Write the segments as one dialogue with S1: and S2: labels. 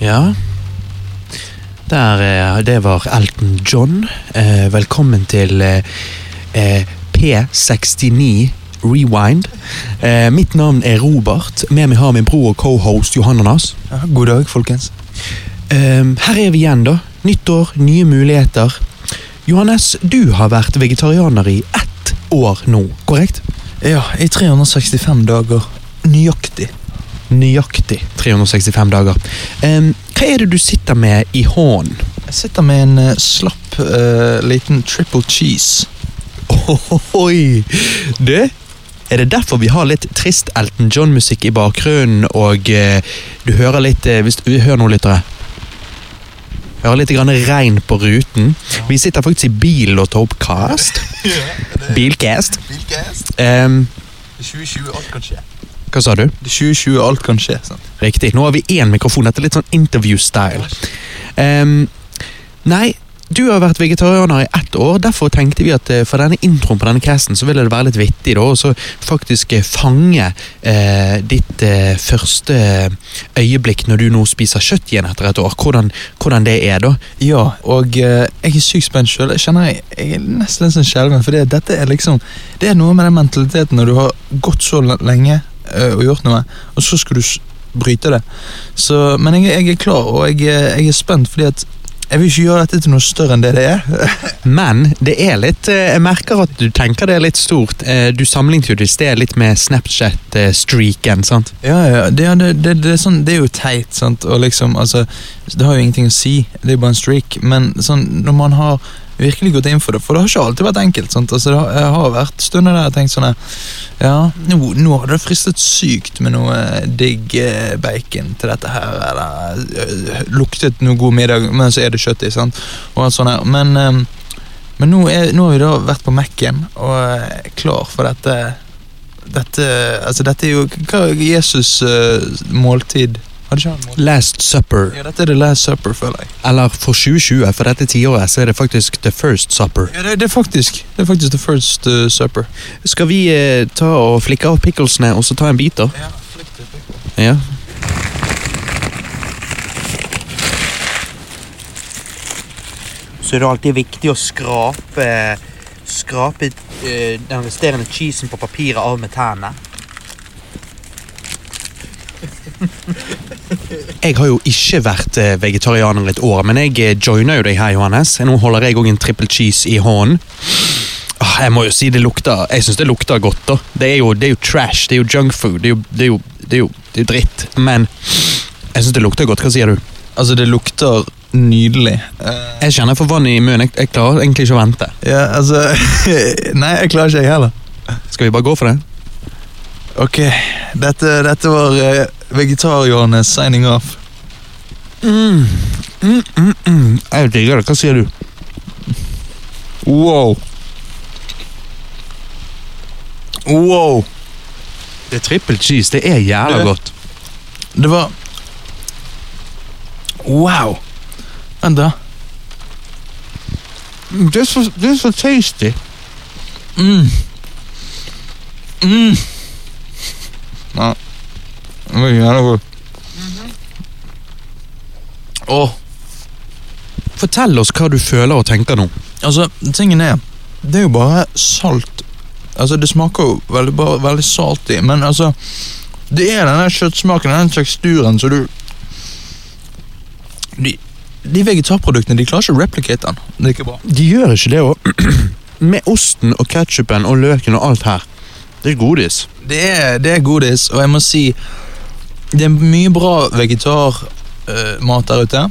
S1: Ja. Der, eh, det var Elton John. Eh, velkommen til eh, eh, P69 Rewind. Eh, mitt navn er Robert. Med meg har min bror og cohost Johananas.
S2: god dag, folkens.
S1: Eh, her er vi igjen, da. Nytt år, nye muligheter. Johannes, du har vært vegetarianer i ett år nå, korrekt?
S2: Ja, i 365 dager. Nøyaktig.
S1: Nøyaktig 365 dager. Eh, hva er det du sitter med i hånden?
S2: Jeg sitter med en eh, slapp eh, liten triple cheese.
S1: Ohoi! Du, er det derfor vi har litt trist Elton John-musikk i bakgrunnen, og eh, du hører litt eh, hvis, du- Hør nå, lyttere. Hører litt grann regn på ruten. Vi sitter faktisk i bilen og tar opp cast. Bilcast.
S2: Bilcast.
S1: Ehm,
S2: 2020, alt kan skje.
S1: hva sa du?
S2: 2020, alt kan skje, sant?
S1: Riktig. Nå har vi én mikrofon. Dette er litt sånn interview-style. Ehm, nei, du har vært vegetarianer i ett år. Derfor tenkte vi at eh, for denne introen på denne casten så ville det være litt vittig da, og så faktisk eh, fange eh, ditt eh, første øyeblikk når du nå spiser kjøtt igjen etter et år. Hvordan, hvordan det er da.
S2: Ja, og eh, jeg er sykt spent sjøl. Jeg kjenner jeg, jeg er nesten litt sånn skjelven, for det, dette er liksom Det er noe med den mentaliteten når du har gått så l- lenge eh, og gjort noe, og så skal du s- bryte det. Så, men jeg, jeg er klar, og jeg, er- jeg er spent, fordi at jeg vil ikke gjøre dette til noe større enn det det er.
S1: Men det er litt eh, Jeg merker at du tenker det er litt stort. Eh, Du sammenlignet jo det i sted litt med Snapchat-streaken, sant?
S2: Ja, ja, det, ja, det, det, det, er sånn, det er jo teit, sant, og liksom, altså, det har jo ingenting å si, det er jo bare en streak, men sånn, når man har virkelig gått inn for det, for det har ikke alltid vært enkelt, sant, altså, det har, jeg har vært stunder der jeg har tenkt sånn, her, ja, nå, nå har det fristet sykt med noe eh, digg eh, bacon til dette her, eller eh, luktet noe god middag, men så er det kjøtt i, sant, og alt sånn her, men, eh, men nå, er, nå har vi da vært på Mac-en, og eh, klar for dette, dette, altså dette er jo hva er Jesus' eh, måltid. Har ikke han måltid?
S1: Last Supper.
S2: Ja, dette er The Last Supper, føler jeg.
S1: Eller for 2020, for dette tiåret, så er det faktisk The First Supper.
S2: Ja, det, det, er faktisk, det er faktisk The First eh, Supper.
S1: Skal vi eh, ta og flikke av picklesene og så ta en bit, da?
S2: Ja,
S1: Ja.
S3: så er det alltid viktig å skrape, skrape eh, den resterende cheesen på papiret av med tærne.
S1: Jeg har jo ikke vært eh, vegetarianer et år, men jeg eh, joiner jo deg her, Johannes. Nå holder jeg òg en triple cheese i hånden. Ah, Jeg må jo si det lukter Jeg syns det lukter godt, da. Det er jo, det er jo trash, det er jo junkfood, det, er jo- det, er jo- det, er jo- det er jo dritt. Men jeg syns det lukter godt. Hva sier du?
S2: Altså, det lukter nydelig. Eh,
S1: Jeg kjenner jeg får vann i munnen. Jeg, jeg klarer egentlig ikke å vente.
S2: ja, altså Nei, jeg klarer ikke, jeg heller.
S1: Skal vi bare gå for det?
S2: Ok, dette, dette var eh, vegetar-Johannes signing off.
S1: Mm. Mm, mm, mm. Jeg digger det. Hva sier du?
S2: Wow. Wow.
S1: Det er trippel cheese. Det er jævla
S2: Du-
S1: godt.
S2: Det var Wow. Vent, da.
S1: Det er så, det er så tasty.
S2: Mm. Mm. Ja. Det var jævla godt. Åh,
S1: Fortell oss hva du føler og tenker nå.
S2: altså, tingen er Det er jo bare salt. Altså, det smaker jo veldig, bare, veldig saltig, men altså Det er den der kjøttsmaken, den teksturen, så du De, de vegetarproduktene, de klarer ikke å replicate den. Det er ikke bra.
S1: De gjør ikke det òg. Med osten og ketsjupen og løken og alt her. Det er godis.
S2: Det er, det er godis, og jeg må si Det er mye bra vegetarmat der ute,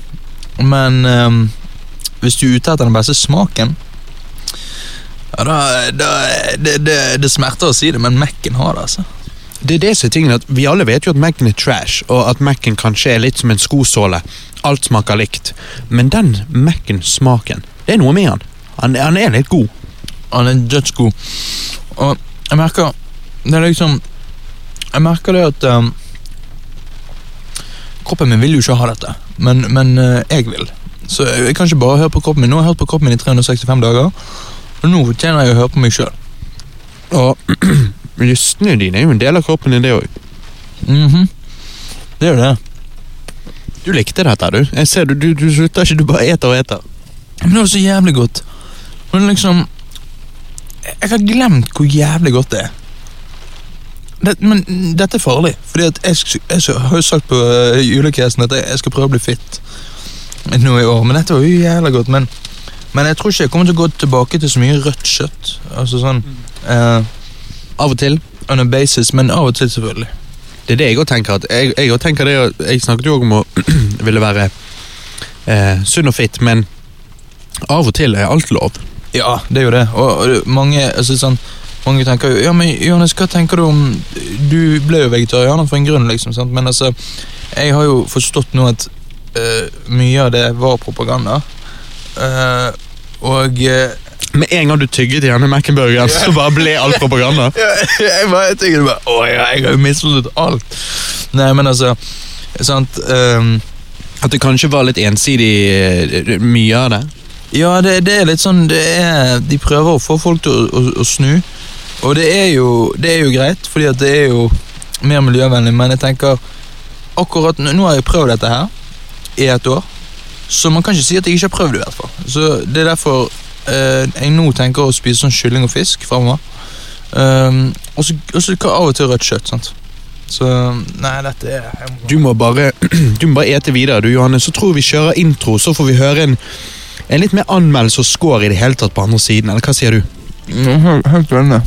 S2: men ehm, hvis du er ute etter den beste smaken ja, da, da, det, det, det smerter å si det, men Mac-en har det, altså.
S1: Det er det som er tingen at Vi alle vet jo at Mac-en er trash, og at Mac-en kanskje er litt som en skosåle. Alt smaker likt. Men den Mac-en-smaken, det er noe med han. Han, han er litt god.
S2: Han er dødsgod. Og jeg merker Det er liksom Jeg merker det at ehm, Kroppen min vil jo ikke ha dette, men, men eh, jeg vil. Så eh, jeg jeg kan ikke bare høre på kroppen min. Nå har jeg hørt på kroppen min i 365 dager, og nå fortjener jeg å høre på meg sjøl.
S1: Og
S2: Mhm.
S1: lystene dine er jo en del av kroppen din, det òg.
S2: Det er jo det.
S1: Du likte dette, du. Jeg ser du, du, du slutter ikke, du bare eter og eter.
S2: Men det var så jævlig godt. Men liksom Jeg har glemt hvor jævlig godt det er. Det, men dette er farlig, Fordi at jeg, sk- jeg s- har jo sagt på uh, julekresten at jeg, jeg skal prøve å bli fit nå i år. Men dette var jo jævlig godt. Men, men jeg tror ikke jeg kommer til å gå tilbake til så mye rødt kjøtt. Altså sånn eh,
S1: Av og til.
S2: On a basis, men av og til, selvfølgelig.
S1: Det er det jeg òg tenker. At jeg, jeg, også tenker det, at- jeg snakket jo også om å ville være eh, sunn og fit, men av og til er alt lov.
S2: Ja, det er jo det. Og, og det- mange, altså, sånn, mange tenker jo Ja, men Johannes, hva tenker du om Du ble jo vegetarianer for en grunn, liksom. sant? Men altså, jeg har jo forstått nå at eh, mye av det var propaganda. Eh, og eh,
S1: Med en gang du tygget i denne Mac-burgeren, så bare ble alt propaganda.
S2: jeg bare jeg tenker bare Å ja, jeg har jo misforstått alt. Nei, men altså Sant. ehm,
S1: At det kanskje var litt ensidig eh, mye av det.
S2: Ja, det, det er litt sånn det er, De prøver å få folk til å, å, å snu. Og det er, jo, det er jo greit, fordi at det er jo mer miljøvennlig, men jeg tenker akkurat Nå nå har jeg prøvd dette her i et år, så man kan ikke si at jeg ikke har prøvd det. i hvert fall. Så Det er derfor eh, jeg nå tenker å spise sånn kylling og fisk framover. Um, og så og så kan av og til rødt kjøtt. sant? Så Nei, dette er jeg må-
S1: Du må bare, du må bare ete videre, du Johanne. Så tror jeg vi kjører intro, så får vi høre en, en litt mer anmeldelse og score i det hele tatt på andre siden. Eller hva sier du?
S2: Helt, helt enig.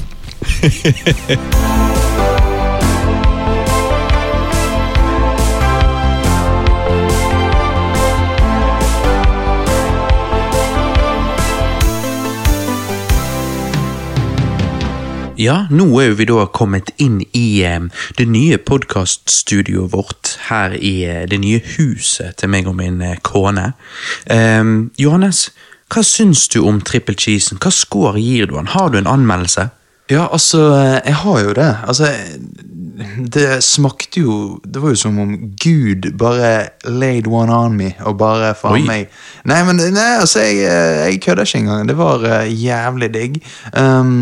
S3: Ja, nå er jo vi da kommet inn i eh, det nye podkaststudioet vårt her i eh, det nye huset til meg og min eh, kone. Eh, Johannes, hva syns du om triple cheesen? Hva score gir du han? Har du en anmeldelse?
S4: Ja, altså, jeg har jo det. Altså, det smakte jo Det var jo som om Gud bare laid one on me og bare faen meg Nei, men nei, altså, jeg, jeg kødder ikke engang. Det var eh, jævlig digg. Um,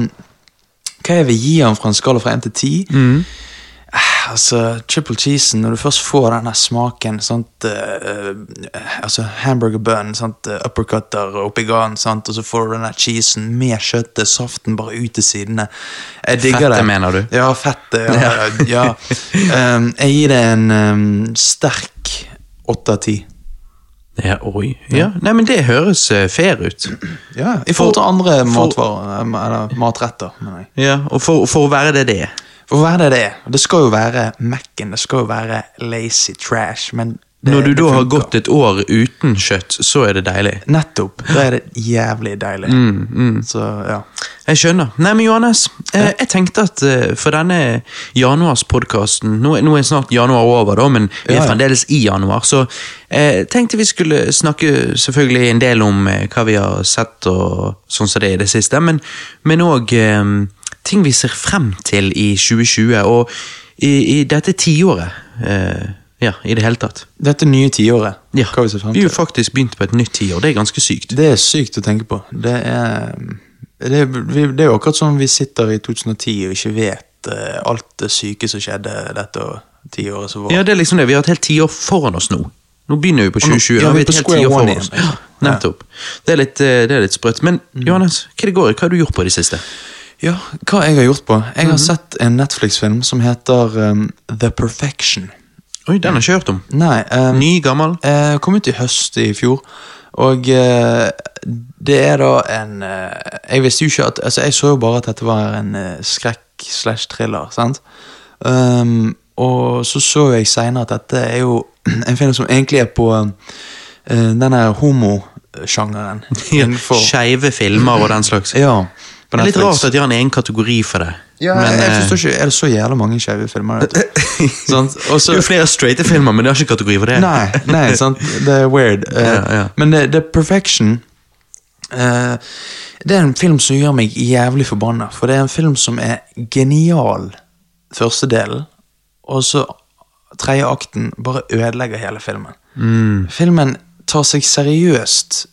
S4: hva jeg vil gi han fra en skala fra 1 til 10? Eh, Altså, triple cheesen, når du først får den her smaken sant, eh, eh, Altså hamburger bun, sant, eh, uppercutter oppi garn, sant, og så får du den der cheesen med kjøttet, saften bare ut til sidene. Jeg digger
S3: Fettet,
S4: det.
S3: mener du?
S4: Ja, fettet. Ja, ja. Um, jeg gir det en um, sterk åtte av ti.
S3: Ja, oi. Ja, nei, men det høres eh, fair ut.
S4: Ja, I forhold til andre
S3: for-
S4: matvarer, eh, eller matretter, mener jeg.
S3: Ja, Og for, for å være det det er.
S4: For hva er det det er? Det skal jo være Mac-en, det skal jo være lazy trash, men det,
S3: Når du
S4: det
S3: da har
S4: funker.
S3: gått et år uten kjøtt, så er det deilig.
S4: Nettopp. Da er det jævlig deilig. Så ja.
S3: Jeg skjønner. Nei, men Johannes, eh, jeg tenkte at eh, for denne januarspodkasten nå, er- nå er snart januar over, da, men vi er
S4: Ja, ja.
S3: fremdeles i januar. Så eh, tenkte vi skulle snakke selvfølgelig en del om eh, hva vi har sett og sånn som det er i det siste, men- men òg eh, ting vi ser frem til i 2020 og i, i dette tiåret. Eh, ja, i det hele tatt.
S4: Dette nye tiåret.
S3: Ja.
S4: Hva vi ser frem
S3: Vi har
S4: til.
S3: jo faktisk begynt på et nytt tiår, det er ganske sykt.
S4: Det er sykt å tenke på. Det er, ehm, det, er- vi- det er jo akkurat som vi sitter i 2010 og ikke vet eh, alt det syke som skjedde dette og- tiåret som var.
S3: Ja, det er liksom det. Vi har et helt tiår foran oss nå. Nå begynner vi på
S4: nå- ja,
S3: 2020. nå
S4: vi er
S3: har vi
S4: på
S3: et helt
S4: square
S3: tiår
S4: one
S3: foran
S4: igjen, Mm.
S3: oss.
S4: liksom.
S3: Ja, nettopp. Det er litt, eh, det er litt sprøtt. Men Johannes, hva er det går i? Hva har du gjort på i det siste?
S4: Ja, hva jeg har gjort på? Jeg har sett en Netflix-film som heter um, The Perfection.
S3: Oi, den har jeg ikke hørt om.
S4: Nei, um,
S3: Ny, gammel?
S4: Eh, kom ut i høst i fjor, og eh, det er da en eh, Jeg visste jo ikke at Altså, jeg så jo bare at dette var en eh, skrekk slash thriller, sant? Um, og så så jeg seinere at dette er jo en film som egentlig er på eh, den der homosjangeren. innenfor-
S3: Skeive filmer og den slags. Det
S4: Ja. På
S3: er litt
S4: Netflix.
S3: rart at de har en egen kategori for det.
S4: ja,
S3: men,
S4: jeg
S3: eh,
S4: forstår ikke, Er det så jævla mange skeive filmer? vet du? Sant? Og så-
S3: det er jo flere straighte filmer, men det har ikke kategori for det.
S4: Nei, nei, sant? det er weird. Eh,
S3: Ja, ja.
S4: Men det, det er Perfection eh, Det er en film som gjør meg jævlig forbanna. For det er en film som er genial første delen, og så tredje akten bare ødelegger hele filmen.
S1: Mm.
S4: Filmen tar seg seriøst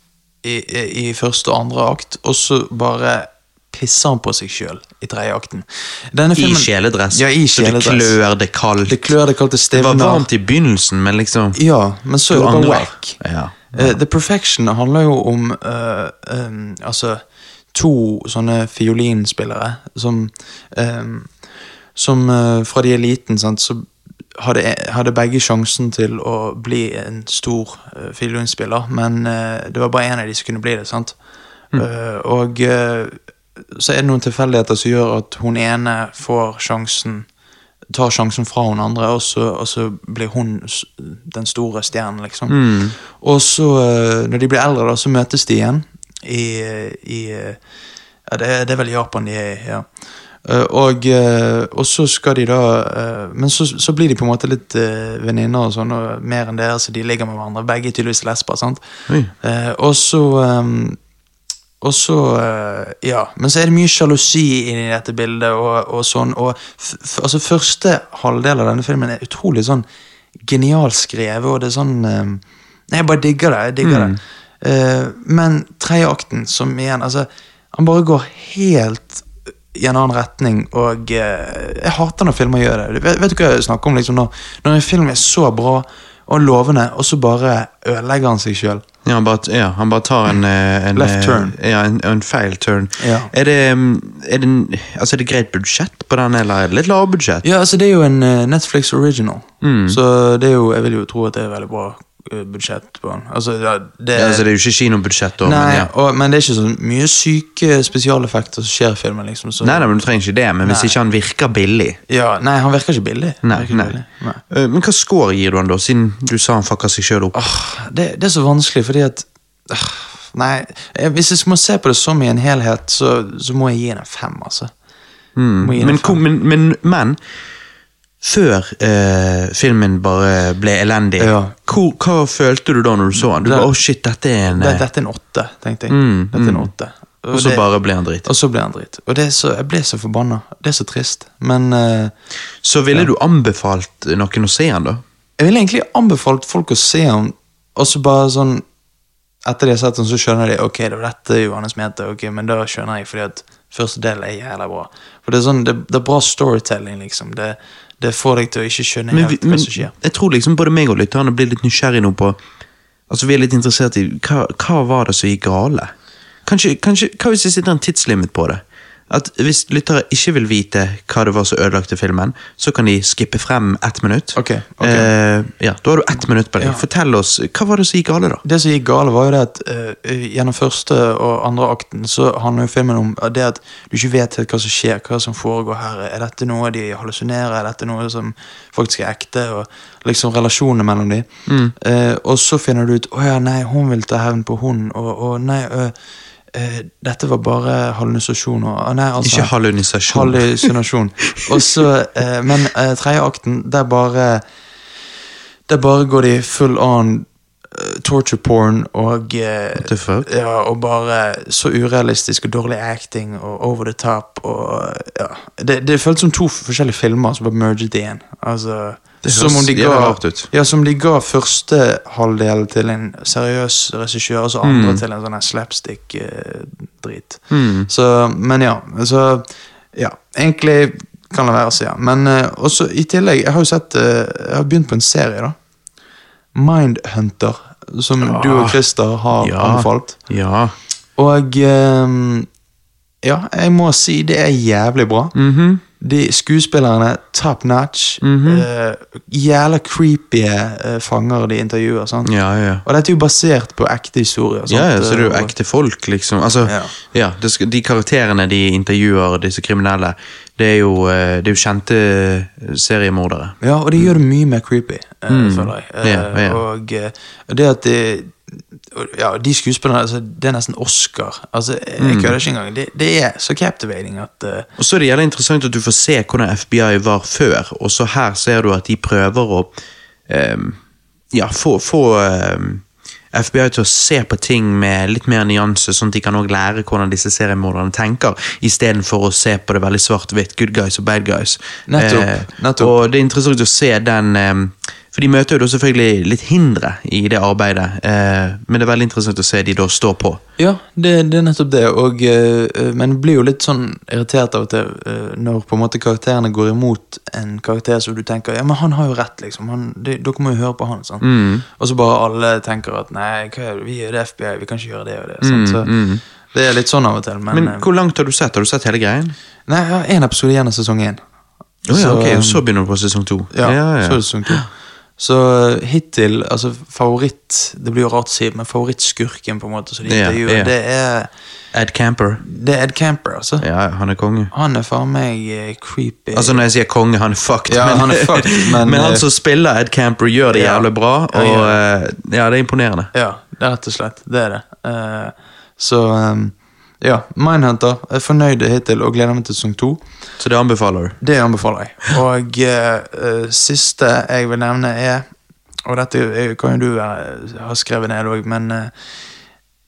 S4: i, i, i første og andre akt, og så bare pisser han på seg sjøl i tredje akten. Denne
S1: I
S4: filmen-
S1: kjeledress.
S4: Ja, i
S1: så det
S4: kjeledress.
S1: klør, det er kaldt.
S4: Det klør, det er kaldt, det
S1: Det var
S4: stivner.
S1: varmt i begynnelsen, men liksom
S4: Ja, men så er
S1: Du
S4: det bare
S1: angrer.
S4: wack.
S1: Ja.
S4: Eh, The Perfection handler jo om eh, em, altså to sånne fiolinspillere som em, Som eh, fra de er liten, sant, så hadde, hadde begge sjansen til å bli en stor eh, fiolinspiller, men eh, det var bare én av de som kunne bli det. sant? Eh, og eh, så er det noen tilfeldigheter som gjør at hun ene får sjansen tar sjansen fra hun andre, og så, og så blir hun s- den store stjernen, liksom. Og så, eh, når de blir eldre, da, så møtes de igjen i, i eh, Ja, det, er- det er vel Japan de er i, ja. Eh, Og, eh, og så skal de da eh, Men så, så blir de på en måte litt eh, venninner og sånn, og mer enn det, så de ligger med hverandre. Begge er tydeligvis lesber, sant?
S1: Oi.
S4: Eh, Og så eh, og så, eh, ja, Men så er det mye sjalusi inni dette bildet. og, og sånn, og f f altså Første halvdel av denne filmen er utrolig sånn genialt skrevet, og det er sånn eh, Nei, jeg bare digger det. jeg digger det. Eh, men tredje akten, som igjen altså, Han bare går helt i en annen retning, og eh, jeg hater når filmer gjør det. Vet, vet du hva jeg snakker om? liksom Når, når en film er så bra og lovende, og så bare ødelegger han seg sjøl.
S1: Ja, han bare, ja, han bare tar en, eh, en
S4: Left
S1: eh,
S4: turn.
S1: Ja, en, en feil turn.
S4: Ja.
S1: Er, det, mm, er, det, en- altså, er det greit budsjett på den, eller er det litt lavt budsjett?
S4: Ja, altså det er jo en eh, Netflix original,
S1: Mm.
S4: så det er jo, jeg vil jo tro at det er veldig bra eh, budsjett på den. Altså, ja, det,
S1: Ja, altså, det er jo ikke kinobudsjett, da.
S4: nei,
S1: men, ja.
S4: og, men det er ikke så mye syke spesialeffekter som skjer i filmen, liksom. Så,
S1: nei, nei, men du trenger ikke det. Men hvis
S4: Nei.
S1: ikke han virker billig
S4: Ja, nei, han virker ikke billig. Han
S1: Nei,
S4: virker ikke
S1: nei.
S4: billig. nei.
S1: Eh, Men hva score gir du han, da, siden du sa han fucka seg sjøl opp?
S4: Ah, det, det er så vanskelig, fordi at ah, Nei, eh, hvis jeg må se på det som i en helhet, så, så må jeg gi den en fem, altså. Må gi den en
S1: Men,
S4: fem.
S1: ko- men, men, men før eh, filmen bare ble elendig,
S4: Ja.
S1: hvor, hva følte du da når du så han? Du
S4: Det-
S1: bare, oh shit, dette er en
S4: det,
S1: eh»,
S4: dette er en åtte, tenkte jeg.
S1: Mm,
S4: dette er en
S1: mm.
S4: åtte.
S1: Og så
S4: det-
S1: bare ble han dritt.
S4: Og så ble han dritt. Og det er så, jeg ble så forbanna. Det er så trist. Men eh,
S1: Så ville du anbefalt noen å se han, da?
S4: jeg ville egentlig anbefalt folk å se ham, og så bare sånn Etter de har sett den, så skjønner de ok, det var dette Johannes mente, ok, men da skjønner jeg, fordi at første del er jævla bra. For Det er sånn, det, det er bra storytelling, liksom. Det, det får deg til å ikke skjønne
S1: Men, vi-
S4: helt
S1: men
S4: hva som skjer.
S1: jeg tror liksom både meg og lytterne blir litt nysgjerrig nå på Altså Vi er litt interessert i hva, hva var det som gikk gale? Kanskje, kanskje, hva hvis det sitter en tidslimit på det? At Hvis lyttere ikke vil vite hva det var som ødelagte filmen, så kan de skippe frem ett minutt.
S4: Ok, ok.
S1: Eh, ja, da har du ett minutt på deg.
S4: Ja.
S1: Fortell oss, Hva var det som gikk gale, da?
S4: Det som gikk galt, var jo det at eh, gjennom første og andre akten så handler jo filmen om eh, det at du ikke vet helt hva som skjer, hva som foregår her. Er dette noe de hallusinerer? Er dette noe som faktisk er ekte? Og liksom relasjonene mellom de.
S1: Mm.
S4: Eh, og så finner du ut å ja, nei, hun vil ta hevn på hun, og, og nei ø, eh, dette var bare hallusinasjoner. Å, nei, altså,
S1: Ikke hallunisasjon.
S4: Hallusinasjon. Og så, eh, men eh, tredje akten, der bare Der bare går de full on eh, torture porn og eh,
S1: What the fuck?
S4: ja, og bare så urealistisk og dårlig acting og over the top og eh, ja. Det, det føltes som to forskjellige filmer som var merget i en. Altså,
S1: Det
S4: som
S1: høres
S4: om de
S1: jævla
S4: ga,
S1: rart ut.
S4: ja, som de ga første halvdel til en seriøs regissør, og så
S1: Mm.
S4: andre til en sånn her slapstick-drit.
S1: Mm.
S4: Så, men ja, så Ja, egentlig kan det være så, ja. Men eh, også i tillegg, jeg har jo sett eh, Jeg har begynt på en serie, da. Mindhunter, som du og Christer har
S1: Ah, Ja.
S4: anbefalt.
S1: Ja.
S4: Og ehm, ja, jeg må si det er jævlig bra.
S1: Mhm.
S4: De skuespillerne, top notch. eh, jævla creepy eh, fanger de intervjuer. Sant?
S1: Ja, ja.
S4: Og dette er jo basert på ekte historier. Sant?
S1: Ja, ja, så det er jo
S4: Og-
S1: ekte folk, liksom. Altså,
S4: Ja.
S1: ja. det skal, de karakterene de intervjuer, disse kriminelle, det er jo, eh, det er jo kjente eh, seriemordere.
S4: Ja, og det gjør det mye mer creepy, eh, føler jeg. Eh,
S1: Ja, ja.
S4: Og eh, det at det og- ja, de skuespillerne, altså, det er nesten Oscar. Altså, jeg kødder ikke engang. Det, det er så captivating at eh,
S1: Og så er det jævlig interessant at du får se hvordan FBI var før, og så her ser du at de prøver å eh, ja, få, få eh, FBI til å se på ting med litt mer nyanse, sånn at de kan også lære hvordan disse seriemorderne tenker, istedenfor å se på det veldig svart-hvitt, good guys og bad guys.
S4: Nettopp, nettopp.
S1: Og det er interessant å se den eh, For de møter jo da selvfølgelig litt hindre i det arbeidet, eh, men det er veldig interessant å se de da står på.
S4: Ja, det, det er nettopp det, og, eh, men jeg blir jo litt sånn irritert av og til eh, når på en måte karakterene går imot en karakter som du tenker Ja, men han har jo rett, liksom. Han, det, dere må jo høre på han. sant?
S1: Mm.
S4: Og så bare alle tenker at nei, hva er det? vi er det FBI, vi kan ikke gjøre det og det. sant? Så, Det er litt sånn av og til, men,
S1: Men
S4: eh,
S1: hvor langt har du sett? Har du sett hele greien?
S4: Nei, jeg har én episode igjen av sesong én.
S1: Å ja,
S4: Så,
S1: ok,
S4: um,
S1: og så begynner du på sesong to.
S4: Ja,
S1: ja.
S4: så er det sesong to. Så eh, hittil, altså favoritt Det blir jo rart å si, men favorittskurken på en måte som de
S1: Ja,
S4: intervjuer,
S1: ja.
S4: det er
S1: Ed Camper.
S4: det er Ed Camper, altså.
S1: Ja, han er konge.
S4: Han er faen meg eh, creepy.
S1: Altså Når jeg sier konge, han er fucked.
S4: Ja, han er fucked, men- eh,
S1: han som spiller Ed Camper, gjør det
S4: Ja.
S1: jævlig bra.
S4: Ja,
S1: Og eh, ja, det er imponerende.
S4: ja, det er rett og slett. Det er det. Eh, så um, ja, Mindhunter. Jeg er fornøyd hittil og gleder meg til sesong to.
S1: Så det anbefaler du.
S4: Det anbefaler jeg. Og eh, eh, siste jeg vil nevne, er Og dette er jo- kan jo du være- ha skrevet ned òg, men eh,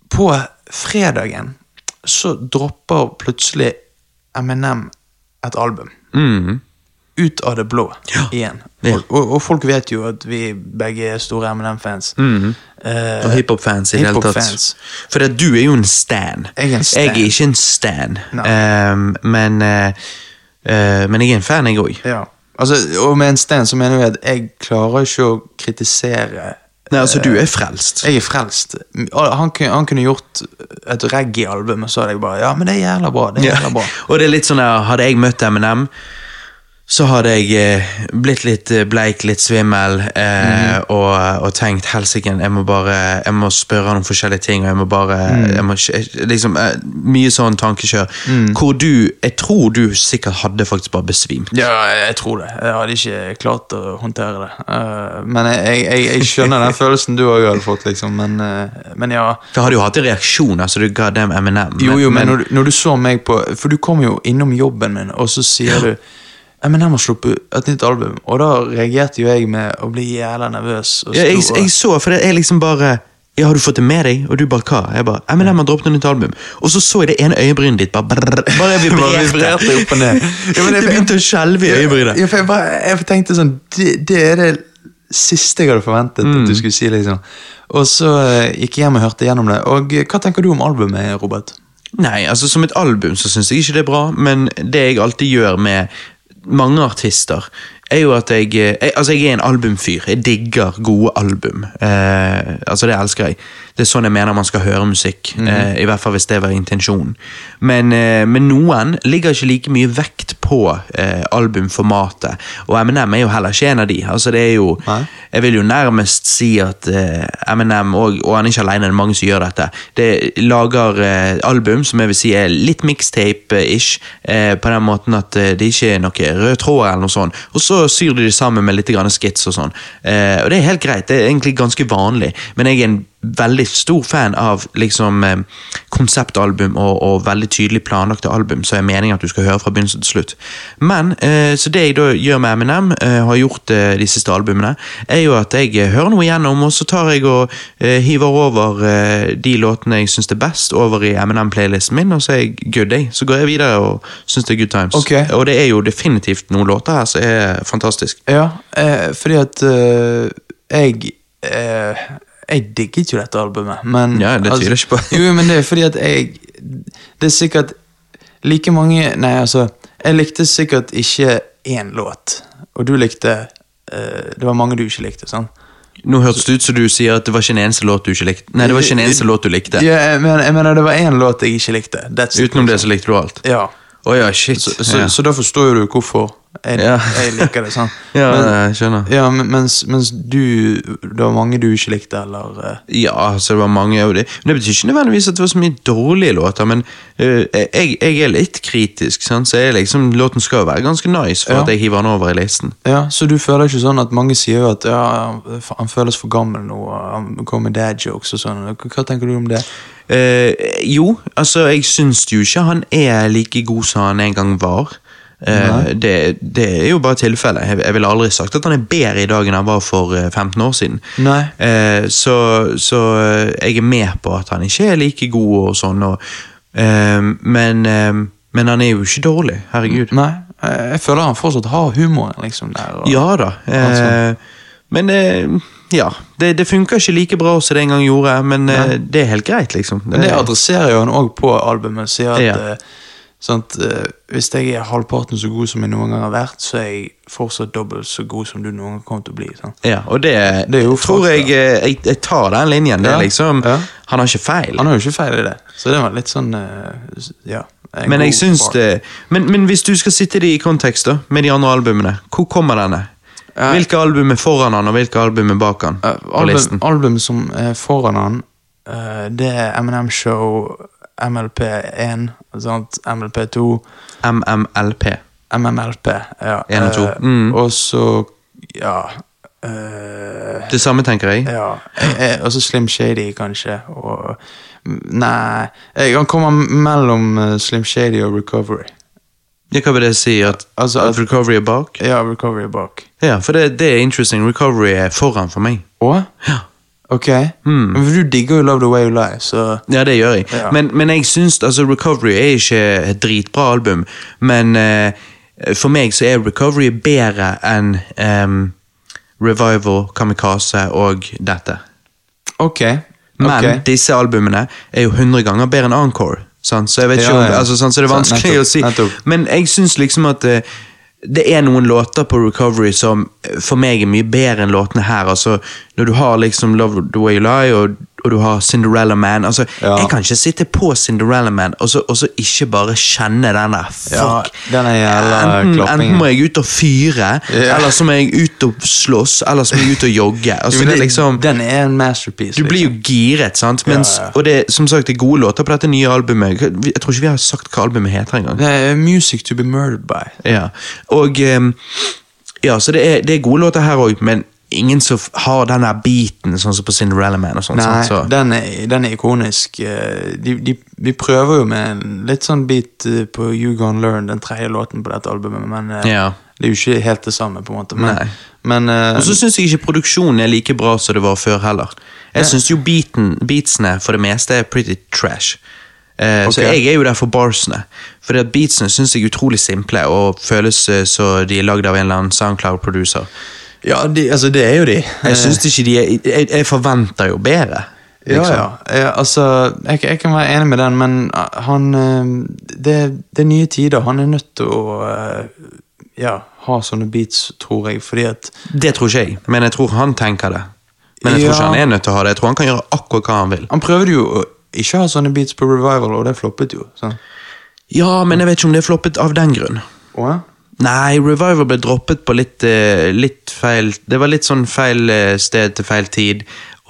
S4: På fredagen så dropper plutselig Eminem et album.
S1: Mm.
S4: ut av det blå igjen.
S1: Ja.
S4: Folk, og, og folk vet jo at vi begge er store Eh, M&M-fans.
S1: Mhm. Og hiphop-fans i det hele tatt.
S4: hiphop-fans.
S1: For det, du er jo en stan.
S4: Jeg er en stan.
S1: ikke en stan,
S4: Nei.
S1: Ehm, men eh, eh, Men jeg er en fan, jeg òg.
S4: ja. altså, og med en sten så mener jeg at jeg klarer ikke å kritisere
S1: Nei, altså, du er frelst.
S4: Jeg er frelst. Han, kunne- han kunne gjort et reggae-album, og så hadde jeg bare Ja, men det er jævla bra. Det er
S1: Ja.
S4: jævla bra.
S1: Og det er litt sånn der, Hadde jeg møtt Eminem, så hadde jeg eh, blitt litt eh, bleik, litt svimmel, eh,
S4: Mhm.
S1: og, og tenkt helsike, jeg må bare Jeg må spørre han om forskjellige ting, og jeg må bare
S4: Mhm.
S1: jeg må, ikke- jeg- liksom, eh, Mye sånn tankekjør. Hvor du Jeg tror du sikkert hadde faktisk bare besvimt.
S4: Ja, jeg tror det. Jeg hadde ikke klart å håndtere det. Eh, men jeg, jeg, jeg, jeg skjønner den følelsen du òg hadde fått, liksom. Men, eh, men ja.
S1: For jeg hadde jo hatt en reaksjon, altså du ga dem Eminem.
S4: Jo, jo, men, når, du- når du så meg på For du kom jo innom jobben min, og så sier du «Ja, men jeg må sluppe et nytt album. Og da reagerte jo jeg med å bli jævla nervøs. Og
S1: ja, jeg,
S4: stor, og-
S1: jeg så, for jeg liksom bare ja, har du fått det med deg? Og du bare hva? Jeg bare, Eminem har droppet et nytt album. Og så så jeg det ene øyebrynet ditt bare brrr, Bare
S4: Bare
S1: vibrerte.
S4: vibrerte opp og ned. Ja, men jeg-
S1: det begynte å skjelve i øyebrynet.
S4: Ja, for jeg, bare, jeg tenkte sånn det, det er det siste jeg hadde forventet at du
S1: Mm.
S4: skulle si, liksom. Og så eh, gikk jeg hjem og hørte gjennom det. Og eh, hva tenker du om albumet, Robert?
S1: Nei, altså som et album så syns jeg ikke det er bra, men det jeg alltid gjør med mange artister, er jo at jeg, jeg Altså, jeg er en albumfyr. Jeg digger gode album. Eh, altså, det elsker jeg. Det er sånn jeg mener man skal høre musikk. eh, I hvert fall hvis det var intensjonen. Men, eh, men noen ligger ikke like mye vekt på eh, albumformatet, og Eminem er jo heller ikke en av de. Altså, det er jo
S4: Nei.
S1: jeg vil jo nærmest si at eh, Eminem, og, og han er ikke alene, det er mange som gjør dette, det lager eh, album som jeg vil si er litt mixtape-ish, eh, på den måten at eh, det ikke er noe rød tråd eller noe sånt, og så syr de det sammen med litt grann skits og sånn. Eh, og det er helt greit, det er egentlig ganske vanlig, men jeg er en veldig stor fan av liksom eh, konseptalbum og, og veldig tydelig planlagte album, så jeg mener at du skal høre fra begynnelsen til slutt. Men, eh, så det jeg da gjør med Eminem, eh, har gjort eh, de siste albumene, er jo at jeg eh, hører noe igjennom, og så tar jeg og eh, hiver over eh, de låtene jeg syns er best, over i Eminem-playlisten min, og så er jeg good, jeg. Så går jeg videre og syns det er good times.
S4: Ok.
S1: Og det er jo definitivt noen låter her som er fantastisk.
S4: Ja, eh, fordi at eh, jeg eh, Jeg digget jo dette albumet, men altså,
S1: Ja, det tviler jeg ikke på.
S4: jo, men det er fordi at jeg Det er sikkert like mange Nei, altså Jeg likte sikkert ikke én låt, og du likte eh, Det var mange du ikke likte, sant?
S1: Nå hørtes det ut som du sier at det var ikke en eneste låt du ikke likte. Nei, det var ikke en eneste låt du likte.
S4: Ja, jeg, mener, jeg mener det var én låt jeg ikke likte. That's it.
S1: Utenom det så likte du alt.
S4: Ja.
S1: Å ja, shit.
S4: Så,
S1: ja.
S4: så da forstår jo du hvorfor jeg,
S1: Ja.
S4: jeg liker det, sant?
S1: ja,
S4: Men-
S1: jeg skjønner.
S4: ja, men- mens, mens du Det var mange du ikke likte, eller eh,
S1: Ja, så det var mange av det. Men det betyr ikke nødvendigvis at det var så mye dårlige låter, men eh, jeg, jeg er litt kritisk, sant? så jeg er liksom, låten skal jo være ganske nice for
S4: Ja.
S1: at jeg hiver den over i listen.
S4: Ja, Så du føler ikke sånn at mange sier jo at ja, han- han føles for gammel nå, og han kommer med dad jokes og sånn. Hva- Hva tenker du om det?
S1: Eh, jo, altså, jeg syns jo ikke han er like god som han en gang var. Eh, det, det er jo bare tilfellet. Jeg, jeg ville aldri sagt at han er bedre i dag enn han var for eh, 15 år siden.
S4: Nei.
S1: Eh, så så eh, jeg er med på at han ikke er like god og sånn, og, eh, men, eh, men han er jo ikke dårlig. Herregud.
S4: Nei, eh, Jeg føler han fortsatt har humoren liksom der. Og,
S1: Ja da. Eh,
S4: Altså.
S1: Men eh, ja. Det, det funker ikke like bra som det en gang gjorde, men eh, det er helt greit, liksom.
S4: Men det adresserer jo han òg på albumet. Sier at
S1: Ja.
S4: eh, sant, eh, hvis jeg er halvparten så god som jeg noen gang har vært, så er jeg fortsatt dobbelt så god som du noen gang kommer til å bli. Sant?
S1: ja, og det,
S4: Det er jo
S1: tror
S4: fakta.
S1: jeg, eh, jeg Jeg tar den linjen. Det,
S4: Ja,
S1: er liksom,
S4: ja.
S1: Han har ikke feil.
S4: Han har jo ikke feil i det, så det var litt sånn eh, s- Ja. en
S1: Men,
S4: god
S1: jeg syns
S4: bar.
S1: det, men, men hvis du skal sitte det i kontekst da, med de andre albumene, hvor kommer denne?
S4: Eh.
S1: Hvilke album er foran han, og hvilke album er bak han?
S4: Eh,
S1: på
S4: album,
S1: listen?
S4: album som er foran han, eh, det er M&M Show, MLP1, sant? MLP2,
S1: MMLP.
S4: MMLP. Ja.
S1: En og to.
S4: Eh,
S1: Mm.
S4: Og så Ja. eh,
S1: Det samme, tenker jeg.
S4: ja. eh, eh, Og så Slim Shady, kanskje. Og Nei eh, Han kommer mellom eh, Slim Shady og Recovery.
S1: Ja, Hva vil det si? At,
S4: Altså,
S1: at
S4: at-
S1: Recovery er bak?
S4: Ja, Recovery er bak.
S1: Ja, for det, det er interesting. Recovery er foran for meg.
S4: Og?
S1: Ja. Hmm.
S4: Ok. Men Du digger jo Love the Way You Lie, så
S1: Ja, det gjør jeg.
S4: Ja.
S1: Men, men jeg syns altså, Recovery er ikke et dritbra album. Men eh, for meg så er Recovery bedre enn ehm, Revival, Kamikaze og dette.
S4: Ok.
S1: Men
S4: ok.
S1: disse albumene er jo 100 ganger bedre enn Encore. Sant? Så jeg vet ikke
S4: Ja,
S1: om,
S4: ja.
S1: altså, sant? Så det er
S4: Så,
S1: vanskelig
S4: nettopp,
S1: å si.
S4: nettopp.
S1: Men jeg syns liksom at eh, det er noen låter på Recovery som eh, for meg er mye bedre enn låtene her. Altså, når du har liksom Love The Way You Lie og, og du har Cinderella Man altså,
S4: Ja.
S1: Jeg kan ikke sitte på Cinderella Man og så, og så ikke bare kjenne den der.
S4: Ja,
S1: Fuck.
S4: den er jævla
S1: enten,
S4: klappingen.
S1: enten må jeg ut og fyre,
S4: Ja.
S1: eller så må jeg ut og slåss, eller så må jeg ut og jogge. Altså,
S4: Jo,
S1: det
S4: men
S1: er liksom...
S4: Den er en masterpiece. liksom.
S1: Du blir jo giret, sant? Mens,
S4: Ja, ja.
S1: Og det er, som sagt, det er gode låter på dette nye albumet. Jeg tror ikke vi har sagt hva albumet heter engang.
S4: Det er music to be murdered by.
S1: Ja. Og ehm, Ja, så det er, det er gode låter her òg, men ingen som f- har den der beaten, sånn som på Cinderella Man og sånt.
S4: Nei,
S1: sant? Så,
S4: den er, den er ikonisk. Eh, De, de, de prøver jo med en litt sånn beat eh, på You Gone Learn, den tredje låten på dette albumet, men eh,
S1: Ja.
S4: det er jo ikke helt det samme, på en måte. Men,
S1: Nei.
S4: men eh,
S1: og så syns jeg ikke produksjonen er like bra som det var før heller. Jeg syns jo beaten, beatsene for det meste er pretty trash. Eh, Så
S4: Ok.
S1: jeg er jo der for barsene. For det at beatsene syns jeg er utrolig simple og føles eh, som de er lagd av en eller annen Soundcloud-producer.
S4: Ja, de, altså, det er jo de.
S1: Jeg synes ikke de er, jeg, jeg forventer jo bedre. liksom.
S4: Ja, ja. Eh, altså, jeg, jeg kan være enig med den, men eh, han eh, det, det er nye tider. Han er nødt til å eh, ja, ha sånne beats, tror jeg, fordi at
S1: Det tror ikke jeg, men jeg tror han tenker det. Men jeg tror ikke
S4: Ja.
S1: han er nødt til å ha det. Jeg tror han kan gjøre akkurat hva han vil.
S4: Han prøvde jo å ikke ha sånne beats på Revival, og det floppet jo. sant?
S1: Ja, men jeg vet ikke om det er floppet av den grunn.
S4: Å, ja?
S1: Nei, Revival ble droppet på litt, eh, litt feil Det var litt sånn feil eh, sted til feil tid.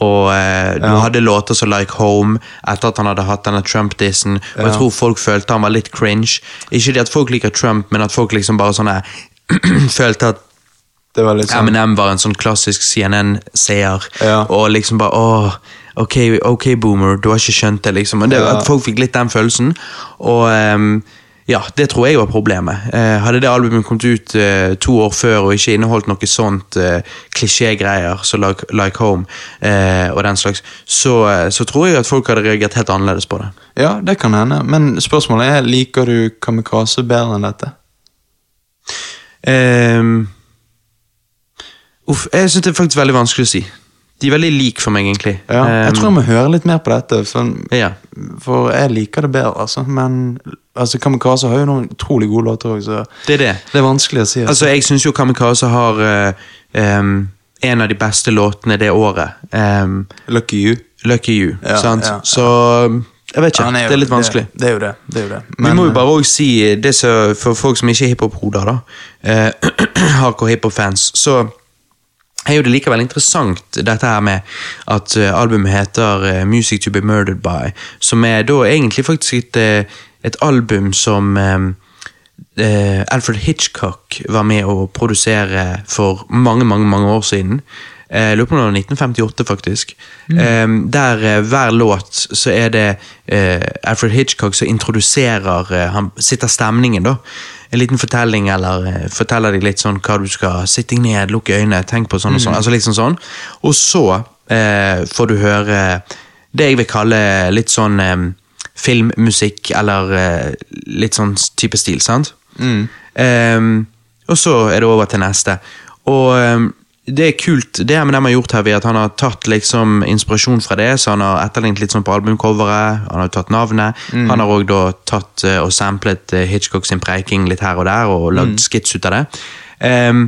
S1: Og eh, du hadde låter som Like Home etter at han hadde hatt denne Trump-dissen. Og jeg tror folk følte han var litt cringe. Ikke det at folk liker Trump, men at folk liksom bare sånn her følte at
S4: Det var litt sånn
S1: Eminem var en sånn klassisk CNN-seer,
S4: Ja.
S1: og liksom bare åh, ok, ok, boomer, du har ikke skjønt det, liksom. Men det,
S4: Ja.
S1: At folk fikk litt den følelsen. Og ehm, ja, det tror jeg var problemet. Eh, hadde det albumet kommet ut eh, to år før og ikke inneholdt noe sånt eh, klisjégreier som like, like Home eh, og den slags, så, eh, så tror jeg at folk hadde reagert helt annerledes på det.
S4: Ja, det kan hende. Men spørsmålet er liker du Kamikaze bedre enn dette.
S1: Ehm, uff, jeg syns det er faktisk veldig vanskelig å si. De er veldig like for meg, egentlig.
S4: Ja, jeg
S1: Ehm,
S4: tror jeg må høre litt mer på dette, for,
S1: ja.
S4: for jeg liker det bedre, altså. Men altså, Kamikaze har jo noen utrolig gode låter òg, så
S1: Det er det.
S4: det er vanskelig å si. Altså.
S1: Altså, jeg syns jo Kamikaze har eh, em, en av de beste låtene det året. Em,
S4: Lucky You.
S1: Lucky You.
S4: Ja,
S1: sant?
S4: ja, ja.
S1: Så jeg vet ikke.
S4: Han jo-
S1: det er litt vanskelig.
S4: Det, det er jo det. det, er jo det.
S1: Vi må jo bare også si, eh, det som- for folk som ikke er hiphop-hoder, da, eh, hardcore hiphop-fans, så er jo det likevel interessant, dette her med at eh, albumet heter eh, Music To Be Murdered By, som er da egentlig faktisk et, eh, et album som eh, eh, Alfred Hitchcock var med å produsere for mange, mange, mange år siden. Eh, Jeg lurer på om det var 1958, faktisk. Eh, der eh, hver låt så er det eh, Alfred Hitchcock som introduserer eh, Han sitter stemningen, da en liten fortelling, eller eh, forteller deg litt sånn hva du skal Sitt deg ned, lukk øynene, tenk på sånn og sånn. Altså liksom sånn. Og så eh, får du høre det jeg vil kalle litt sånn eh, filmmusikk, eller eh, litt sånn type Ehm, stil, sant? Eh, og så er det over til neste. Og eh,
S3: ehm, det er kult. Det Eminem har gjort her, ved at han har tatt liksom inspirasjon fra det, så han har etterlignet litt sånn på albumcoveret, han har jo tatt navnet. Han har òg da tatt eh, og samplet eh, Hitchcock sin preiking litt her og der, og lagd skits ut av det. Ehm,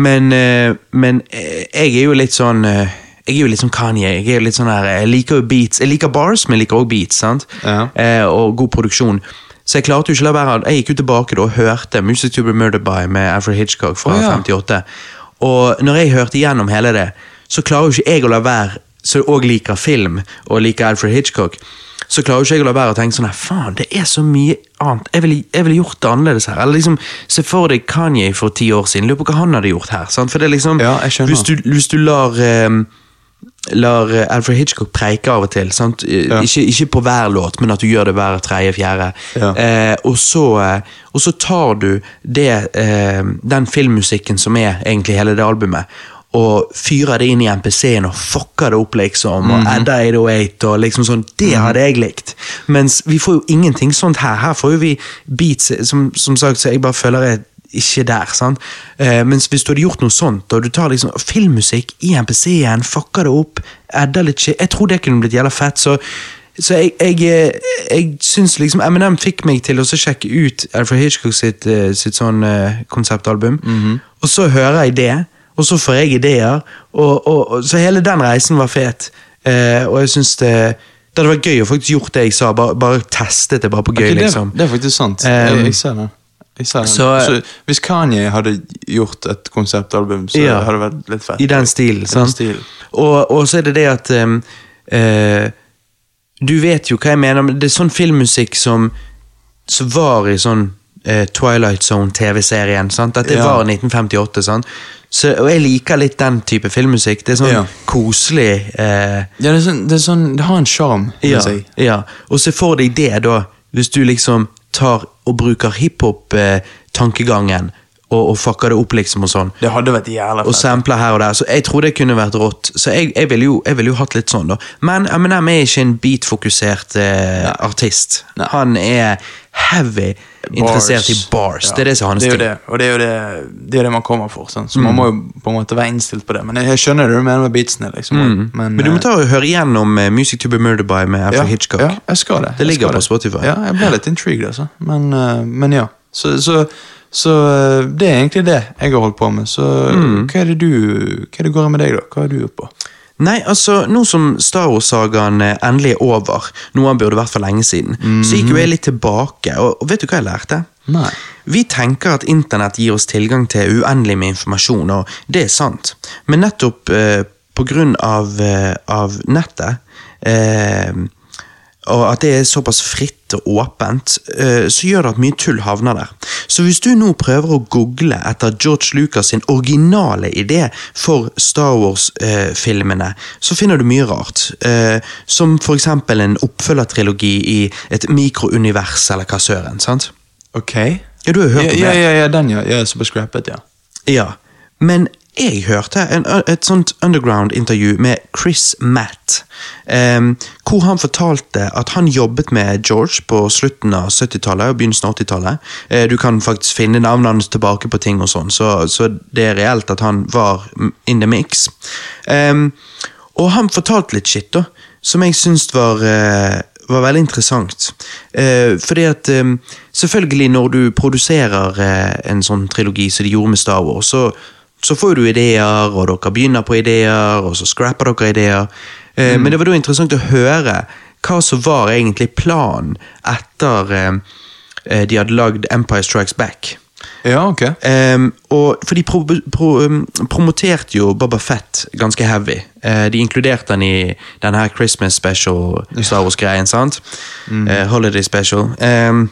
S3: men eh, men eh, jeg er jo litt sånn eh, jeg er jo litt sånn Kanye. Jeg er jo litt sånn der, jeg liker jo beats, jeg liker bars, men jeg liker også beats. sant?
S4: Ja.
S3: Eh, og god produksjon. Så jeg klarte jo ikke å la være å- Jeg gikk jo tilbake da og hørte Music to be murdered by med Alfred Hitchcock fra
S2: Å, ja.
S3: 58. Og når jeg hørte gjennom hele det, så klarer jo ikke jeg å la være som òg liker film og liker Alfred Hitchcock. Så klarer jo ikke jeg å la være å tenke sånn her, faen, det er så mye annet. Jeg ville, jeg ville gjort det annerledes her. Eller liksom, Se for deg Kanye for ti år siden. Lurer på hva han hadde gjort her. sant? For det er liksom,
S4: Ja, jeg skjønner.
S3: Hvis du, hvis du lar ehm, lar eh, Alfred Hitchcock preike av og til. Sant? Eh,
S4: Ja.
S3: Ikke, ikke på hver låt, men at du gjør det hver tredje, fjerde.
S4: Ja.
S3: Eh, og, så, eh, og så tar du det, eh, den filmmusikken som er egentlig hele det albumet, og fyrer det inn i MPC-en og fucker det opp, liksom.
S4: Mhm.
S3: Og adder 808 og liksom sånn. Det hadde jeg likt. Mens vi får jo ingenting sånt her. Her får jo vi beats eh, som, som sagt, så jeg bare føler jeg ikke der. sant? Eh, mens hvis du hadde gjort noe sånt, og du tar liksom filmmusikk i MPC-en, fucker det opp, edder litt shit Jeg tror det kunne blitt jævla fett, så så jeg, jeg, eh, jeg syns liksom Eminem fikk meg til å så sjekke ut Alfred Hitchcock sitt, eh, sitt sånn eh, konseptalbum.
S4: Mhm.
S3: Og så hører jeg det, og så får jeg ideer. Og, og, og, så hele den reisen var fet. Eh, og jeg syns det Det hadde vært gøy å faktisk gjort det jeg sa, bare, bare testet det bare på gøy,
S4: Ok, det,
S3: liksom.
S4: det er faktisk sant.
S3: Um,
S4: jeg, jeg ser den. Jeg ser den. Så,
S3: så-
S4: hvis Kanye hadde gjort et konseptalbum, så
S3: Ja.
S4: hadde det vært litt fett.
S3: I den stilen. sant?
S4: stilen.
S3: Og, og så er det det at ehm, eh, Du vet jo hva jeg mener, men det er sånn filmmusikk som Som var i sånn eh, Twilight Zone-TV-serien. sant? Dette
S4: Ja.
S3: var 1958. sant? Så, og jeg liker litt den type filmmusikk. Det er sånn
S4: Ja.
S3: koselig. eh,
S4: Ja, det, er sånn, det, er sånn, det har en sjarm. vil
S3: ja,
S4: jeg si.
S3: ja. Og se for deg det, da. Hvis du liksom tar og bruker hiphop-tankegangen og, og fucker det opp, liksom, og sånn.
S4: Det hadde vært jævla
S3: Og
S4: fett.
S3: sampler her og der, så jeg tror det kunne vært rått. Så jeg, jeg ville jo, jeg ville jo hatt litt sånn, da. Men Eminem er ikke en beat-fokusert eh, artist.
S4: Nei.
S3: Han er heavy interessert i bars.
S4: Ja.
S3: Det er det som er hans
S4: det er
S3: ting. Mm.
S4: jo det, og det er jo det, det, er det man kommer for. sant? Så man må jo på en måte være innstilt på det. Men jeg, jeg skjønner det du mener med beatsene. liksom. Men,
S3: Mm. Men du må
S4: eh,
S3: ta og høre igjennom eh, Music to be murdered by med Alfred
S4: ja,
S3: Hitchcock.
S4: Ja, jeg skal det. jeg
S3: ligger
S4: skal
S3: på Spotify.
S4: Ja, jeg ble litt intrigued, altså. Men, eh, men ja. Så, så, så eh, det er egentlig det jeg har holdt på med. Så
S3: Mm.
S4: hva er det du Hva er det går i med deg, da? Hva er du oppe på?
S3: Nei, altså, nå som Star Wars-sagaen eh, endelig er over, noe han burde vært for lenge siden, så gikk jo jeg litt tilbake, og, og vet du hva jeg lærte?
S4: Nei.
S3: Vi tenker at internett gir oss tilgang til uendelig med informasjon, og det er sant, men nettopp eh, på grunn av, eh, av nettet, eh, og at det er såpass fritt og åpent, eh, så gjør det at mye tull havner der. Så hvis du nå prøver å google etter George Lucas sin originale idé for Star Wars-filmene, så finner du mye rart. eh, Som for eksempel en oppfølgertrilogi i et mikrounivers eller hva søren, sant?
S4: Ok.
S3: Ja, du har jo hørt
S4: Ja,
S3: om
S4: ja,
S3: det.
S4: ja, ja, den, ja. ja som ble scrappet, ja.
S3: Ja, men jeg hørte en, et sånt underground-intervju med Chris Matt, em, hvor han fortalte at han jobbet med George på slutten av 70-tallet og begynnelsen av 80-tallet. Eh, Du kan faktisk finne navnet hans tilbake på ting og sånn, så, så det er reelt at han var mm, in the mix. Em, og han fortalte litt shit, da, som jeg syns var eh, var veldig interessant. Eh, fordi at eh, selvfølgelig når du produserer eh, en sånn trilogi som de gjorde med Star Wars, så, så får du ideer, og dere begynner på ideer, og så scrapper dere ideer. Eh, Men det var da interessant å høre hva som var egentlig planen etter eh, eh, de hadde lagd Empire Strikes Back.
S4: Ja, ok.
S3: Ehm, og, for de pro pro um, promoterte jo Boba Fett ganske heavy. Eh, de inkluderte han i den her Christmas special Star Wars-greien, sant? Eh, holiday special. Ehm,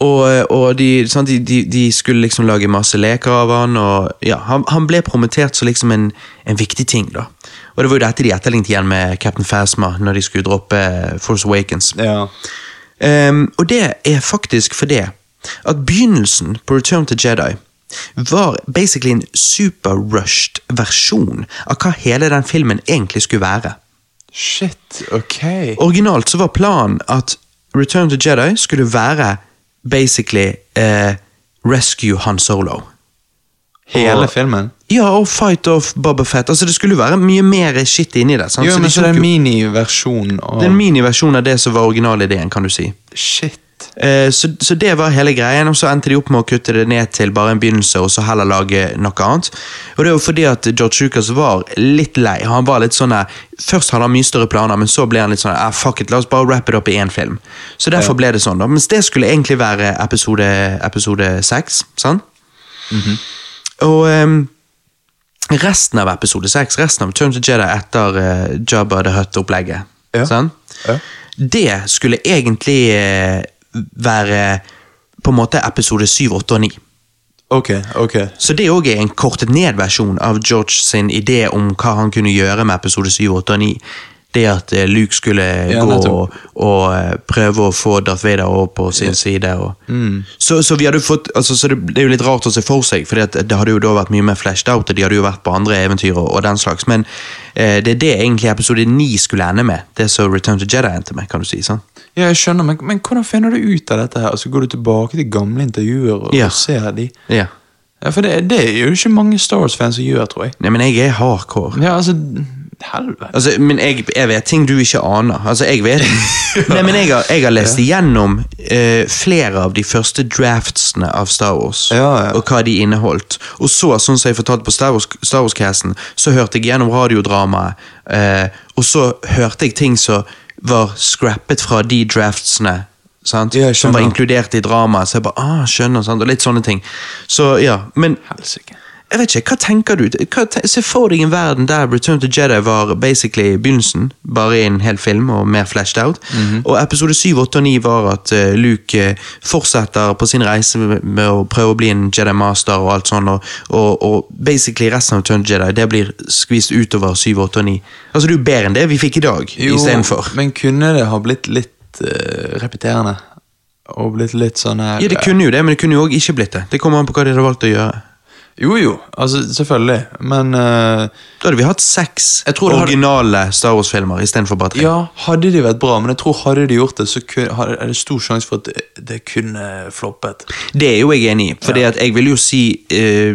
S3: og, eh, og de, sant, de, de, de skulle liksom lage masse leker av han, og ja, han, han ble promotert som liksom en, en viktig ting, da. Og det var jo dette de etterlignet igjen med Captain Phasma når de skulle droppe eh, Force Awakens.
S4: Ja.
S3: Ehm, og det er faktisk fordi at begynnelsen på Return to Jedi var basically en superrushed versjon av hva hele den filmen egentlig skulle være.
S4: Shit, ok.
S3: Originalt så var planen at Return to Jedi skulle være basically eh, Rescue Han Solo.
S4: Hele filmen?
S3: Ja, og Fight Off Boba Fett. Altså, det skulle jo være mye mer shit inni det. sant?
S4: Jo,
S3: Så de
S4: men så det er
S3: tok jo-
S4: en miniversjon av
S3: det er en miniversjon av det som var originalideen, kan du si.
S4: Shit.
S3: Eh, Så, så det var hele greien, og så endte de opp med å kutte det ned til bare en begynnelse, og så heller lage noe annet. Og det er jo fordi at George Lucas var litt lei. Han var litt sånn eh, Først hadde han mye større planer, men så ble han litt sånn ah, Fuck it, la oss bare wrap it up i én film. Så derfor ble det sånn, da. Mens det skulle egentlig være episode, episode seks, sant? Og ehm, resten av episode 6, resten av Turn to Jedi etter eh, Jabba the Hutt-opplegget,
S4: Ja.
S3: sant?
S4: Ja.
S3: det skulle egentlig eh, være på en måte episode 7, 8 og 9.
S4: Ok, ok.
S3: Så det òg er en kortet ned versjon av George sin idé om hva han kunne gjøre med episode 7, 8 og 9. Det at eh, Luke skulle
S4: Ja,
S3: gå og,
S4: nettopp.
S3: og eh, prøve å få Darth Vader over på sin side. Og.
S4: Mm.
S3: Så, så, vi hadde fått, altså, så det, det er jo litt rart å se for seg, for det hadde jo da vært mye mer flashed out, og de hadde jo vært på andre eventyr og, og den slags, men eh, det er det egentlig episode 9 skulle ende med. Det som Return to Jedi endte med, kan du si. sant?
S4: Ja, jeg skjønner, men, men hvordan finner du ut av dette her? Altså, Går du tilbake til gamle intervjuer og,
S3: Ja.
S4: og ser de?
S3: Ja.
S4: Ja, For det, det er jo ikke mange Star Wars-fans som gjør, tror jeg.
S3: Nei, men jeg er hardcore.
S4: Ja, altså, helvete.
S3: Altså, men jeg, jeg vet ting du ikke aner. Altså, jeg vet Nei, men jeg har, jeg har lest igjennom eh, flere av de første draftsene av Star Wars.
S4: Ja, ja.
S3: Og hva de inneholdt. Og så, sånn som jeg fortalte på Star Wars- Star Wars-casten, så hørte jeg gjennom radiodramaet, eh, og så hørte jeg ting som var scrappet fra de draftsene. Sant?
S4: Ja, jeg
S3: som var
S4: skjønner.
S3: inkludert i dramaet. Så jeg bare ah, skjønner, sant? og litt sånne ting. Så ja, men
S4: Helsike.
S3: Jeg vet ikke, Hva tenker du? Hva te Se for deg en verden der Return to Jedi var basically begynnelsen, bare i en hel film og mer flashed out.
S4: Mhm.
S3: Og episode 7, 8 og 9 var at eh, Luke eh, fortsetter på sin reise med- med å prøve å bli en Jedi Master og alt sånn, og, og, og basically resten av Return to Jedi det blir skvist utover 7, 8 og 9. Altså, det er jo bedre enn det vi fikk i dag, istedenfor.
S4: men kunne det ha blitt litt eh, repeterende? Og blitt litt sånn her
S3: Ja, det kunne jo det, men det kunne jo òg ikke blitt det. Det kommer an på hva de hadde valgt å gjøre.
S4: Jo, jo, altså, selvfølgelig. Men eh,
S3: Da hadde vi hatt seks
S4: Jeg tror det hadde-
S3: originale Star Wars-filmer istedenfor bare tre.
S4: Ja, hadde de vært bra, men jeg tror hadde de gjort det, så kun- hadde, er det stor sjanse for at det, det kunne floppet.
S3: Det er jo jeg enig i, for jeg vil jo si eh,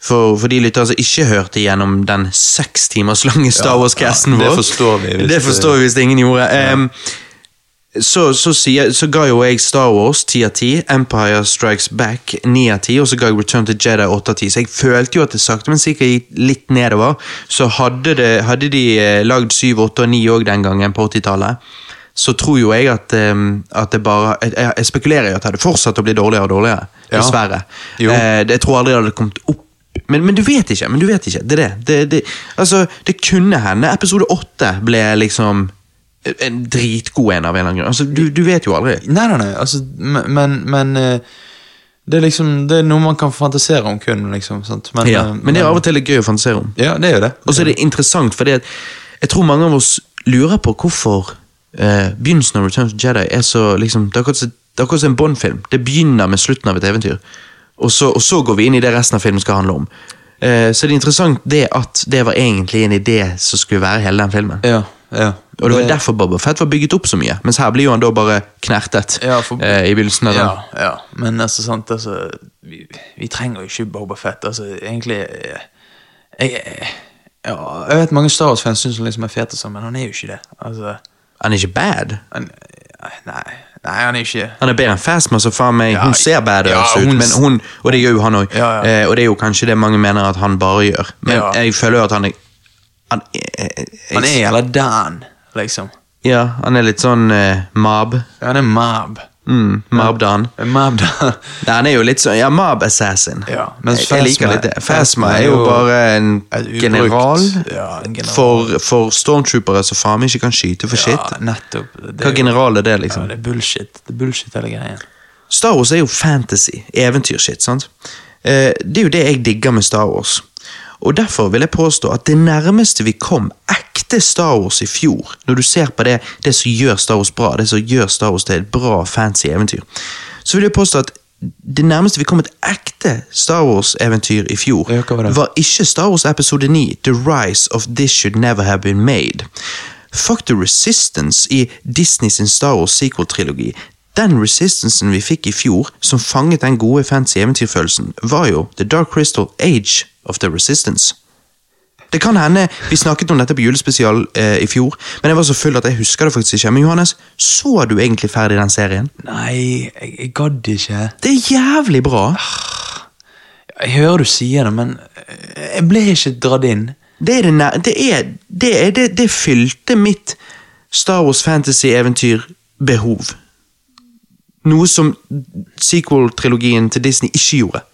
S3: for, for de lyttere som ikke hørte gjennom den seks timers lange Star Wars-casten
S4: ja, det
S3: vår
S4: forstår vi hvis
S3: Det
S4: det-
S3: forstår vi hvis ingen gjorde. Em, så, så, sier, så ga jo jeg Star Wars 10 av 10, Empire Strikes Back 9 av 10, og så ga jeg Return to Jedi 8 av 10. Så jeg følte jo at det sakte, men sikkert gikk litt nedover. Så hadde, det, hadde de eh, lagd 7, 8 og 9 òg den gangen, på 80-tallet, så tror jo jeg at, em, at det bare jeg, jeg- jeg spekulerer i at det hadde fortsatt å bli dårligere og dårligere.
S4: Ja.
S3: Dessverre.
S4: Jo.
S3: Eh, det- jeg tror aldri det hadde kommet opp. Men, men du vet ikke. men du vet ikke, Det er det. Det, det, altså, det kunne hende episode åtte ble liksom en dritgod en av en eller annen grunn. Altså, du, du vet jo aldri.
S4: Nei, nei, nei, altså, men, men- men eh, det er liksom, det er noe man kan fantasere om kun, liksom, sant? Men,
S3: Ja,
S4: eh,
S3: men det er av og til litt gøy å fantasere om.
S4: Ja, det er jo det.
S3: Og så er det interessant, fordi at jeg tror mange av oss lurer på hvorfor eh, begynnelsen av Return to Jedi er så liksom, Det er akkurat som- det er akkurat som en Bond-film. Det begynner med slutten av et eventyr, og så, og så går vi inn i det resten av filmen skal handle om. Eh, så det er interessant det at det var egentlig en idé som skulle være hele den filmen.
S4: Ja, ja.
S3: Og det var derfor Boba Fett var bygget opp så mye, mens her blir jo han da bare knertet
S4: Ja, for-
S3: eh, i begynnelsen av den.
S4: Ja, ja. Men altså, sant, altså Vi, vi trenger jo ikke Boba Fett. Altså, egentlig eh, jeg, eh, ja, jeg vet mange Star Wars-fans syns han liksom er fet, og sånn, men han er jo ikke det. Altså,
S3: Han er ikke bad.
S4: han, eh, nei, nei, han er ikke det.
S3: Han er bedre enn Phasma, så faen meg.
S4: Ja,
S3: hun ser badass
S4: ja,
S3: ut,
S4: hun-
S3: men hun, og det gjør jo han òg.
S4: Ja, ja.
S3: eh, og det er jo kanskje det mange mener at han bare gjør, men
S4: Ja.
S3: jeg føler jo at han er han, eh, eh,
S4: Han er jævla Dan, liksom.
S3: Ja, han er litt sånn eh, mab.
S4: Han er Mab.
S3: Mm, Mab-dan.
S4: En Mab Dan.
S3: Ja, han er jo litt sånn Ja, Mab-assassin.
S4: Ja,
S3: jeg,
S4: mens
S3: jeg liker
S4: Phasma-
S3: litt det. Phasma er jo bare en
S4: Et ubrukt-
S3: general,
S4: Ja, en general.
S3: for, for stormtroopere som faen meg ikke kan skyte for
S4: Ja,
S3: shit.
S4: nettopp. Det
S3: Hva
S4: er jo-
S3: general er det, liksom?
S4: Ja, det er bullshit. Det er bullshit, hele greien.
S3: Star Wars er jo fantasy, eventyrshit, sant? Eh, Det er jo det jeg digger med Star Wars. Og derfor vil jeg påstå at det nærmeste vi kom ekte Star Wars i fjor, når du ser på det, det som gjør Star Wars bra, det som gjør Star Wars til et bra, fancy eventyr, så vil jeg påstå at det nærmeste vi kom et ekte Star Wars-eventyr i fjor,
S4: Ja, hva var det?
S3: var ikke Star Wars episode 9, The Rise of This Should Never Have Been Made. Fuck the Resistance i Disney sin Star Wars sequel-trilogi. Den resistansen vi fikk i fjor, som fanget den gode fancy eventyrfølelsen, var jo The Dark Crystal Age of the Resistance. Det kan hende vi snakket om dette på julespesial eh, i fjor, men jeg var så full at jeg husker det faktisk ikke. Men Johannes, så du egentlig ferdig den serien?
S4: Nei, jeg, jeg gadd ikke. Ah.
S3: Det er jævlig bra!
S4: Jeg hører du sier det, men eh, jeg ble ikke dratt inn.
S3: Det er det, nær- det, er, det, er, det, det fylte mitt Star Wars fantasy-eventyr-behov. Noe som sequel-trilogien til Disney ikke gjorde.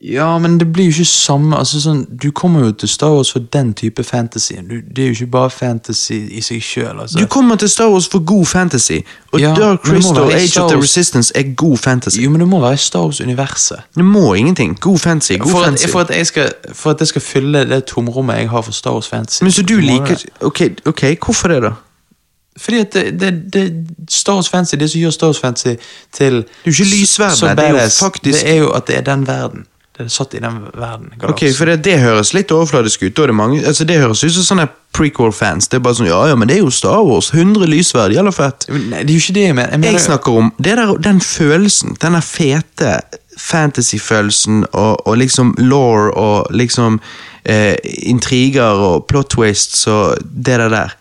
S4: Ja, men det blir jo ikke samme altså sånn, Du kommer jo til Star Wars for den type fantasy. Du, det er jo ikke bare fantasy i seg sjøl. Altså.
S3: Du kommer til Star Wars for god fantasy, og
S4: Ja, men
S3: Dark
S4: det må
S3: Crystal
S4: være
S3: Age
S4: Star
S3: of the
S4: Wars.
S3: Resistance er god fantasy.
S4: Jo, men det må være Star Wars-universet.
S3: Det må ingenting. God fantasy, god
S4: For,
S3: fantasy.
S4: at- for, at jeg skal- for at jeg skal fylle det tomrommet jeg har for Star Wars fantasy.
S3: Men så du
S4: må
S3: liker
S4: det-
S3: Ok, ok, hvorfor det, da?
S4: Fordi at det, det, det, Star Wars fantasy, det som gjør Star Wars fantasy til Det
S3: er jo ikke lysverden, det er jo faktisk-
S4: Det er jo at det er den verden. Det er satt i den verden.
S3: Ok, for det, det høres litt overfladisk ut. Da er det, mange, altså det høres ut som sånne prequel-fans. Det er bare sånn, ja, ja, men det er jo Star Wars. 100 lysverd, jævla fett.
S4: Men Nei, det er jo ikke det jeg mener. Jeg mener
S3: Jeg snakker om det der, den følelsen, den der fete fantasy-følelsen og, og liksom law og liksom eh, intriger og plot twists og det der der.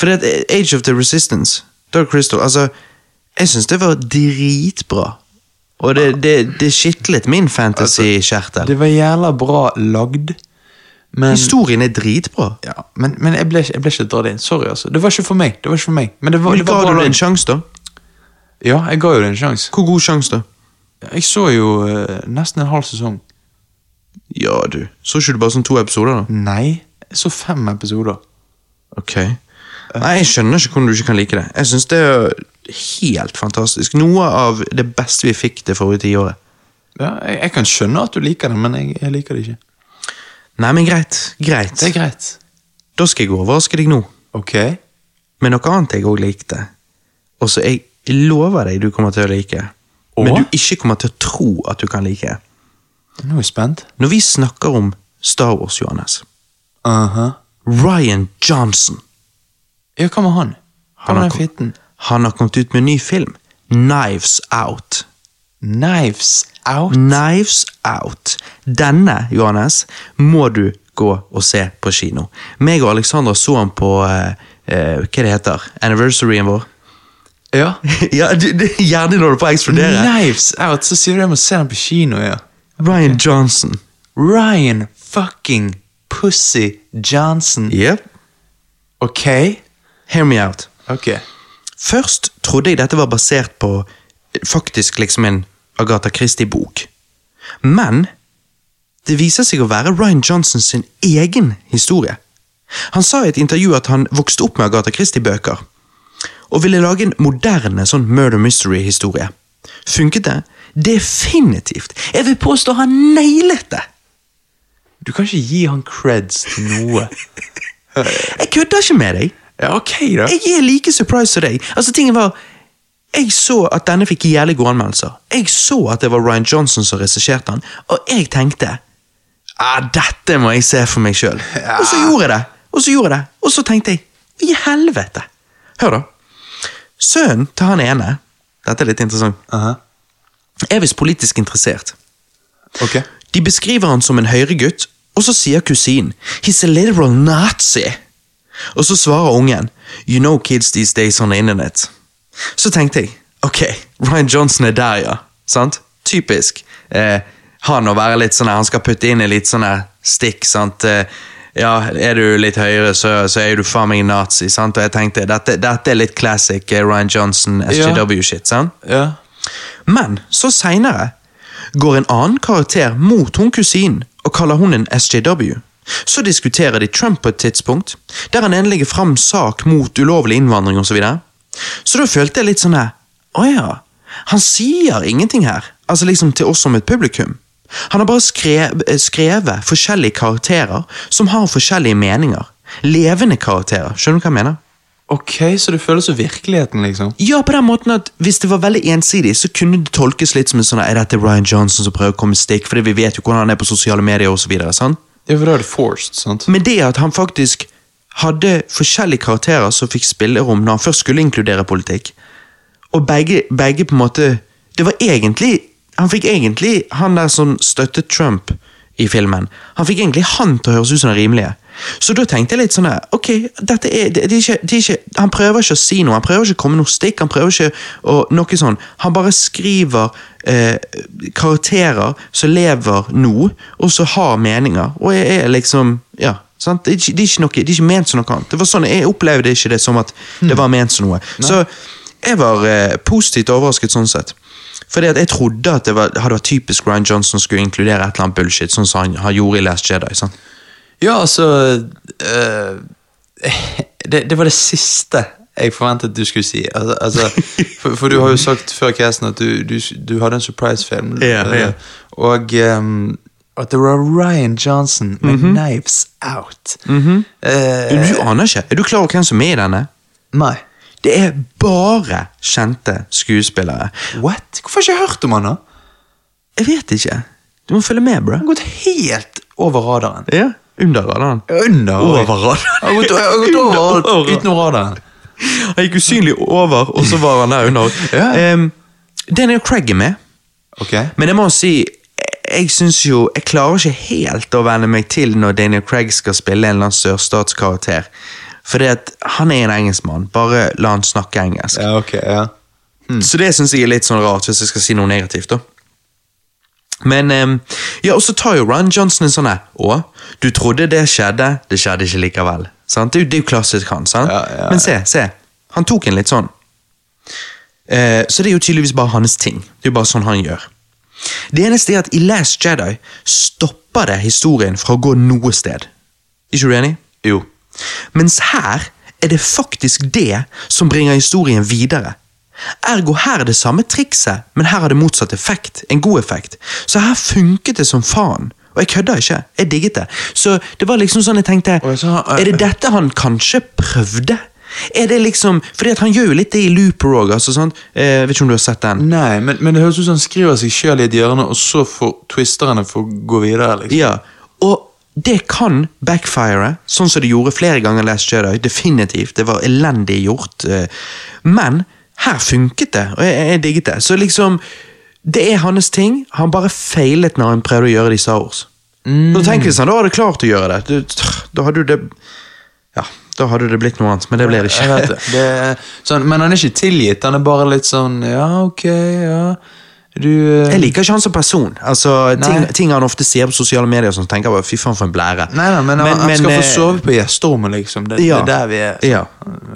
S3: For det at Age of the Resistance, Dark Crystal, altså Jeg syns det var dritbra. Og det, det, det skitlet min fantasy-kjertel.
S4: det var jævla bra lagd, men
S3: Historien er dritbra.
S4: ja, men, men jeg, ble, ikke- jeg ble ikke dratt inn. Sorry, altså. Det var ikke for meg. Det var ikke for meg. Men det var,
S3: Men
S4: det var
S3: ga
S4: bra
S3: du det en
S4: lagd.
S3: sjanse, da?
S4: Ja, jeg ga jo det en sjanse.
S3: Hvor god sjanse, da?
S4: Jeg så jo eh, nesten en halv sesong.
S3: Ja, du. Så ikke du bare sånn to episoder, da?
S4: Nei, jeg så fem episoder.
S3: Ok. Nei, jeg skjønner ikke hvordan du ikke kan like det. Jeg synes det er helt fantastisk. Noe av det beste vi fikk det forrige tiåret.
S4: Ja, jeg, jeg kan skjønne at du liker det, men jeg, jeg liker det ikke.
S3: Nei, men greit. Greit.
S4: Det er greit.
S3: Da skal jeg overraske deg nå.
S4: Ok.
S3: Med noe annet jeg òg likte. Og så jeg lover deg du kommer til å like. Men
S4: Og?
S3: du ikke kommer til å tro at du kan like.
S4: Nå er jeg spent.
S3: Når vi snakker om Star Wars, Johannes
S4: Aha.
S3: Ryan Johnson.
S4: Ja, hva med han? Han med
S3: har
S4: den
S3: kom-
S4: fitten.
S3: han har kommet ut med en ny film. Knives Out.
S4: Knives out.
S3: Knives Out. Denne, Johannes, må du gå og se på kino. Meg og Alexandra så han på eh, eh, Hva det heter Anniversaryen vår.
S4: Ja.
S3: ja, du, du, Hjernen holder på å eksplodere.
S4: Knives out, så sier du jeg må se den på kino, ja.
S3: Ryan Johnson.
S4: Ryan fucking Pussy Johnson.
S3: Yep.
S4: Ok.
S3: Hear me out.
S4: Ok.
S3: Først trodde jeg dette var basert på eh, faktisk liksom en Agatha Christie-bok. Men det viser seg å være Ryan Johnson sin egen historie. Han sa i et intervju at han vokste opp med Agatha Christie-bøker, og ville lage en moderne sånn murder mystery-historie. Funket det? Definitivt! Jeg vil påstå han nailet det!
S4: Du kan ikke gi han creds til noe.
S3: Jeg kødder ikke med deg!
S4: ja, ok da.
S3: Jeg er like surprised som deg. Altså, tingen var Jeg så at denne fikk jævlig gode anmeldelser. Jeg så at det var Ryan Johnson som regisserte den, og jeg tenkte ah, dette må jeg se for meg sjøl. Og så gjorde jeg det, og så gjorde jeg det, og så tenkte jeg i helvete. Hør, da. Sønnen til han ene Dette er litt interessant.
S4: Aha.
S3: Er visst politisk interessert.
S4: Ok.
S3: De beskriver han som en høyregutt, og så sier kusinen He's a literal Nazi. Og så svarer ungen You know kids these days on the internet. Så tenkte jeg ok, Ryan Johnson er der, ja. Sant? Typisk. Eh, han å være litt sånn her, han skal putte inn i litt sånn her stikk, sant. Eh, ja, er du litt høyere, så, så er du faen meg nazi, sant. Og jeg tenkte dette, dette er litt classic eh, Ryan Johnson, SJW-shit, sant.
S4: Ja.
S3: Men så seinere går en annen karakter mot hun kusinen og kaller hun en SJW. Så diskuterer de Trump på et tidspunkt, der han endelig legger fram sak mot ulovlig innvandring osv. Så, videre. så da følte jeg litt sånn her Å ja, han sier ingenting her. Altså liksom til oss som et publikum. Han har bare skrev, eh, skrevet forskjellige karakterer som har forskjellige meninger. Levende karakterer. Skjønner du hva jeg mener?
S4: Ok, så det føles som virkeligheten, liksom.
S3: Ja, på den måten at hvis det var veldig ensidig, så kunne det tolkes litt som en sånn Er dette Ryan Johnson som prøver å komme med stikk? Fordi vi vet jo hvordan han er på sosiale medier osv.
S4: Ja, for da er det forced, sant?
S3: Men det at han faktisk hadde forskjellige karakterer som fikk spillerom når han først skulle inkludere politikk, Og begge, begge på en måte Det var egentlig Han fikk egentlig han der som støttet Trump i filmen, han fikk egentlig han til å høres ut som den rimelige. Så da tenkte jeg litt sånn her, ok, dette er, det, det er ikke, det er ikke, Han prøver ikke å si noe, han prøver ikke å komme noe stikk. Han prøver ikke å, noe sånn. Han bare skriver eh, karakterer som lever nå, og som har meninger. Og jeg er liksom Ja. Sant? Det, er ikke, det, er ikke noe, det er ikke ment som noe annet. Det var sånn, Jeg opplevde ikke det som at det var ment som noe. Så jeg var eh, positivt overrasket sånn sett. Fordi at jeg trodde at det var, hadde vært typisk Ryan Johnson skulle inkludere et eller annet bullshit, sånn som han, han gjorde i Last Jedi. sant?
S4: Ja, altså eh, det, det var det siste jeg forventet du skulle si. Altså, altså, for, for du har jo sagt før casten at du, du, du hadde en surprise-film.
S3: Ja, ja.
S4: eh, Og eh, at det var Ryan Johnson med 'Knives Out'. Eh,
S3: Mhm. Du, du aner ikke. Er du klar over hvem som er i denne?
S4: nei.
S3: Det er bare kjente skuespillere.
S4: What? Hvorfor har jeg ikke hørt om han da? Han
S3: Jeg vet ikke. Du må følge med, bro.
S4: har gått helt over radaren.
S3: Ja, Under radaren.
S4: Under
S3: Over radaren.
S4: Han har gått, han har gått over alt utenom radaren.
S3: Han gikk usynlig over, og så var han der under.
S4: Ja.
S3: Em, Daniel Craig er med,
S4: Ok.
S3: men jeg må si jeg- jeg synes jo, jeg klarer ikke helt å venne meg til når Daniel Craig skal spille en eller annen sørstatskarakter. Fordi at han er en engelskmann, bare la han snakke engelsk.
S4: Ja, ok, ja. Hmm.
S3: Så det synes jeg er litt sånn rart, hvis jeg skal si noe negativt, da. Men em, Ja, og så tar jo Ryan Johnson en sånn her Å, du trodde det skjedde, det skjedde ikke likevel. Sant? Det er jo- det er jo klassisk han, sant?
S4: Ja, ja,
S3: Men se, se. Han tok en litt sånn. Eh, så det er jo tydeligvis bare hans ting. Det er jo bare sånn han gjør. Det eneste er at i Last Jedi stopper det historien fra å gå noe sted. Ikke du enig? Jo. Mens her er det faktisk det som bringer historien videre. Ergo her er det samme trikset, men her har det motsatt effekt. En god effekt. Så her funket det som faen. Og jeg kødda ikke. Jeg digget det. Så det var liksom sånn jeg tenkte
S4: Og så har-
S3: Er det dette han kanskje prøvde? Er det liksom, fordi at Han gjør jo litt det i Looper òg. Altså, sant? eh, vet ikke om du har sett den?
S4: Nei, men, men det høres ut som han skriver seg sjøl i et hjørne, og så får twisterne få gå videre. liksom.
S3: Ja, og det kan backfire, sånn som det gjorde flere ganger i Last Jedi. Definitivt. Det var elendig gjort. eh, Men her funket det, og jeg, jeg digget det. Så liksom Det er hans ting. Han bare feilet når han prøvde å gjøre det i Star Wars. Nå tenker jeg sånn, Da hadde jeg klart å gjøre det. Du- tr, Da hadde jo det Ja, da hadde det blitt noe annet, men det ble det
S4: Jeg vet
S3: ikke.
S4: det. det er sånn, men han er ikke tilgitt, han er bare litt sånn Ja, ok, ja Du eh,
S3: Jeg liker ikke han som person. Altså, ting,
S4: Nei.
S3: ting han ofte sier på sosiale medier, som tenker jeg bare, fy faen for en blære.
S4: Nei, nei, men han, han skal
S3: eh,
S4: få sove på gjesterommet, liksom. Det,
S3: ja.
S4: det er der vi er.
S3: Ja.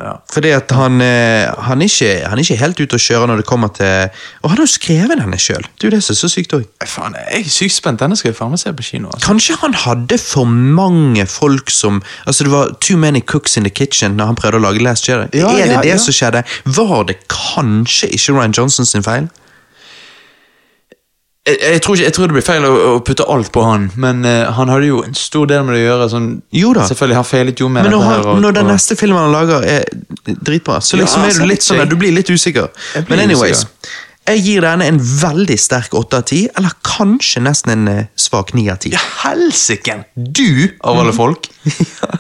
S4: Ja.
S3: Fordi at han, eh, han, er ikke, han er ikke helt ute å kjøre når det kommer til Og han har jo skrevet denne sjøl! Det er jo det som er så sykt òg.
S4: Faen, jeg er sykt spent. Denne skal jeg faen meg se på kino. altså.
S3: Kanskje han hadde for mange folk som Altså Det var too many cooks in the kitchen når han prøvde å lage Last Jedi.
S4: Ja,
S3: er det
S4: ja,
S3: det
S4: ja.
S3: som skjedde? Var det kanskje ikke Ryan Johnson sin feil?
S4: Jeg, jeg, tror ikke, jeg tror det blir feil å, å putte alt på han, men eh, han hadde jo en stor del med det å gjøre. sånn...
S3: Jo da.
S4: Selvfølgelig, han feilet jo med
S3: Men når,
S4: dette
S3: han,
S4: her. og-
S3: når den
S4: og-
S3: neste filmen han lager, er dritbra, så liksom
S4: Ja,
S3: er
S4: så
S3: du litt
S4: vet
S3: sånn
S4: jeg.
S3: at du blir litt usikker.
S4: Jeg blir
S3: Men anyways,
S4: usikker.
S3: jeg gir denne en veldig sterk åtte av ti, eller kanskje nesten en eh, svak ni av ti.
S4: Helsiken! Du, av alle folk!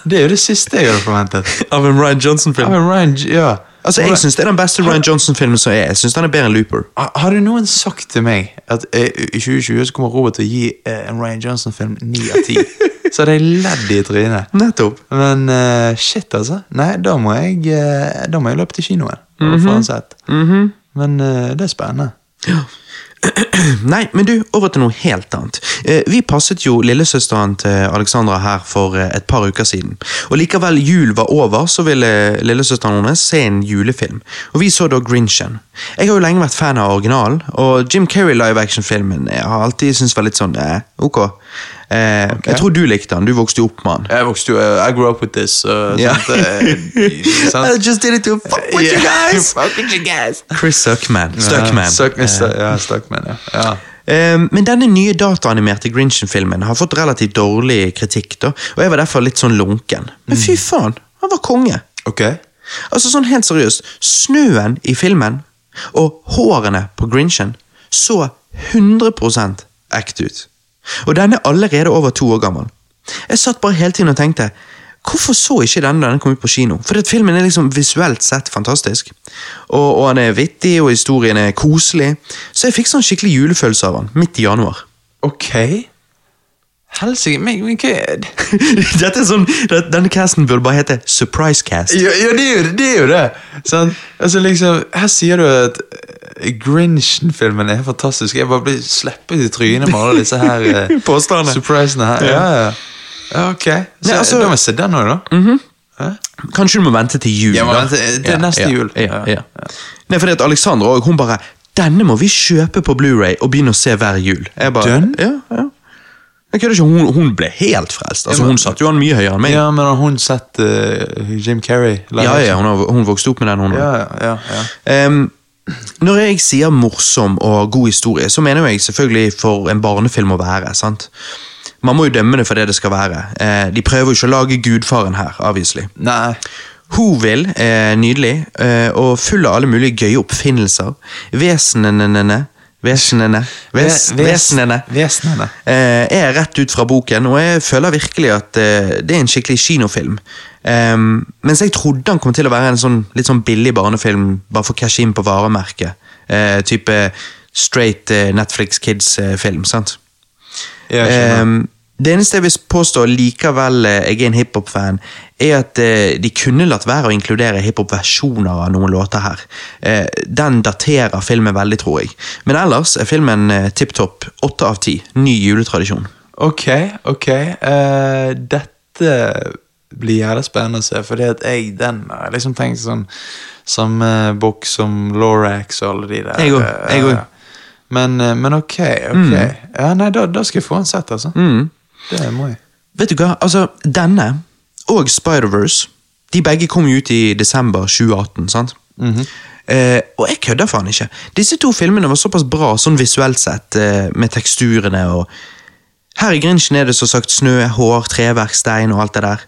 S4: Det er jo det siste jeg hadde forventet.
S3: Av en Ryan Johnson-film.
S4: Ja, men Ryan, J- ja.
S3: Altså, Jeg syns det er den beste Ryan Johnson-filmen som er. Jeg synes den er bedre enn Looper.
S4: Ha- Har du noen sagt til meg at eh, i 2020 så kommer Robert til å gi eh, en Ryan Johnson-film 9 av 10? Så hadde jeg ledd i trynet.
S3: Nettopp.
S4: Men eh, shit, altså. Nei, da må jeg, eh, da må jeg løpe til kinoen. og
S3: Mhm.
S4: få den sett. Men eh, det er spennende.
S3: Nei, men du, over til noe helt annet. Eh, vi passet jo lillesøsteren til Alexandra her for eh, et par uker siden. Og likevel jul var over, så ville eh, lillesøsteren hennes se en julefilm. Og vi så da Grinchen. Jeg har jo lenge vært fan av originalen, og Jim Carrey live action-filmen jeg har alltid syntes var litt sånn eh, ok. Eh, Jeg tror du likte den, du vokste jo opp med den.
S4: Jeg vokste jo eh, I grew up with this. Uh,
S3: Ja.
S4: sant, eh,
S3: I
S4: sant?
S3: just did it to fuck with you
S4: Yeah.
S3: guys! Chris Suckman.
S4: Ja,
S3: Stuckman.
S4: Suck, stu- ja, Stuckman, ja. ja.
S3: Eh, Men denne nye dataanimerte Grinchen-filmen har fått relativt dårlig kritikk, da, og jeg var derfor litt sånn lunken. Men
S4: Mm.
S3: fy faen, han var konge!
S4: Ok.
S3: Altså sånn helt seriøst, snøen i filmen og hårene på Grinchen så 100 ekte ut. Og den er allerede over to år gammel. Jeg satt bare hele tiden og tenkte Hvorfor så ikke denne da den kom ut på kino? For at filmen er liksom visuelt sett fantastisk. Og, og han er vittig, og historien er koselig. Så jeg fikk sånn skikkelig julefølelse av han, midt i januar.
S4: Ok. Helsike, men men hva er det?
S3: Dette er sånn, det- Denne casten burde bare hete Surprise Cast.
S4: Ja, ja det, er jo, det- det er jo det! Sant? Altså liksom, Her sier du at eh, Grinchen-filmen er fantastisk. Jeg bare blir sleppet i trynet med alle disse her eh,
S3: Påstandene.
S4: surprisene her. Ja, ja. ja ok. Så,
S3: Nei, altså-
S4: da må jeg se den òg, da.
S3: Kanskje du må vente til jul.
S4: Ja, men
S3: da.
S4: vent, det er
S3: Ja,
S4: neste
S3: ja,
S4: jul.
S3: Ja,
S4: Ja.
S3: ja. Nei, fordi at Alexandra også, hun bare 'Denne må vi kjøpe på Blu-ray og begynne å se hver jul'. Jeg bare,
S4: Dønn?
S3: Ja, ja. Jeg kødder ikke, hun, hun ble helt frelst. Altså,
S4: Ja, men-
S3: Hun satte jo han mye høyere enn meg. Ja,
S4: Ja, men har hun sett eh, Jim Carrey?
S3: ja, hun, har, hun vokste opp med den. hun.
S4: ja, ja, ja.
S3: Ehm, når jeg sier morsom og god historie, så mener jo jeg selvfølgelig for en barnefilm å være. sant? Man må jo dømme det for det det skal være. Eh, de prøver jo ikke å lage gudfaren her, avviselig.
S4: Nei.
S3: Hovil er nydelig, eh, og full av alle mulige gøye oppfinnelser. Vesenene Vesenene ves,
S4: Ve- ves-
S3: Vesenene
S4: Vesenene.
S3: eh, er rett ut fra boken, og jeg føler virkelig at eh, det er en skikkelig kinofilm. Ehm, mens jeg trodde han kom til å være en sånn, litt sånn billig barnefilm, bare for å cashe inn på varemerket. Eh, type straight eh, Netflix Kids-film, sant?
S4: Ja, jeg skjønner.
S3: Ehm, det eneste jeg vil påstå likevel eh, jeg er en hiphop-fan, er at eh, de kunne latt være å inkludere hiphop-versjoner av noen låter her. Eh, den daterer filmen veldig, tror jeg. Men ellers er filmen eh, tipp topp. Åtte av ti. Ny juletradisjon.
S4: Ok, ok. eh, dette blir jævlig spennende å se, fordi at jeg den har jeg liksom tenkt sånn Samme bok som Lorax og alle de der.
S3: Jeg òg,
S4: eh,
S3: jeg Mm. òg.
S4: Men, eh, men ok, ok. Ja, nei, da, da skal jeg få en sett, altså.
S3: Mm.
S4: Det må jeg.
S3: Vet du hva, altså, denne og Spider-Verse, de begge kom jo ut i desember 2018, sant? Eh, og jeg kødder faen ikke. Disse to filmene var såpass bra sånn visuelt sett, eh, med teksturene og Her i Grinchen er det som sagt snø, hår, treverk, stein og alt det der.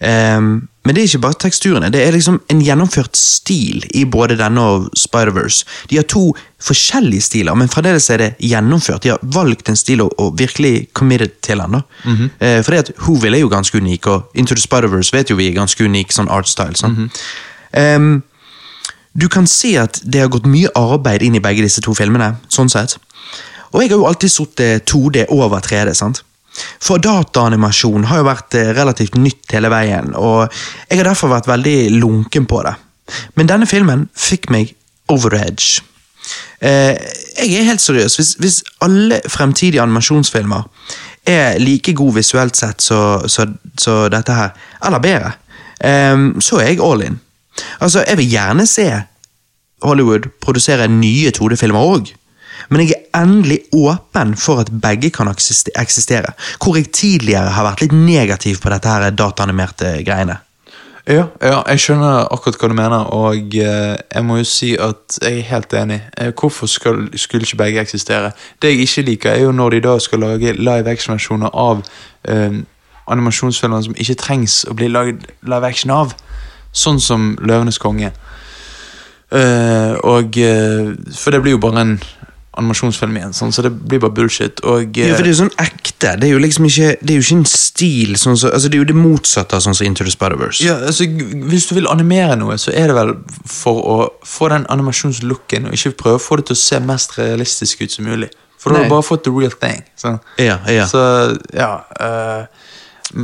S3: Ehm, men det er ikke bare teksturene, det er liksom en gjennomført stil i både denne og Spider-Verse. De har to forskjellige stiler, men fremdeles er det gjennomført. De har valgt en stil og, og virkelig committed til den. da. Eh, fordi at Hovil er jo ganske unik, og Into the Spider-Verse vet jo vi er ganske unik sånn art style. sant? Ehm, du kan se at det har gått mye arbeid inn i begge disse to filmene. sånn sett. Og jeg har jo alltid satt 2D over 3D. sant? For dataanimasjon har jo vært eh, relativt nytt hele veien, og jeg har derfor vært veldig lunken på det. Men denne filmen fikk meg over the edge. Eh, jeg er helt seriøs. Hvis, hvis alle fremtidige animasjonsfilmer er like gode visuelt sett som så, så dette her, eller bedre, ehm, så er jeg all in. Altså, jeg vil gjerne se Hollywood produsere nye 2D-filmer òg. Men jeg er endelig åpen for at begge kan eksiste- eksistere. Hvor jeg tidligere har vært litt negativ på dette her dataanimerte greiene.
S4: Ja, ja, jeg skjønner akkurat hva du mener, og eh, jeg må jo si at jeg er helt enig. Eh, hvorfor skal, skulle ikke begge eksistere? Det jeg ikke liker, er jo når de da skal lage live action-versjoner av eh, animasjonsfilmer som ikke trengs å bli lagd live action av. Sånn som Løvenes konge. Eh, og eh, For det blir jo bare en animasjonsfilm igjen, sånn, så det blir bare bullshit. Og eh,
S3: Ja, for Det er jo sånn ekte. Det er jo liksom ikke, det er jo ikke en stil. Sånn som- altså, det er jo det motsatte av sånn som Into the Spider-Verse.
S4: Ja, altså, g- Hvis du vil animere noe, så er det vel for å få den animasjonslooken, og ikke prøve å få det til å se mest realistisk ut som mulig. For da har
S3: Nei.
S4: du bare fått the real thing. sant?
S3: Ja, ja.
S4: Så, ja eh,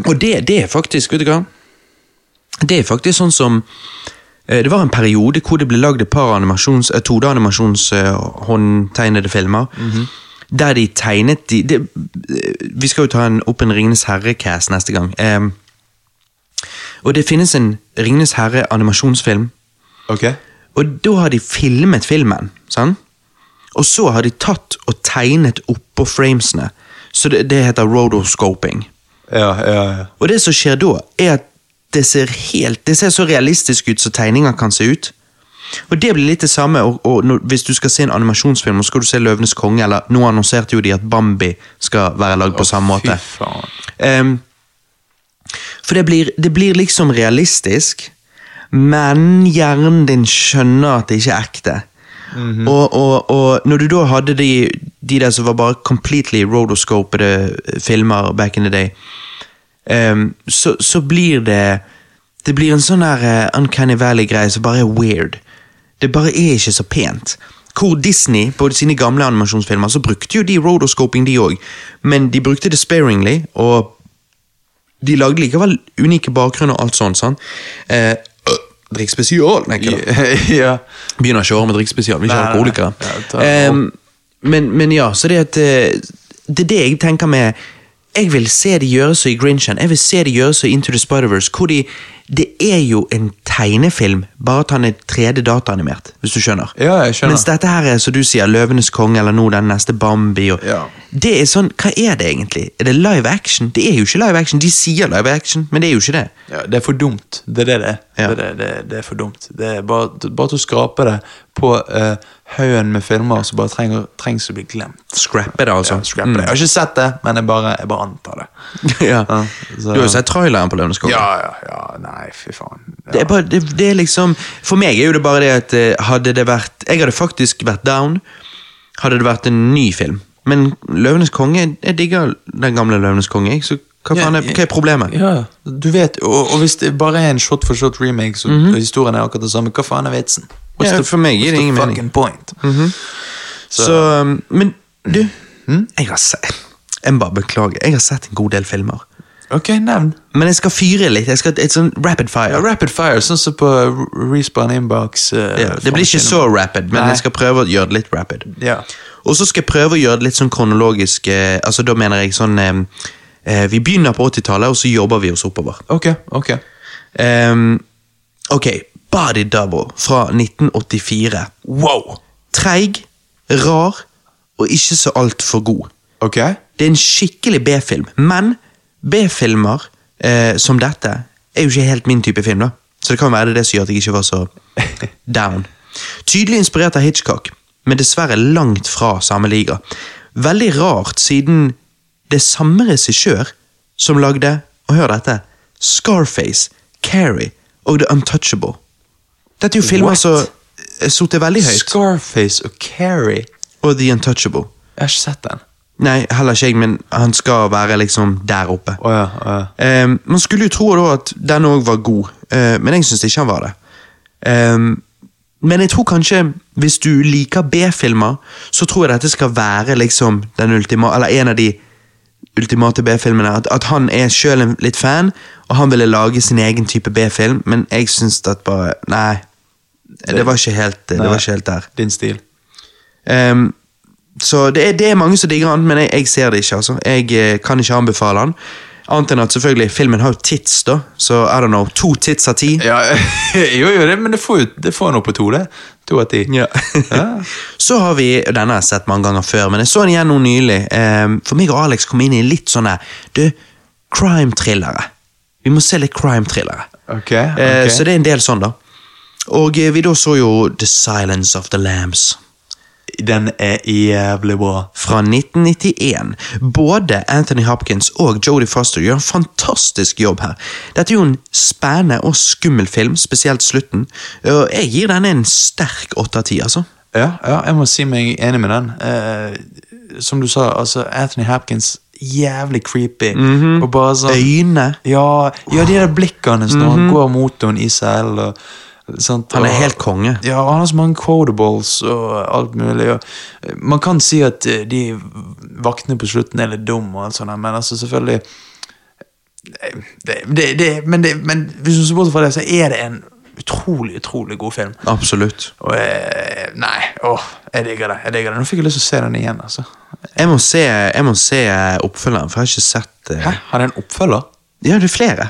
S3: Og det, det er faktisk, vet du hva Det er faktisk sånn som eh, Det var en periode hvor det ble lagd et par animasjons, eh, 2D-animasjons eh, håndtegnede filmer. Der de tegnet de, det- eh, Vi skal jo ta en, opp en Ringenes herre-cast neste gang. Eh, og det finnes en Ringenes herre-animasjonsfilm
S4: Ok?
S3: og da har de filmet filmen, sant? Og så har de tatt og tegnet oppå framesene. Så det, det heter rotoscoping.
S4: Ja, ja, ja.
S3: Og det som skjer da, er at det ser, helt, det ser så realistisk ut som tegninger kan se ut. Og det blir litt det samme og, og når, hvis du skal se en animasjonsfilm, og skal du se Løvenes konge, eller nå annonserte jo de at Bambi skal være lagd på samme måte.
S4: Fy faen.
S3: Ehm, for det blir, det blir liksom realistisk, men hjernen din skjønner at det ikke er ekte. og, og, og når du da hadde de, eh, de der som var bare completely rotoscopede filmer back in the day, ehm, så, så blir det Det blir en sånn her eh, Uncanny Valley-greie som bare er weird. Det bare er ikke så pent. Hvor Disney på sine gamle animasjonsfilmer så brukte jo de rotoscoping, de òg, men de brukte det sparingly, og de lagde likevel unike bakgrunner og alt sånt. sant? Eh, øh, Drikk spesial, nei, ikke da.
S4: ja.
S3: Begynner ikke året med drikkespesial, vi er ikke
S4: Nei, nei,
S3: alkoholikere.
S4: nei. Ja, ta-
S3: Ehm, men, men ja, så det at eh, Det er det jeg tenker med Jeg vil se det gjøres i Grinchen, jeg vil se det gjøres i Into the Spider-Verse, hvor de Det er jo en tegnefilm, bare at han er 3D-dataanimert, hvis du skjønner.
S4: Ja, jeg skjønner.
S3: Mens dette her er, som du sier, Løvenes konge, eller nå den neste Bambi og
S4: Ja.
S3: Det er sånn, hva er det egentlig? Er det live action? Det er jo ikke live action, de sier live action, men det er jo ikke det.
S4: Ja, det er for dumt. Det er det det er.
S3: Ja.
S4: Det, er det, det, det er for dumt. Det er bare, bare til å skrape det på eh, haugen med filmer som bare trenger, trengs å bli glemt.
S3: Scrappe det, altså.
S4: Ja, scrap det. Jeg har ikke sett det, men jeg bare, jeg bare antar det.
S3: ja.
S4: Ja, så-
S3: Du har jo sett traileren på Løvenes konge.
S4: Ja, ja, ja. Nei, fy faen. Ja.
S3: Det er, bare, det, det er liksom For meg er jo det bare det at eh, hadde det vært Jeg hadde faktisk vært down hadde det vært en ny film. Men Løvenes konge Jeg digger den gamle Løvenes konge. jeg, Så hva faen er, hva er problemet?
S4: Ja, du vet, og, og hvis det bare er en shot for shot remake, så og historien er akkurat den samme, hva faen er vitsen?
S3: Mhm. Ja, for meg gir det ingen mening.
S4: fucking
S3: Mhm.
S4: point?
S3: Så, um, men du Jeg har sett Jeg bare beklager. Jeg har sett en god del filmer.
S4: Ok, nevn.
S3: Men jeg skal fyre litt. Jeg skal, et sånn rapid
S4: Ja,
S3: fire.
S4: rapid fire, sånn som på Respawn Inbox. eh,
S3: Ja, det blir ikke så rapid, men
S4: Nei.
S3: jeg skal prøve å gjøre det litt rapid.
S4: Ja.
S3: Og så skal jeg prøve å gjøre det litt sånn kronologisk. Eh, altså Da mener jeg sånn eh, eh, Vi begynner på 80-tallet, og så jobber vi oss oppover.
S4: Ok, ok.
S3: Ehm, ok, Body Double fra 1984. Wow! Treig, rar og ikke så altfor god.
S4: Ok?
S3: Det er en skikkelig B-film, men B-filmer eh, som dette er jo ikke helt min type film, da. Så det kan være det er det som gjør at jeg ikke var så down. Tydelig inspirert av Hitchcock, men dessverre langt fra samme liga. Veldig rart, siden det er samme regissør som lagde, og hør dette, Scarface, Carrie og The Untouchable. Dette er jo filmer
S4: What?
S3: som er sittet veldig høyt,
S4: Scarface og Carrie.
S3: og The Untouchable.
S4: Jeg har ikke sett den.
S3: Nei, heller ikke jeg, men han skal være liksom der oppe.
S4: Å ja, å ja.
S3: Ehm, man skulle jo tro da at den òg var god, eh, men jeg syns ikke han var det. Ehm, men jeg tror kanskje, hvis du liker B-filmer, så tror jeg dette skal være liksom den ultima, eller en av de ultimate B-filmene. At, at han er sjøl litt fan, og han ville lage sin egen type B-film, men jeg syns at bare Nei. Det var ikke helt, det var ikke helt der.
S4: Din stil.
S3: Ehm, så det er, det er mange som digger han, men jeg, jeg ser det ikke. altså. Jeg eh, kan ikke anbefale han. Annet enn at selvfølgelig, filmen har jo tits, da. Så I don't know, to tits av ti.
S4: Ja, jo, jo, det, men det får jo det får noe på to, det. To av ti. Ja.
S3: Så har vi, og denne har jeg sett mange ganger før, men jeg så den igjen nå nylig. Ehm, for meg og Alex kom inn i litt sånne du, crime-thrillere. Vi må se litt crime-thrillere.
S4: Ok,
S3: Eh,
S4: ok.
S3: Så det er en del sånn, da. Og eh, vi da så jo The Silence of the Lambs.
S4: Den er jævlig bra.
S3: fra 1991. Både Anthony Hopkins og Jodie Foster gjør en fantastisk jobb her. Dette er jo en spennende og skummel film, spesielt slutten. Og Jeg gir denne en sterk åtte av ti, altså.
S4: Ja, ja, jeg må si meg enig med den. Eh, som du sa, altså Anthony Hopkins jævlig creepy. Og bare sånn
S3: Øyne. Mhm.
S4: Ja, ja de der blikkene når han går mot henne i selen og sant,
S3: Han er
S4: og-
S3: helt konge.
S4: Ja, og han har så mange quotables og alt mulig. Og eh, man kan si at eh, de vaktene på slutten er litt dumme, og alt sånt, der, men altså selvfølgelig eh, det, det, det, men, det, men hvis du ser bort fra det, så er det en utrolig, utrolig god film.
S3: Absolutt.
S4: Og eh, nei, åh, jeg digger det. jeg digger det. Nå fikk jeg lyst til å se den igjen. altså.
S3: Jeg må se, jeg må se oppfølgeren, for jeg har ikke sett eh,
S4: Hæ? Har den en oppfølger?
S3: Ja, det er flere.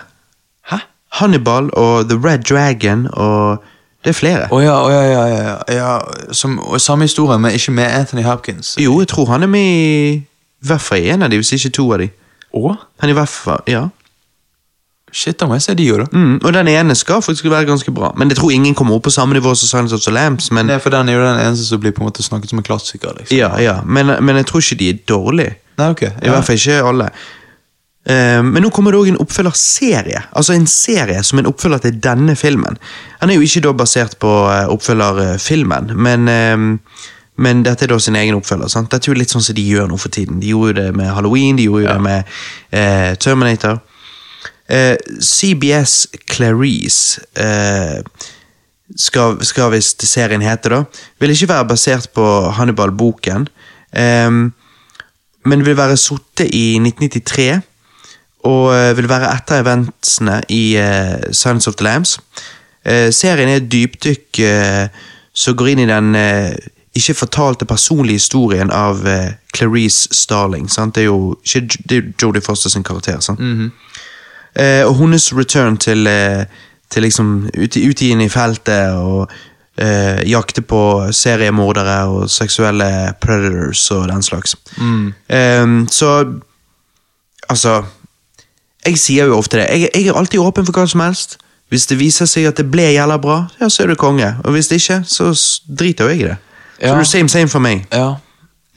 S4: Hæ?
S3: Hannibal og The Red Dragon og Det er flere.
S4: Å ja, å ja, ja, ja, ja. ja som, og samme historie, men ikke med Anthony Hopkins.
S3: Jo, jeg tror han er med i i hvert fall i en av de, hvis ikke to av de.
S4: Å?
S3: Han er i hvert fall, ja.
S4: Shit, da må jeg se de jo, da.
S3: Mm, og den ene skal faktisk være ganske bra, men jeg tror ingen kommer opp på samme nivå som Silence of the Lambs. Men,
S4: Nei, for den er jo den eneste som blir på en måte snakket som en klassiker. liksom.
S3: ja, ja, men, men jeg tror ikke de er dårlige.
S4: Nei, ok.
S3: I hvert fall ikke alle. Eh, men nå kommer det òg en oppfølgerserie. Altså en serie som en oppfølger til denne filmen. Han er jo ikke da basert på eh, oppfølgerfilmen, men eh, men dette er da sin egen oppfølger. sant? Dette er jo litt sånn som de gjør nå for tiden. De gjorde jo det med Halloween, de gjorde jo det med eh, Terminator. Eh, CBS Clarice eh, skal, skal visst serien hete, da. Vil ikke være basert på Hannibal-boken. ehm, men vil være sittet i 1993. Og eh, vil være etter eventsene i eh, Silence of the Lambs. Eh, serien er et dypdykk eh, som går inn i den eh, ikke fortalte personlige historien av eh, Clarice Starling. Sant? Det er jo ikke Jo- det er jo Jodie Foster sin karakter. sant? Eh, og hennes return til, eh, til liksom ut, ut igjen i feltet og eh, jakte på seriemordere og seksuelle predators og den slags. Eh, så Altså Jeg sier jo ofte det. Jeg, jeg er alltid åpen for hva som helst. Hvis det viser seg at det ble jævla bra, ja, så er du konge. Og hvis det ikke, så s- driter jo jeg i det. Så
S4: Ja.
S3: du same same for meg.
S4: Ja.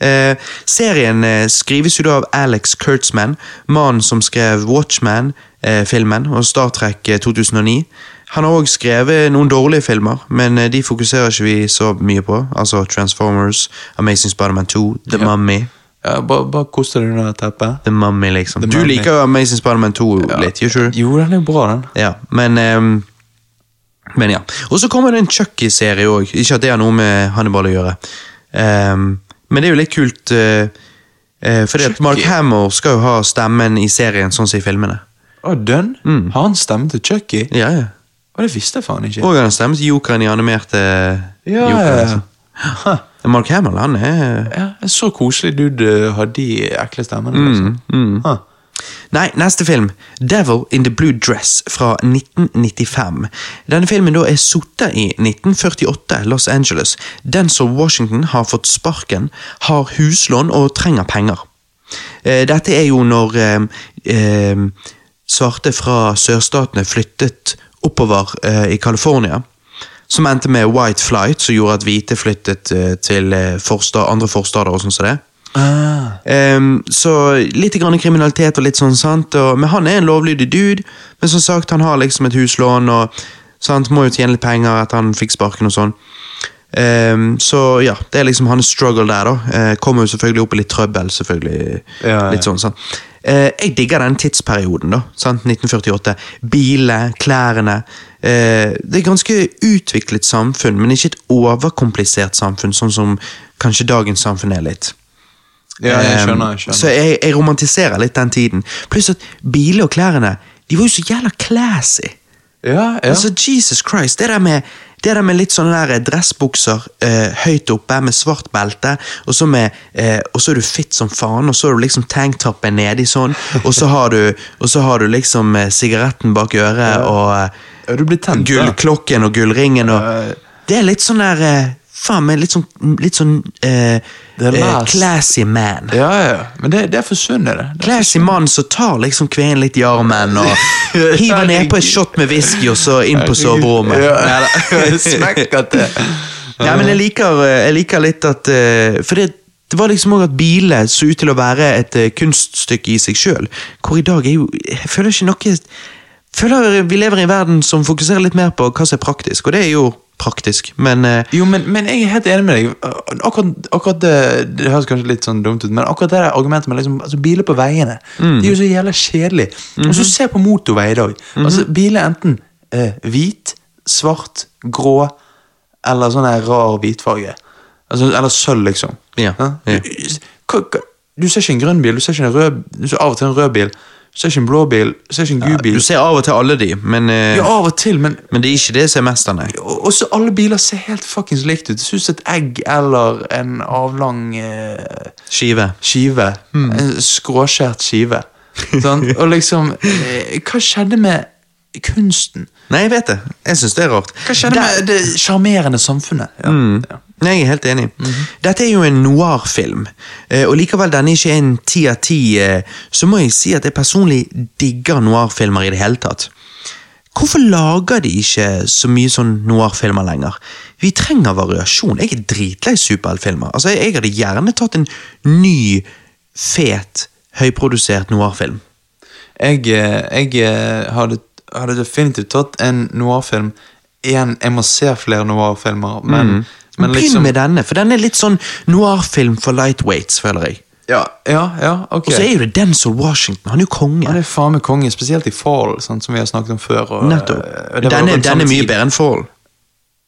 S3: Eh, serien eh, skrives jo da av Alex Kurtzman, mannen som skrev Watchman-filmen og Star Trek eh, 2009. Han har òg skrevet noen dårlige filmer, men eh, de fokuserer ikke vi så mye på. Altså Transformers, Amazing Spiderman 2, The Mummy.
S4: ja bare, bare kos deg under det teppet.
S3: The Mummy, liksom.
S4: The
S3: du
S4: Mummy.
S3: liker jo Amazing Spiderman 2 litt, gjør ikke du?
S4: Jo, den er jo bra, den.
S3: Ja, men ehm, Men ja. Og så kommer det en Chucky-serie òg. Ikke at det har noe med Hannibal å gjøre. Ehm, men det er jo litt kult, eh, eh, fordi at Mark Hammer skal jo ha stemmen i serien, sånn som i filmene.
S4: Å, dønn?
S3: Mm.
S4: Har han stemme til Chucky?
S3: Ja, ja.
S4: Å, det visste jeg faen ikke.
S3: Og han har stemme til jokeren i animerte
S4: Ja,
S3: jokeren.
S4: ja,
S3: altså.
S4: ja.
S3: Mark Hamill, han er
S4: ja. En så koselig dude eh, har de ekle stemmene.
S3: Mm.
S4: Liksom. Huh.
S3: Nei, neste film. Devil in the Blue Dress fra 1995. Denne filmen da er sutta i 1948, Los Angeles. Denzel Washington har fått sparken, har huslån og trenger penger. Eh, Dette er jo når eh, eh, svarte fra sørstatene flyttet oppover eh, i California. Som endte med white flight, som gjorde at hvite flyttet eh, til eh, forsta- andre forstader og sånn som det.
S4: Ah.
S3: Ehm, så litt grann kriminalitet og litt sånn, sant? Og, men han er en lovlydig dude. Men som sagt, han har liksom et huslån og sant? må jo tjene litt penger etter han fikk sparken og sånn. Ehm, så ja, det er liksom hans struggle der, da. Eh, kommer jo selvfølgelig opp i litt trøbbel, selvfølgelig.
S4: Ja, ja.
S3: Litt sånn, sant? Eh, jeg digger den tidsperioden, da. Sant? 1948. Bilene, klærne. Eh, det er et ganske utviklet samfunn, men ikke et overkomplisert samfunn, sånn som kanskje dagens samfunn er litt.
S4: Ah, Ja, jeg
S3: Ehm,
S4: skjønner. jeg skjønner.
S3: Så jeg, jeg romantiserer litt den tiden. Pluss at biler og klærne De var jo så jævla classy.
S4: ja, ja.
S3: Altså, Jesus Christ, det der med det der med litt sånne der dressbukser eh, høyt oppe med svart belte, og så, med, eh, og så er du fit som faen, og så har du liksom tanktoppen nedi sånn, og så har du, og så har du liksom eh, sigaretten bak øret og eh,
S4: Ja, du blir tent, da. Eh,
S3: gullklokken og gullringen og
S4: Ja.
S3: Det er litt sånn der eh, Faen meg, litt sånn, litt sånn eh,
S4: Det er
S3: eh,
S4: last.
S3: classy man.
S4: ja, ja. Men det, det forsunner jeg det. det.
S3: Classy mann som tar liksom kvinnen litt i armen og hiver nedpå et shot med whisky og så inn på soverommet.
S4: Ja. Smekker til.
S3: Nei, men jeg liker, jeg liker litt at eh, For det, det var liksom òg at biler så ut til å være et eh, kunststykke i seg sjøl. Hvor i dag er jo Jeg føler ikke noe Føler vi lever i en verden som fokuserer litt mer på hva som er praktisk, og det er jo praktisk, men eh,
S4: Jo, men, men jeg er helt enig med deg. Akkurat, akkurat det, det høres kanskje litt sånn dumt ut, men akkurat det der argumentet med liksom, altså, biler på veiene
S3: Mm.
S4: De er jo så jævla kjedelige.
S3: Mhm.
S4: Og så se på motorvei i dag. Altså, Biler er enten eh, hvit, svart, grå eller sånn her rar hvitfarge. Altså, eller sølv, liksom.
S3: Ja,
S4: Hæ?
S3: ja.
S4: Hva, hva, du ser ikke en grønn bil, du ser ikke en rød Du ser av og til en rød bil, du ser ikke en blå bil, du ser ikke en gul bil.
S3: Du ser av og til alle de, men, eh,
S4: Ja, av og til, men
S3: men det er ikke det som er mest av, nei.
S4: og og så alle biler ser helt fuckings likt ut. Det ser ut som et egg eller en avlang eh,
S3: Skive.
S4: skive.
S3: Hmm.
S4: En skråskjært skive. Sånn? Og liksom eh, Hva skjedde med kunsten?
S3: Nei, jeg vet det. Jeg syns det er rart.
S4: Hva skjedde med det sjarmerende samfunnet? Ja. Ja.
S3: Nei, jeg er helt enig. Dette er jo en noir-film, eh, og likevel denne ikke er en ti av ti, eh, så må jeg si at jeg personlig digger noir-filmer i det hele tatt. Hvorfor lager de ikke så mye sånn noir-filmer lenger? Vi trenger variasjon. Jeg er dritlei superheltfilmer. Altså, jeg, jeg hadde gjerne tatt en ny, fet, høyprodusert noir-film.
S4: Jeg, eh, jeg eh, hadde, hadde definitivt tatt en noirfilm. Igjen, jeg må se flere noirfilmer, men, men
S3: Begynn
S4: liksom
S3: med denne, for den er litt sånn noir-film for lightweights, føler jeg.
S4: Ja, ja, ja ok.
S3: Og så er jo det Denzil Washington. Han er jo konge.
S4: Han er faen meg konge, spesielt i Fall, sånn som vi har snakket om før. Og,
S3: Nettopp.
S4: og det var
S3: Denne,
S4: rundt samme
S3: denne er mye
S4: tid.
S3: bedre enn Fall.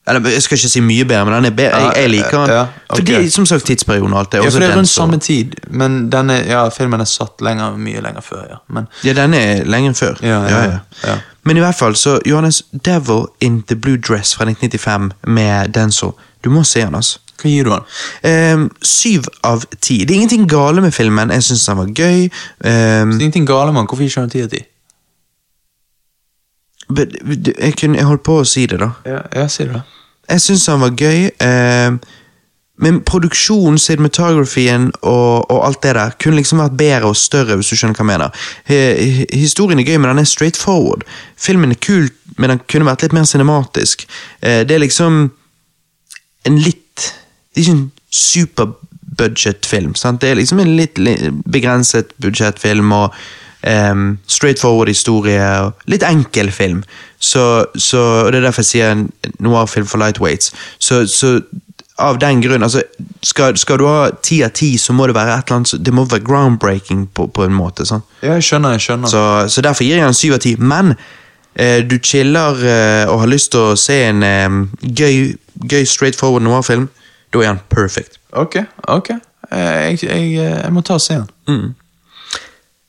S3: Eller, jeg skal ikke si mye bedre, men den er bedre. Jeg, jeg liker den.
S4: Ja, ja,
S3: For
S4: ok.
S3: det er som sagt tidsperioden og alt det.
S4: Ja,
S3: Også
S4: for det er
S3: den
S4: rundt
S3: som-
S4: samme tid, men denne, ja, filmen er satt lenger, mye lenger før, ja. Men,
S3: Ja, den er lenger enn før.
S4: Ja, ja, ja.
S3: Men i hvert fall, så Johannes, Devil in the Blue Dress fra 1995 med Denzel. Du må se den, altså.
S4: hva gir du han?
S3: Ehm, syv av ti. Det er ingenting gale med filmen. Jeg syns den var gøy. Ehm,
S4: Det er ingenting gale med han, hvorfor ikke han 10 av 10?
S3: but, jeg, kunne, jeg holdt på å si det, da.
S4: Ja, ja, sier du det?
S3: Jeg syns han var gøy. ehm, men produksjonen, cinematografien og, og alt det der kunne liksom vært bedre og større. hvis du skjønner hva jeg mener. He- he- Historien er gøy, men den er straight forward. Filmen er kul, men den kunne vært litt mer cinematisk. Eh, det er liksom en litt Det er ikke en superbudget-film. sant? Det er liksom en litt li- begrenset budsjettfilm og ehm, straight forward historie. og Litt enkel film. Så, så, og Det er derfor jeg sier en noir-film for lightweights. Så, så av den grunn altså, skal, skal du ha ti av ti, så må det være et eller annet, det må være groundbreaking på, på en måte. sant?
S4: Ja, jeg skjønner, jeg skjønner.
S3: Så, så derfor gir jeg en syv av ti. Men eh, du chiller eh, og har lyst til å se en eh, gøy, gøy straight forward noir-film, da er han perfect.
S4: Ok, ok. Eh, Jeg, jeg, jeg må ta og se han.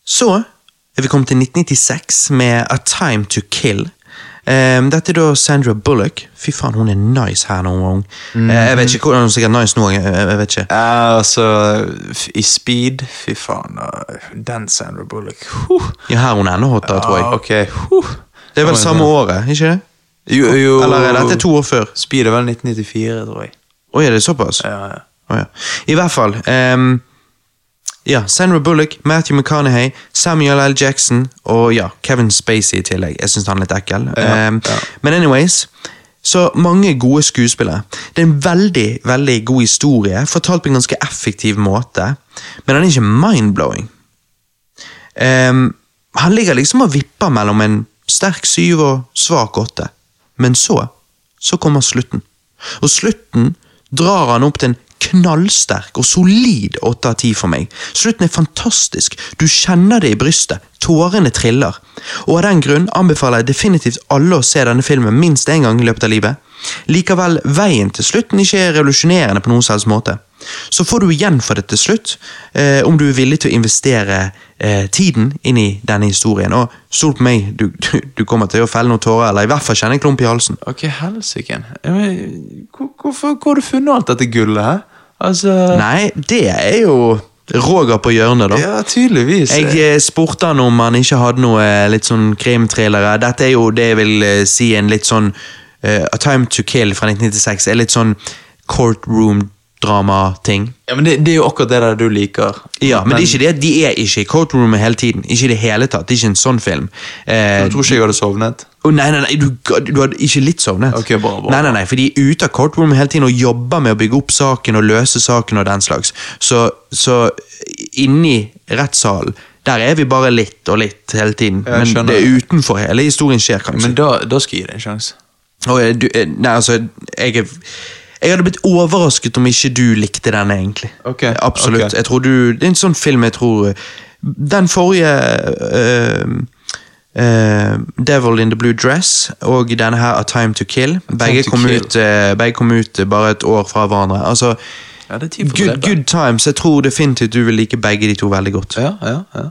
S3: Så er vi kommet til 1996 med A Time To Kill. Eh, dette er da Sandra Bullock. Fy faen, hun er nice her når hun var ung.
S4: Mm.
S3: Eh, jeg vet ikke hvordan hun er sikkert nice nå. Jeg, jeg, jeg vet ikke.
S4: Ja, altså, f- i Speed, fy faen, da, den Sandra Bullock. Huh.
S3: Ja, her er hun er enda hotere, tror
S4: Ja,
S3: jeg.
S4: ok. Huh.
S3: Det er vel samme året, ikke det?
S4: Jo, jo.
S3: Eller er dette to år før?
S4: Speed er vel 1994, tror jeg.
S3: Oi, er det såpass?
S4: Ja, ja.
S3: Å ja. I hvert fall ehm, Ja, Sandra Bullock, Matthew McConaughey, Samuel L. Jackson og ja, Kevin Spacey i tillegg. Jeg syns han er litt ekkel. Ehm,
S4: ja.
S3: Men anyways så mange gode skuespillere. Det er en veldig veldig god historie, fortalt på en ganske effektiv måte. Men den er ikke mind-blowing. Ehm, han ligger liksom og vipper mellom en sterk syv og svak åtte. Men så, så kommer slutten. Og slutten drar han opp til en knallsterk og solid åtte av ti for meg. Slutten er fantastisk. Du kjenner det i brystet. Tårene triller. Og av den grunn anbefaler jeg definitivt alle å se denne filmen minst én gang i løpet av livet. Likevel, veien til slutten ikke er revolusjonerende på noen som helst måte. Så får du igjen for det til slutt, eh, om du er villig til å investere eh, tiden inn i denne historien. Og stol på meg, du, du, du kommer til å felle noen tårer, eller i hvert fall kjenne en klump i halsen.
S4: Ok, helsiken. Ja, men hvor- Hvorfor hvor har du funnet alt dette gullet, hæ? Altså...
S3: Nei, det er jo Roger på hjørnet, da.
S4: Ja, tydeligvis.
S3: Jeg eh, spurte han om han ikke hadde noe eh, litt sånn krimthrillere. Dette er jo det jeg vil eh, si en litt sånn eh, A Time To Kill fra 1996 er litt sånn courtroom-drama-ting.
S4: Ja, men det, det er jo akkurat det der du liker.
S3: Ja, men, det er ikke det, de er ikke i courtroomet hele tiden. Ikke i det hele tatt. Det er ikke en sånn film. Eh,
S4: Jeg tror ikke jeg hadde sovnet.
S3: Å, nei, nei, nei, du, du hadde ikke litt sovnet.
S4: Ok, bra, bra.
S3: Nei, nei, nei, for de er ute av courtroom hele tiden og jobber med å bygge opp saken og løse saken og den slags. Så, så inni rettssalen, der er vi bare litt og litt hele tiden.
S4: Ja, jeg
S3: Men
S4: skjønner.
S3: det er utenfor hele historien skjer, kanskje.
S4: Men da, da skal jeg gi det en sjanse.
S3: Og, eh, du, eh, nei, altså, jeg er... Jeg hadde blitt overrasket om ikke du likte denne, egentlig.
S4: Ok,
S3: Absolutt.
S4: ok.
S3: Jeg tror du... Det er en sånn film jeg tror... Den forrige... eh, eh, Devil in the Blue Dress og denne her A Time to Kill. Begge,
S4: to
S3: kom,
S4: Kill.
S3: Ut, eh, begge kom ut eh, bare et år fra hverandre. Altså,
S4: Ja, det er tid for å
S3: good,
S4: drepe.
S3: good Times. Jeg tror definitivt du vil like begge de to veldig godt.
S4: Ja, ja, ja.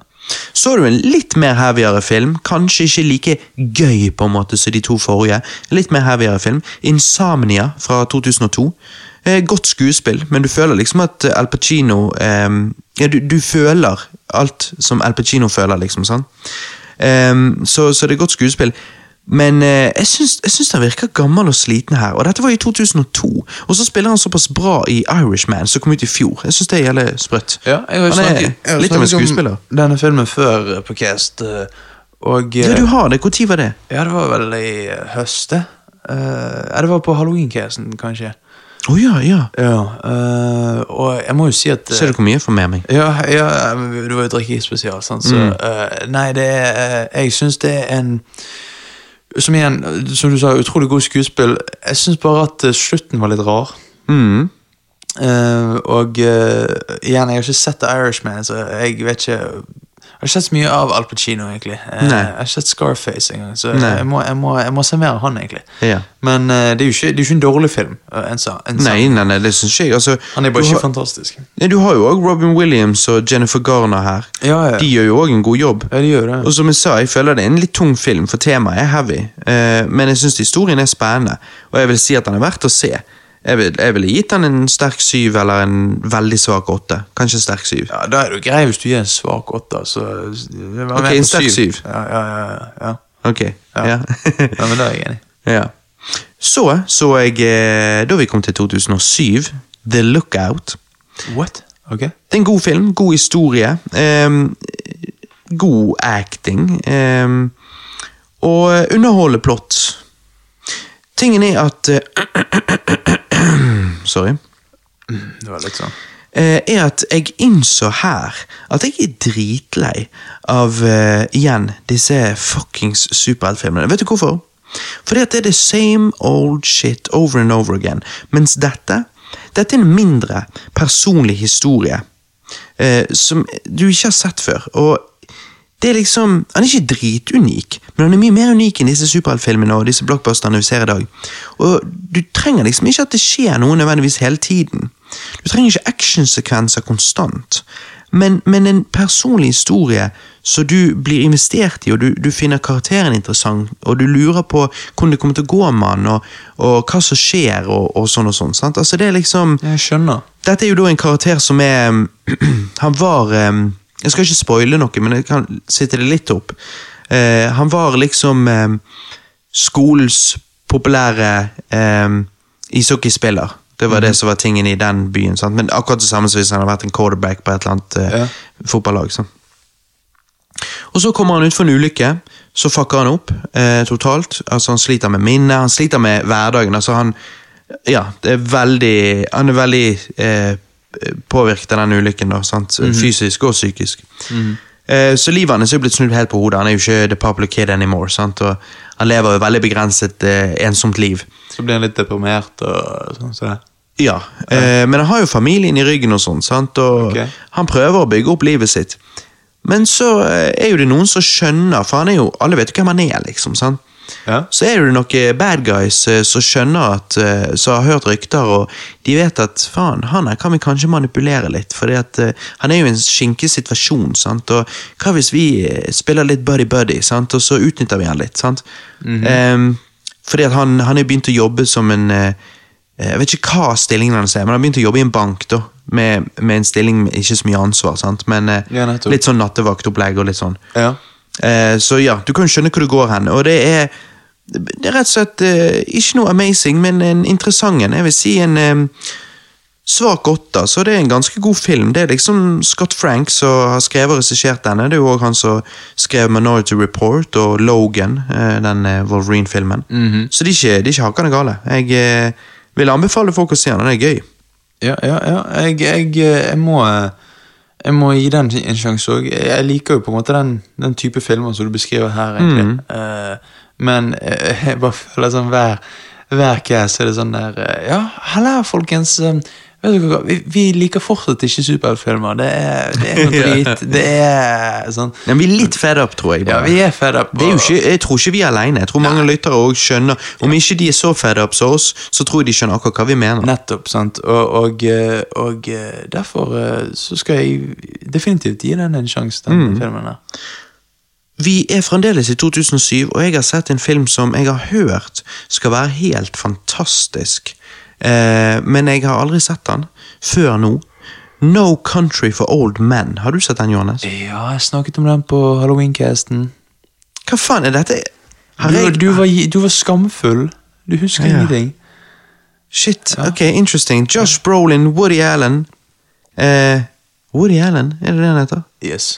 S3: Så du en litt mer heavyere film, kanskje ikke like gøy på en måte som de to forrige. Litt mer heavyere film. Insomnia fra 2002. Eh, godt skuespill, men du føler liksom at eh, Al Pacino eh, Ja, du, du føler alt som Al Pacino føler, liksom. sant? Eh, så, så det er godt skuespill. Men eh, jeg syns, jeg syns han virker gammel og sliten her, og dette var i 2002. Og så spiller han såpass bra i Irishman, som kom ut i fjor. Jeg syns det gjelder sprøtt.
S4: ja jeg har jo
S3: Han er
S4: snakket, jeg har
S3: litt av
S4: snakket
S3: en
S4: om
S3: skuespiller.
S4: Denne filmen før eh, på Cast, eh, og eh,
S3: Ja, du har det. Når var det?
S4: ja, det var vel i eh, høst, det. Eh, ja, det var på halloween-casten, kanskje.
S3: Å ja, ja.
S4: Ja, eh, og jeg må jo si at eh,
S3: Ser du hvor mye jeg får med meg?
S4: Ja, ja men det var jo drikkespesial, sant? så eh, Nei, det er eh, Jeg syns det er en Som igjen,
S3: Mm,
S4: som du sa, utrolig god skuespill. Jeg syns bare at eh, slutten var litt rar. Eh, og eh, igjen, jeg har ikke sett The Irishman, så jeg vet ikke Jeg har ikke sett så mye av Al Pacino, egentlig. Eh,
S3: Nei.
S4: jeg har ikke sett Scarface engang, så
S3: Nei.
S4: jeg må, jeg, må, jeg må se mer av han, egentlig.
S3: Ja.
S4: Men eh, det er jo ikke, det er jo ikke en dårlig film. eh, en sa- en sa-
S3: Nei, nei, nei, det syns jeg. Altså,
S4: Han er bare
S3: du
S4: ikke
S3: har-
S4: fantastisk.
S3: Nei, Du har jo òg Robin Williams og Jennifer Garner her.
S4: Ja, ja.
S3: De gjør jo òg en god jobb.
S4: Ja, de gjør det.
S3: Og som jeg sa, jeg føler det er en litt tung film, for temaet er heavy. Eh, men jeg syns historien er spennende, og jeg vil si at den er verdt å se. Jeg vil- jeg ville gitt den en sterk syv eller en veldig svak åtte. Kanskje en sterk syv.
S4: Ja, Da er det jo grei hvis du gir en svak åtter. Så det var
S3: Ok,
S4: mer enn
S3: en sterk syv.
S4: Ja, ja, ja, ja.
S3: Ok, ja.
S4: Ja. ja, men da er jeg enig.
S3: ja. Så så jeg, eh, da vi kom til 2007, The Lookout.
S4: What? Ok.
S3: Det er en god film, god historie. ehm, god acting. ehm, og underholder plott. Tingen er at eh, Sorry.
S4: Det var litt sånn.
S3: Eh, er at jeg innså her at jeg er dritlei av eh, igjen disse fuckings superheltfilmene. Vet du hvorfor? Fordi at det er the same old shit over and over again. Mens dette, dette er en mindre personlig historie eh, som du ikke har sett før. Og det er liksom, Han er ikke dritunik, men han er mye mer unik enn disse superheltfilmene og disse blockbusterne vi ser i dag. Og Du trenger liksom ikke at det skjer noe nødvendigvis hele tiden. Du trenger ikke actionsekvenser konstant. Men, men en personlig historie som du blir investert i, og du, du finner karakteren interessant, og du lurer på hvordan det kommer til å gå med han, og, og hva som skjer, og, og sånn og sånn. sant? Altså det er liksom...
S4: Jeg skjønner.
S3: Dette er jo da en karakter som er Han var eh, Jeg skal ikke spoile noe, men jeg kan sitte det litt opp. Eh, han var liksom eh, skolens populære eh, ishockeyspiller. Det var det som var tingen i den byen. Sant? Men akkurat det samme som hvis han hadde vært en quarterback på et eller annet eh,
S4: Ja.
S3: fotballag. Sant? Og så kommer han ut for en ulykke, så fucker han opp eh, totalt. Altså Han sliter med minnet, han sliter med hverdagen. Altså Han ja, det er veldig, han er veldig eh, påvirket av den ulykken, da, sant? fysisk og psykisk. Eh, så livet hans er jo blitt snudd helt på hodet. Han er jo ikke the popular kid anymore. Sant? Og han lever jo veldig begrenset, eh, ensomt liv.
S4: Så blir han litt deprimert og sånn. Så.
S3: Ja, eh, men han har jo familien i ryggen og sånn, sant? og
S4: Ok.
S3: han prøver å bygge opp livet sitt. Men så eh, er jo det noen som skjønner, for han er jo, alle vet jo hvem han er, liksom. sant?
S4: Ja.
S3: Så er det noen bad guys eh, som skjønner at, eh, som har hørt rykter, og de vet at faen, han her kan vi kanskje manipulere litt, for han er jo i en skinkig situasjon. sant? Og hva hvis vi eh, spiller litt buddy-buddy, sant? og så utnytter vi han litt? sant?
S4: Mhm.
S3: Em, fordi at han, han er begynt å jobbe som en eh, Jeg vet ikke hva stillingen hans er, men han har begynt å jobbe i en bank. da, med, med en stilling med ikke så mye ansvar, sant? men eh,
S4: Ja, nettopp.
S3: litt sånn nattevaktopplegg og litt sånn.
S4: Ja.
S3: Eh, så ja, du kan jo skjønne hvor det går hen. Og det er, det er rett og slett eh, ikke noe amazing, men en interessant en. Jeg vil si en eh, svak åtter, så det er en ganske god film. Det er liksom Scott Frank som har skrevet og regissert denne. Det er jo òg han som skrev Minority Report og Logan, eh, den eh, Wolverine-filmen. Så de er ikke, de er ikke hakkende gale. Jeg eh, vil anbefale folk å se den, den er gøy.
S4: Ja, ja, ja. Jeg, jeg, jeg, må, jeg må gi den en sjanse òg. Jeg liker jo på en måte den, den type filmer som du beskriver her, egentlig.
S3: Mm.
S4: Eh, men eh, jeg bare føler sånn hver, hver cast er det sånn der eh, Ja, halla, folkens. eh, Vet dere hva, vi, vi liker fortsatt ikke superheltfilmer. Det er, det er noe drit. Det er sånn
S3: Men vi er litt fed up, tror jeg.
S4: Ja,
S3: bare.
S4: vi er fed up.
S3: Det er jo ikke, jeg tror ikke vi er alene. Jeg tror mange lyttere også skjønner. Om ikke de er så fed up som oss, så tror jeg de skjønner akkurat hva vi mener.
S4: Nettopp, sant. Og, og, eh, og eh, derfor eh, så skal jeg definitivt gi den en sjanse, den
S3: Mm.
S4: filmen der.
S3: Vi er fremdeles i 2007, og jeg har sett en film som jeg har hørt skal være helt fantastisk. Eh, men jeg har aldri sett den før nå. No Country for Old Men. Har du sett den, Johannes?
S4: Ja, jeg snakket om den på Halloweencasten.
S3: Hva faen er dette? Har
S4: Du,
S3: jeg-
S4: du, var, du var skamfull. Du husker
S3: Ja.
S4: ingenting.
S3: Shit, ok, interesting. Josh Brolin, Woody Allen eh, Woody Allen, er det det han heter?
S4: Yes.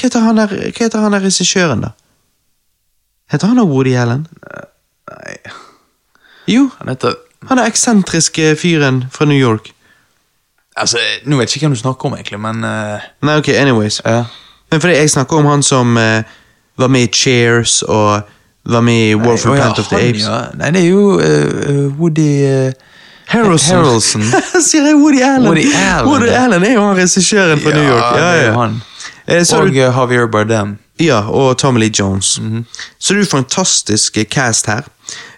S3: Hva heter han der, hva heter han der regissøren, da? Heter han da Woody Allen?
S4: Eh, Nei,
S3: Jo,
S4: han heter
S3: han er eksentriske fyren fra New York.
S4: Altså, nå vet jeg ikke hvem du snakker om, egentlig, men eh,
S3: Nei, ok, anyways.
S4: ja.
S3: Men fordi jeg snakker om han som eh, var med i Cheers og var med i War for
S4: Nei, å ja,
S3: Planet of the
S4: han,
S3: Apes.
S4: Ja. Nei, det er jo eh, eh, Woody eh,
S3: Harrelson.
S4: Harrelson.
S3: Sier jeg Woody Allen?
S4: Woody Allen.
S3: Woody Allen er jo han regissøren fra New York. Ja,
S4: det er jo
S3: ja.
S4: han.
S3: Eh, Så
S4: Og
S3: du,
S4: eh, Javier Bardem.
S3: ja, og Tommy Lee Jones. Så det er jo fantastisk eh, cast her.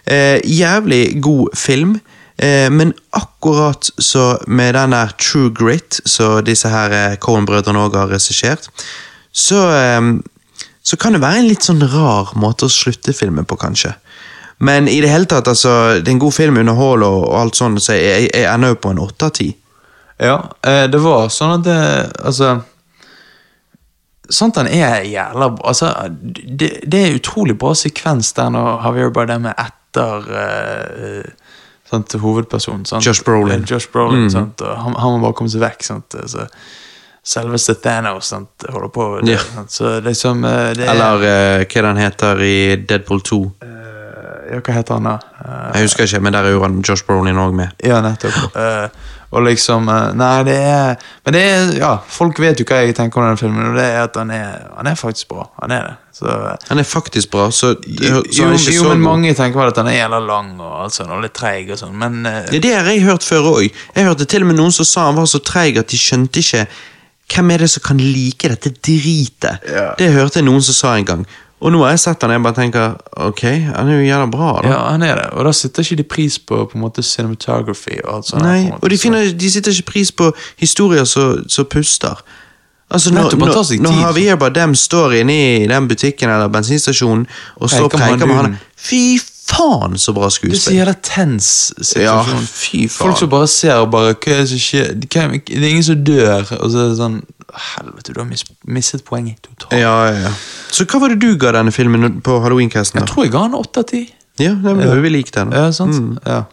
S3: Eh, jævlig god film. Eh, men akkurat så med den der True Grit, som disse her eh, Coen-brødrene òg har regissert, så, eh, så kan det være en litt sånn rar måte å slutte filmen på, kanskje. Men i det hele tatt, altså, det er en god film, underhold og, og alt sånt, så jeg, jeg ender jo på en åtte av ti.
S4: Ja, eh, det var sånn at det Altså Sånt han er jævla bra. Altså, det, det er utrolig bra sekvens der når Javier Bardem er etter eh, sant, hovedpersonen. Sant?
S3: Josh Brolin. Mm.
S4: Eh, Josh Brolin sant? Og han, han må bare komme seg vekk. Sant? Så, selveste Thanos sant? holder på. med det,
S3: Ja.
S4: sant? Så liksom eh, det er,
S3: Eller eh, hva den heter i Deadpool 2.
S4: Ja, hva heter han da? Eh,
S3: Jeg husker ikke, men der er jo han Josh Brolin òg med.
S4: Ja, nettopp. Eh, og liksom eh, Nei, det er Men det er Ja, folk vet jo hva jeg tenker om denne filmen, og det er at han er, han er faktisk bra. Han er det. Så,
S3: Han er faktisk bra, så, så
S4: jo, jo,
S3: han er ikke så
S4: men
S3: god.
S4: mange tenker vel at han er jævla lang og alt sånn, og litt treig og sånn, men eh,
S3: Ja, Det har jeg hørt før òg. Jeg hørte til og med noen som sa han var så treig at de skjønte ikke hvem er det som kan like dette dritet.
S4: Ja.
S3: Det hørte jeg noen som sa en gang. Og nå har jeg sett han, og jeg bare tenker ok, han er jo jævla bra. da.
S4: ja, han er det. Og da sitter ikke de pris på på en måte cinematography og alt sånt.
S3: Nei,
S4: på en måte,
S3: og de,
S4: så-
S3: finner, de sitter ikke pris på historier som som puster. Altså, når,
S4: Nettopp, han tar seg
S3: når, når
S4: tid.
S3: Javier Bardem står inne i den butikken eller bensinstasjonen og står og
S4: Peker med
S3: preker med han
S4: hånden.
S3: Fy faen, så bra
S4: Det er så
S3: skuespill!
S4: jævla tens
S3: Ja,
S4: situasjon.
S3: fy
S4: Folk som
S3: faen.
S4: bare ser og bare Hva er det som skjer? Hvem, det er ingen som dør, og så er det sånn Helvete, du har mis, mistet poenget totalt.
S3: Ja, ja, ja. Så hva var det du ga denne filmen på halloweencasten?
S4: Jeg
S3: da?
S4: tror jeg ga han åtte av ti.
S3: Ja, det var jo vi likte den.
S4: Ja, sant?
S3: Mm.
S4: Ja.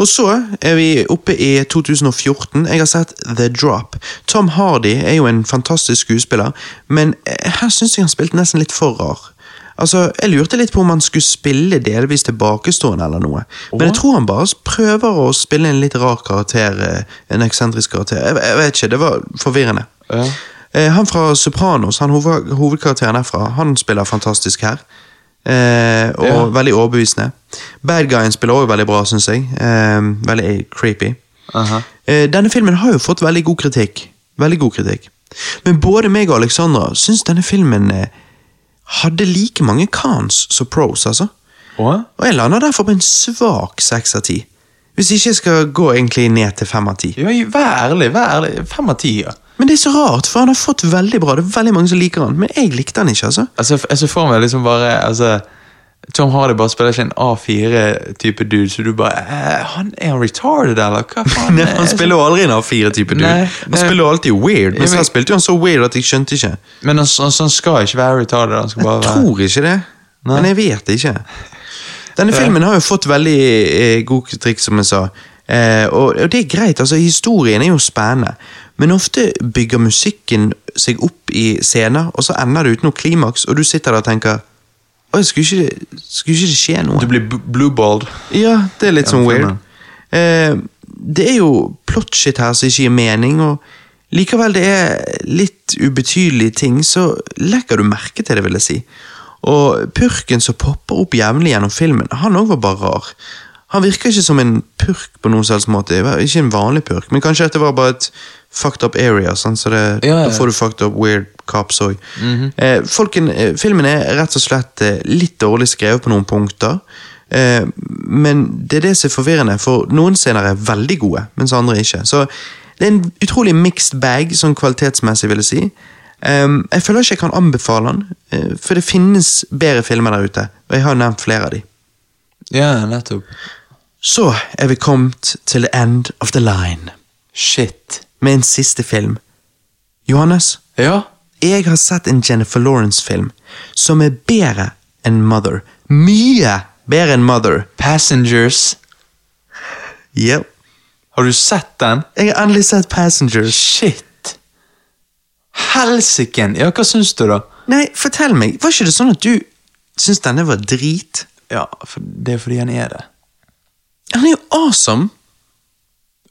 S3: Og så er vi oppe i 2014. Jeg har sett The Drop. Tom Hardy er jo en fantastisk skuespiller, men eh, her syns jeg han spilte nesten litt for rar. Altså, Jeg lurte litt på om han skulle spille delvis tilbakestående eller noe. Men jeg tror han bare s- prøver å spille en litt rar karakter. eh, En eksentrisk karakter. Jeg, jeg vet ikke, det var forvirrende.
S4: Ja.
S3: Eh, Han fra Sopranos, han hoved, hovedkarakteren herfra, han spiller fantastisk her. Eh, og
S4: Ja.
S3: veldig overbevisende. Bad Guyen spiller også veldig bra, syns jeg. Eh, veldig creepy.
S4: Aha.
S3: Eh, denne filmen har jo fått veldig god kritikk. Veldig god kritikk. Men både meg og Alexandra syns denne filmen eh, hadde like mange cons som pros, altså.
S4: Og?
S3: Og jeg lander derfor på en svak seks av ti. Hvis ikke jeg skal gå egentlig ned til fem av ti.
S4: Ja, vær ærlig. vær ærlig. Fem av ti, ja.
S3: Men det er så rart, for han har fått veldig bra. Det er veldig mange som liker han, men jeg likte han ikke, altså.
S4: Altså, jeg ser for meg liksom bare altså, Tom Hardy bare spiller ikke en A4-type dude, så du bare eh, han, Er han retarded, eller hva faen?
S3: Nei, han spiller jo aldri en A4-type dude.
S4: Nei,
S3: han
S4: nei.
S3: spiller jo alltid weird, men
S4: Ja, men-
S3: her spilte jo han så weird at jeg skjønte ikke.
S4: Men han, han, han skal ikke være retarded. Han skal bare
S3: Jeg
S4: være
S3: tror ikke det, men jeg vet ikke. Denne filmen har jo fått veldig eh, god kritikk, som jeg sa. Eh, og, og det er greit, altså historien er jo spennende. Men ofte bygger musikken seg opp i scener, og så ender det uten noe klimaks, og du sitter der og tenker Å, skulle ikke, det- skulle ikke det skje noe?
S4: Du blir bl- blueballed.
S3: Ja, det er litt sånn weird.
S4: filmen.
S3: Eh, det er jo plot-shit her som ikke gir mening, og likevel det er litt ubetydelige ting, så legger du merke til det, vil jeg si. Og purken som popper opp jevnlig gjennom filmen, han òg var bare rar. Han virker ikke som en purk på noen som helst måte. Ikke en vanlig purk, men kanskje at det var bare et fucked up area. Sånn, så det,
S4: Ja, ja.
S3: Da får du fucked up weird cops òg. eh, folken, eh, filmen er rett og slett eh, litt dårlig skrevet på noen punkter. Eh, men det er det som er forvirrende, for noen scener er veldig gode, mens andre ikke. Så det er en utrolig mixed bag, sånn kvalitetsmessig, vil jeg si. Ehm, jeg føler ikke jeg kan anbefale den, eh, for det finnes bedre filmer der ute. Og jeg har nevnt flere av de.
S4: Ja, nettopp.
S3: Så er vi kommet til the end of the line
S4: Shit.
S3: med en siste film. Johannes?
S4: Ja?
S3: Jeg har sett en Jennifer Lawrence-film som er bedre enn Mother. Mye bedre enn Mother.
S4: Passengers.
S3: Yep.
S4: Har du sett den?
S3: Jeg har endelig sett Passengers.
S4: Shit. Helsiken. Ja, hva syns du, da?
S3: Nei, fortell meg, var ikke det sånn at du syntes denne var drit?
S4: Ja, for det er fordi han er det.
S3: Han er jo awesome!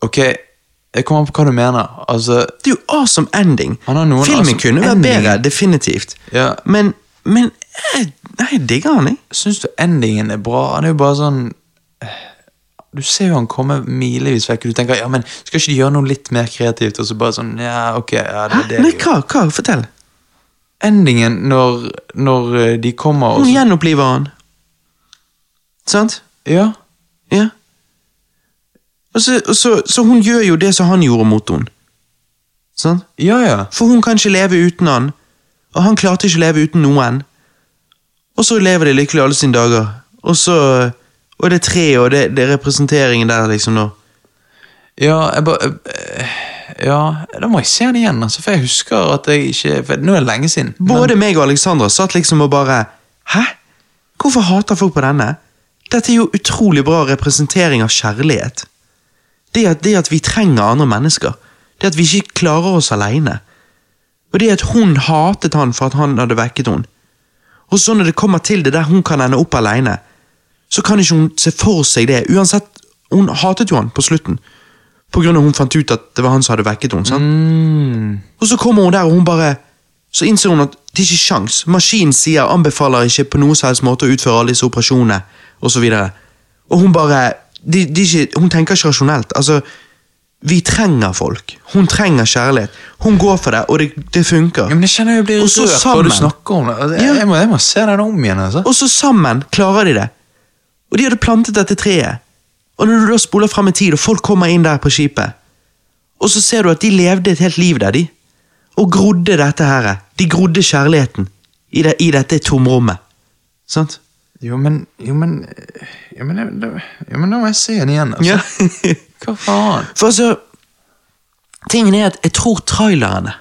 S4: Ok, jeg kommer an på hva du mener. Altså,
S3: Det er jo awesome ending.
S4: Han har noen
S3: Filmen
S4: awesome
S3: kunne vært
S4: ending.
S3: bedre, definitivt.
S4: Ja.
S3: Men, men jeg, Nei, jeg digger han, jeg.
S4: syns du endingen er bra? Han er jo bare sånn Du ser jo han komme milevis vekk, og du tenker ja, men skal ikke de gjøre noe litt mer kreativt? Og så bare sånn, ja, ok, ja, det,
S3: Hæ?
S4: er det
S3: Nei,
S4: de gjør.
S3: hva? hva? Fortell.
S4: Endingen når, når eh, de kommer og
S3: Hun
S4: så,
S3: gjenoppliver han. Sant?
S4: Ja,
S3: Ja. Og så, og så, så hun gjør jo det som han gjorde mot henne. Sant?
S4: ja, ja.
S3: For hun kan ikke leve uten han, og han klarte ikke å leve uten noen. Og så lever de lykkelig alle sine dager, og så Og det er tre, og det, det er representeringen der, liksom, nå.
S4: Ja, jeg bare eh, Ja, da må jeg se den igjen, altså, for jeg husker at jeg ikke for Nå er det lenge siden. men-
S3: Både meg og Alexandra satt liksom og bare Hæ? Hvorfor hater folk på denne? Dette er jo utrolig bra representering av kjærlighet. Det at, det at vi trenger andre mennesker. Det at vi ikke klarer oss alene. Og det at hun hatet han for at han hadde vekket henne. Og så når det kommer til det der hun kan ende opp alene, så kan ikke hun se for seg det. Uansett, hun hatet jo han på slutten. På grunn av hun fant ut at det var han som hadde vekket henne. sant?
S4: Mm.
S3: Og så kommer hun der, og hun bare Så innser hun at det er ikke sjans. Maskinen sier anbefaler ikke på noen som helst måte å utføre alle disse operasjonene, og så videre. Og hun bare de, de er ikke, Hun tenker ikke rasjonelt. Altså, vi trenger folk. Hun trenger kjærlighet. Hun går for det, og det, det funker.
S4: Ja, men Jeg kjenner jeg blir
S3: Og så
S4: rørt
S3: sammen.
S4: bare du snakker om det. Altså, Jeg,
S3: Ja.
S4: jeg, må, jeg må se den om igjen. altså.
S3: Og så sammen klarer de det. Og de hadde plantet dette treet. Og når du da spoler frem i tid, og folk kommer inn der på skipet, og så ser du at de levde et helt liv der, de. Og grodde dette her. De grodde kjærligheten i, det, i dette tomrommet. Sant?
S4: Jo, men Jo, men Jo, men, jeg- da- jo, men da må jeg se den igjen. altså. Hva faen?
S3: For altså Tingen er at jeg tror trailerne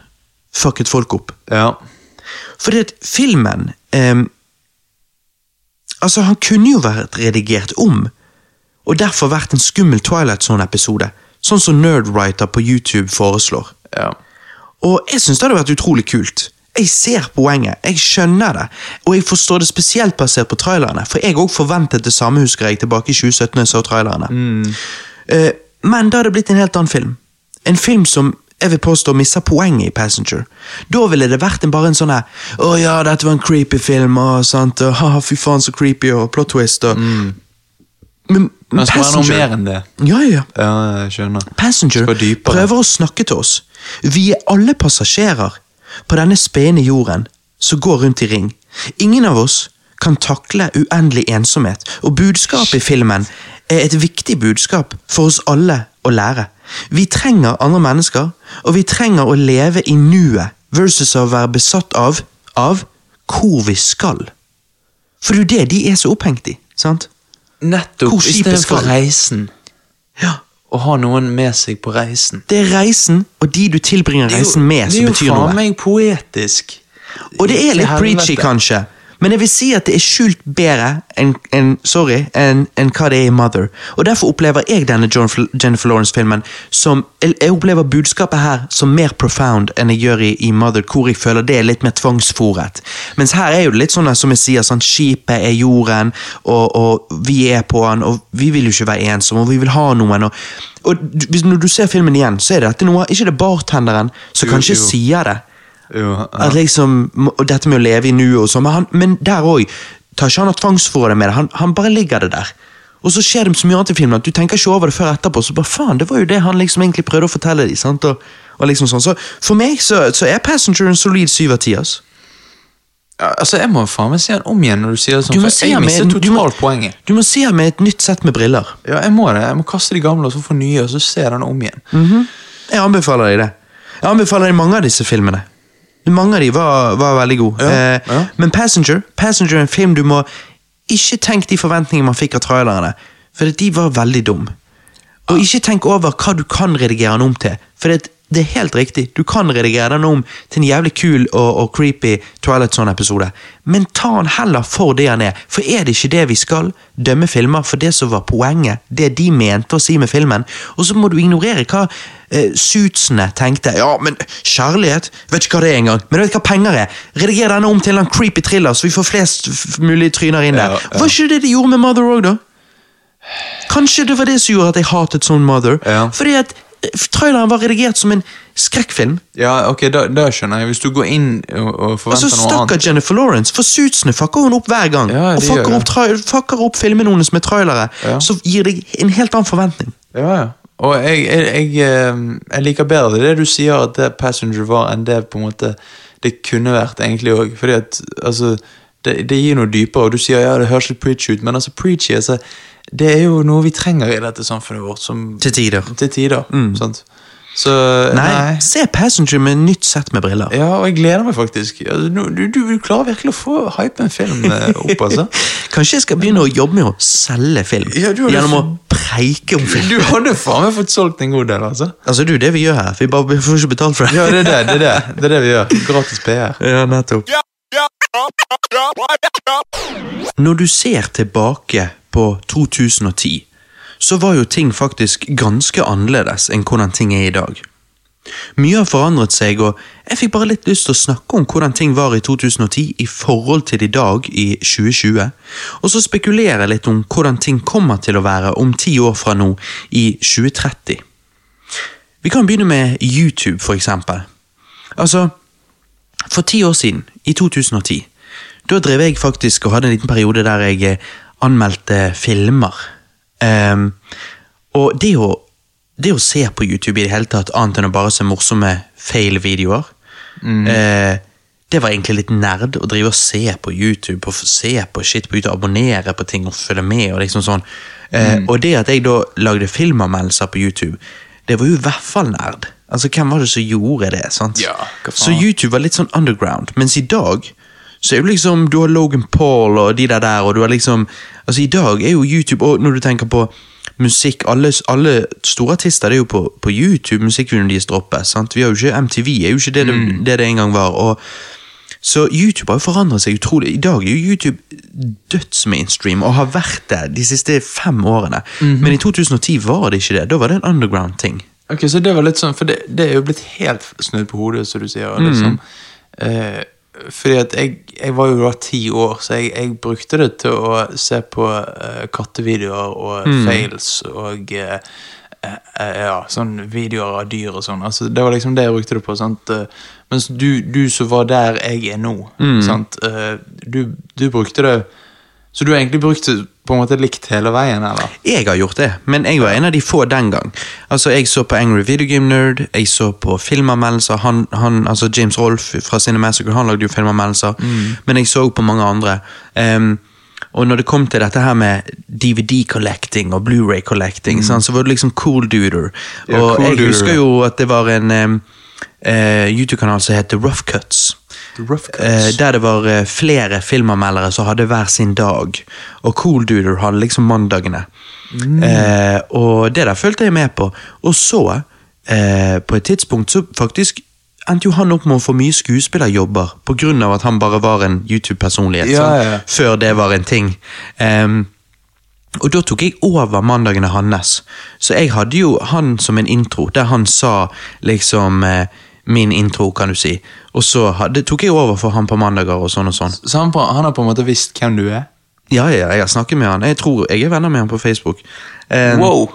S3: fucket folk opp.
S4: Ja.
S3: Fordi at filmen ehm, Altså, han kunne jo vært redigert om, og derfor vært en skummel Twilight Zone-episode, sånn som Nerdwriter på YouTube foreslår.
S4: ja.
S3: Og jeg syns det hadde vært utrolig kult. Jeg ser poenget, jeg skjønner det, og jeg forstår det spesielt basert på trailerne, for jeg òg forventet det samme, husker jeg, tilbake i 2017 da jeg så trailerne.
S4: Mm.
S3: Eh, men da hadde det blitt en helt annen film. En film som jeg vil påstå misser poenget i Passenger. Da ville det vært en bare en sånn her Å ja, dette var en creepy film, og sant, og haha, fy faen så creepy, og plot twist, og
S4: Mm.
S3: Men,
S4: Men
S3: men
S4: det skal være noe mer
S3: Passenger
S4: enn det.
S3: Ja, ja.
S4: Ja, jeg skjønner.
S3: Passenger
S4: Skal dypere.
S3: prøver å snakke til oss. Vi er alle passasjerer på denne spene jorden som går rundt i ring. Ingen av oss kan takle uendelig ensomhet, og budskapet i filmen er et viktig budskap for oss alle å lære. Vi trenger andre mennesker, og vi trenger å leve i nuet versus å være besatt av, av hvor vi skal. For det er jo det de er så opphengt i, sant?
S4: Nettopp.
S3: Hvor skipet
S4: Istedenfor
S3: skal.
S4: reisen.
S3: Ja.
S4: Å ha noen med seg på reisen.
S3: Det er reisen, og de du tilbringer reisen med, som
S4: Det er
S3: betyr
S4: jo
S3: noe.
S4: faen meg poetisk.
S3: Og det er litt
S4: Helvete.
S3: preachy, kanskje. Men jeg vil si at det er skjult bedre enn enn- sorry, enn- enn hva det er i Mother. Og Derfor opplever jeg denne John Fl- Jennifer Lawrence-filmen som Jeg jeg opplever budskapet her som mer profound enn jeg gjør i, i Mother, hvor jeg føler det er litt mer tvangsfòret. Mens her er jo det litt sånn der, som jeg sier, sånn skipet er jorden, og, og vi er på den, og vi vil jo ikke være ensomme, og vi vil ha noen. og og du- hvis, Når du ser filmen igjen, så er dette noe Ikke det er bartenderen som
S4: Jo,
S3: kanskje
S4: jo.
S3: sier det.
S4: Jo, ja.
S3: At liksom, og dette med å leve i nuet og sånn, men, han- men der òg tar ikke han noe tvangsforhold med det, han, han bare ligger det der. Og så skjer det så mye annet i filmen at du tenker ikke over det før etterpå. Så bare faen, det var jo det han liksom egentlig prøvde å fortelle dem. sant? Og, og liksom sånn. Så for meg så, så er Passenger en solid syv av ti. ass.
S4: Ja, Altså, Jeg må faen meg se den om igjen når du sier det sånn,
S3: Du må
S4: for
S3: se
S4: jeg
S3: med-
S4: mister
S3: du må-
S4: totalt poenget.
S3: Du må se med et nytt sett med briller.
S4: Ja, jeg må det. Jeg må kaste de gamle og så få nye, og så se den om igjen.
S3: Jeg anbefaler deg det. Jeg anbefaler deg mange av disse filmene. Mange av de var, var veldig gode.
S4: Ja,
S3: eh,
S4: ja.
S3: Men Passenger Passenger er en film du må ikke tenke de forventningene man fikk av trailerne, for de var veldig dumme.
S4: Ah.
S3: Og ikke tenk over hva du kan redigere den om til, for det, det er helt riktig. Du kan redigere den om til en jævlig kul og, og creepy Twilight Zone-episode, men ta den heller for det han er. For er det ikke det vi skal? Dømme filmer for det som var poenget, det de mente å si med filmen. Og så må du ignorere hva eh, suitsene tenkte. Ja, men kjærlighet? Vet ikke hva det er engang. Men du vet hva penger er? Rediger denne om til en creepy thriller, så vi får flest f- mulig tryner inn der.
S4: Ja, ja.
S3: Var ikke det de gjorde med Mother Rogue, da? Kanskje det var det som gjorde at jeg hatet Son Mother.
S4: Ja.
S3: Fordi at eh, traileren var redigert som en skrekkfilm.
S4: Ja, ok, da, da skjønner jeg. Hvis du går inn og, og
S3: Og
S4: forventer
S3: så
S4: noe annet
S3: stakkar Jennifer Lawrence, for suitsene fucker hun opp hver gang.
S4: Ja,
S3: og
S4: de gjør
S3: fucker
S4: det.
S3: opp, tra fucker opp filmene hennes med trailere,
S4: Ja.
S3: så gir det en helt annen forventning.
S4: Ja, ja. Og jeg, jeg, jeg, ehm, jeg liker bedre det du sier at det Passenger var, enn det på en måte det kunne vært egentlig òg. Fordi at altså, det, det gir noe dypere, og du sier ja, det høres litt preachy ut, men altså preachy altså, det er jo noe vi trenger i dette samfunnet vårt. Som,
S3: Til tider. Mm.
S4: Til tider, sant? Så eh,
S3: Nei,
S4: nei.
S3: se Passenger med nytt sett med briller.
S4: Ja, og jeg gleder meg faktisk. Altså, nå- Du, du, du klarer virkelig å få hype en film eh, opp, altså.
S3: Kanskje jeg skal begynne å jobbe med å selge film.
S4: Ja, du har lyst-
S3: gjennom å preike om film.
S4: Du hadde faen meg fått solgt en god del, altså.
S3: Altså, du, det vi gjør her. Vi bare får ikke betalt for det.
S4: Ja, det er det, det er det, det, er det vi gjør. Gratis PR.
S3: Ja, nettopp. Når du ser tilbake på 2010, så var jo ting faktisk ganske annerledes enn hvordan ting er i dag. Mye har forandret seg, og jeg fikk bare litt lyst til å snakke om hvordan ting var i 2010 i forhold til i dag i 2020, og så spekulere litt om hvordan ting kommer til å være om ti år fra nå i 2030. Vi kan begynne med YouTube, for eksempel. Altså, for ti år siden, i 2010, da drev jeg faktisk og hadde en liten periode der jeg eh, anmeldte filmer. Ehm, og det å, det å se på YouTube i det hele tatt, annet enn å bare se morsomme fail-videoer,
S4: Mm.
S3: eh, det var egentlig litt nerd å drive og se på YouTube, og f- se på shit på YouTube, abonnere på ting og følge med og liksom sånn. Eh,
S4: Mm.
S3: Og det at jeg da lagde filmanmeldelser på YouTube, det var jo i hvert fall nerd. Altså, hvem var det som gjorde det, sant?
S4: Ja, hva faen?
S3: Så YouTube var litt sånn underground, mens i dag så er jo liksom, du har Logan Paul og de der der, og du har liksom, altså i dag er jo YouTube, og når du tenker på musikk, alle, alle store artister det er jo på, på YouTube musikkvideoen de dropper, sant? Vi har jo ikke, MTV er jo ikke det det, det, det en gang var, og så YouTube har jo forandret seg utrolig. I dag er jo YouTube dødsmainstream, og har vært det de siste fem årene. Men i 2010 var det ikke det, da var det en underground ting.
S4: Ok, så det var litt sånn, for det, det er jo blitt helt snudd på hodet, som du sier. og Liksom. Eh, fordi at jeg, jeg var jo da ti år, så jeg, jeg brukte det til å se på eh, kattevideoer og fails og eh, eh, eh, ja, sånn videoer av dyr og sånn. Altså, det var liksom det jeg brukte det på. Sant? Eh, Mens du, du som var der jeg er nå, sant? Eh, du, du brukte det Så du har egentlig brukt det på en måte likt hele veien, eller?
S3: Jeg har gjort det, men jeg var en av de få den gang. Altså, Jeg så på Angry Video Game Nerd, jeg så på filmanmeldelser. Han, han, altså James Rolfe fra Cinemassacre han lagde jo filmanmeldelser,
S4: Mm.
S3: men jeg så på mange andre. Ehm, og når det kom til dette her med DVD-collecting og Blu-ray-collecting, sant, så var det liksom Cool Duder.
S4: Mm. Ja,
S3: og
S4: Cool
S3: jeg
S4: Duder,
S3: husker
S4: ja.
S3: jo at det var en ehm, eh, YouTube-kanal som het The Rough Cuts.
S4: Rough cuts.
S3: Eh, der det var eh, flere filmanmeldere som hadde hver sin dag. Og Cool Duder hadde liksom mandagene. Eh, og det der fulgte jeg med på. Og så, eh, på et tidspunkt, så faktisk endte jo han opp med å få mye skuespillerjobber pga. at han bare var en YouTube-personlighet.
S4: Ja,
S3: sant?
S4: ja.
S3: Før det var en ting. Ehm, og da tok jeg over mandagene hans. Så jeg hadde jo han som en intro, der han sa liksom eh, Min intro, kan du si. Og så hadde, tok jeg over for han på mandager og sånn og sånn.
S4: Så han, på- han har på en måte visst hvem du er?
S3: Ja, ja, jeg har snakket med han. Jeg tror jeg er venner med han på Facebook. Eh,
S4: Wow!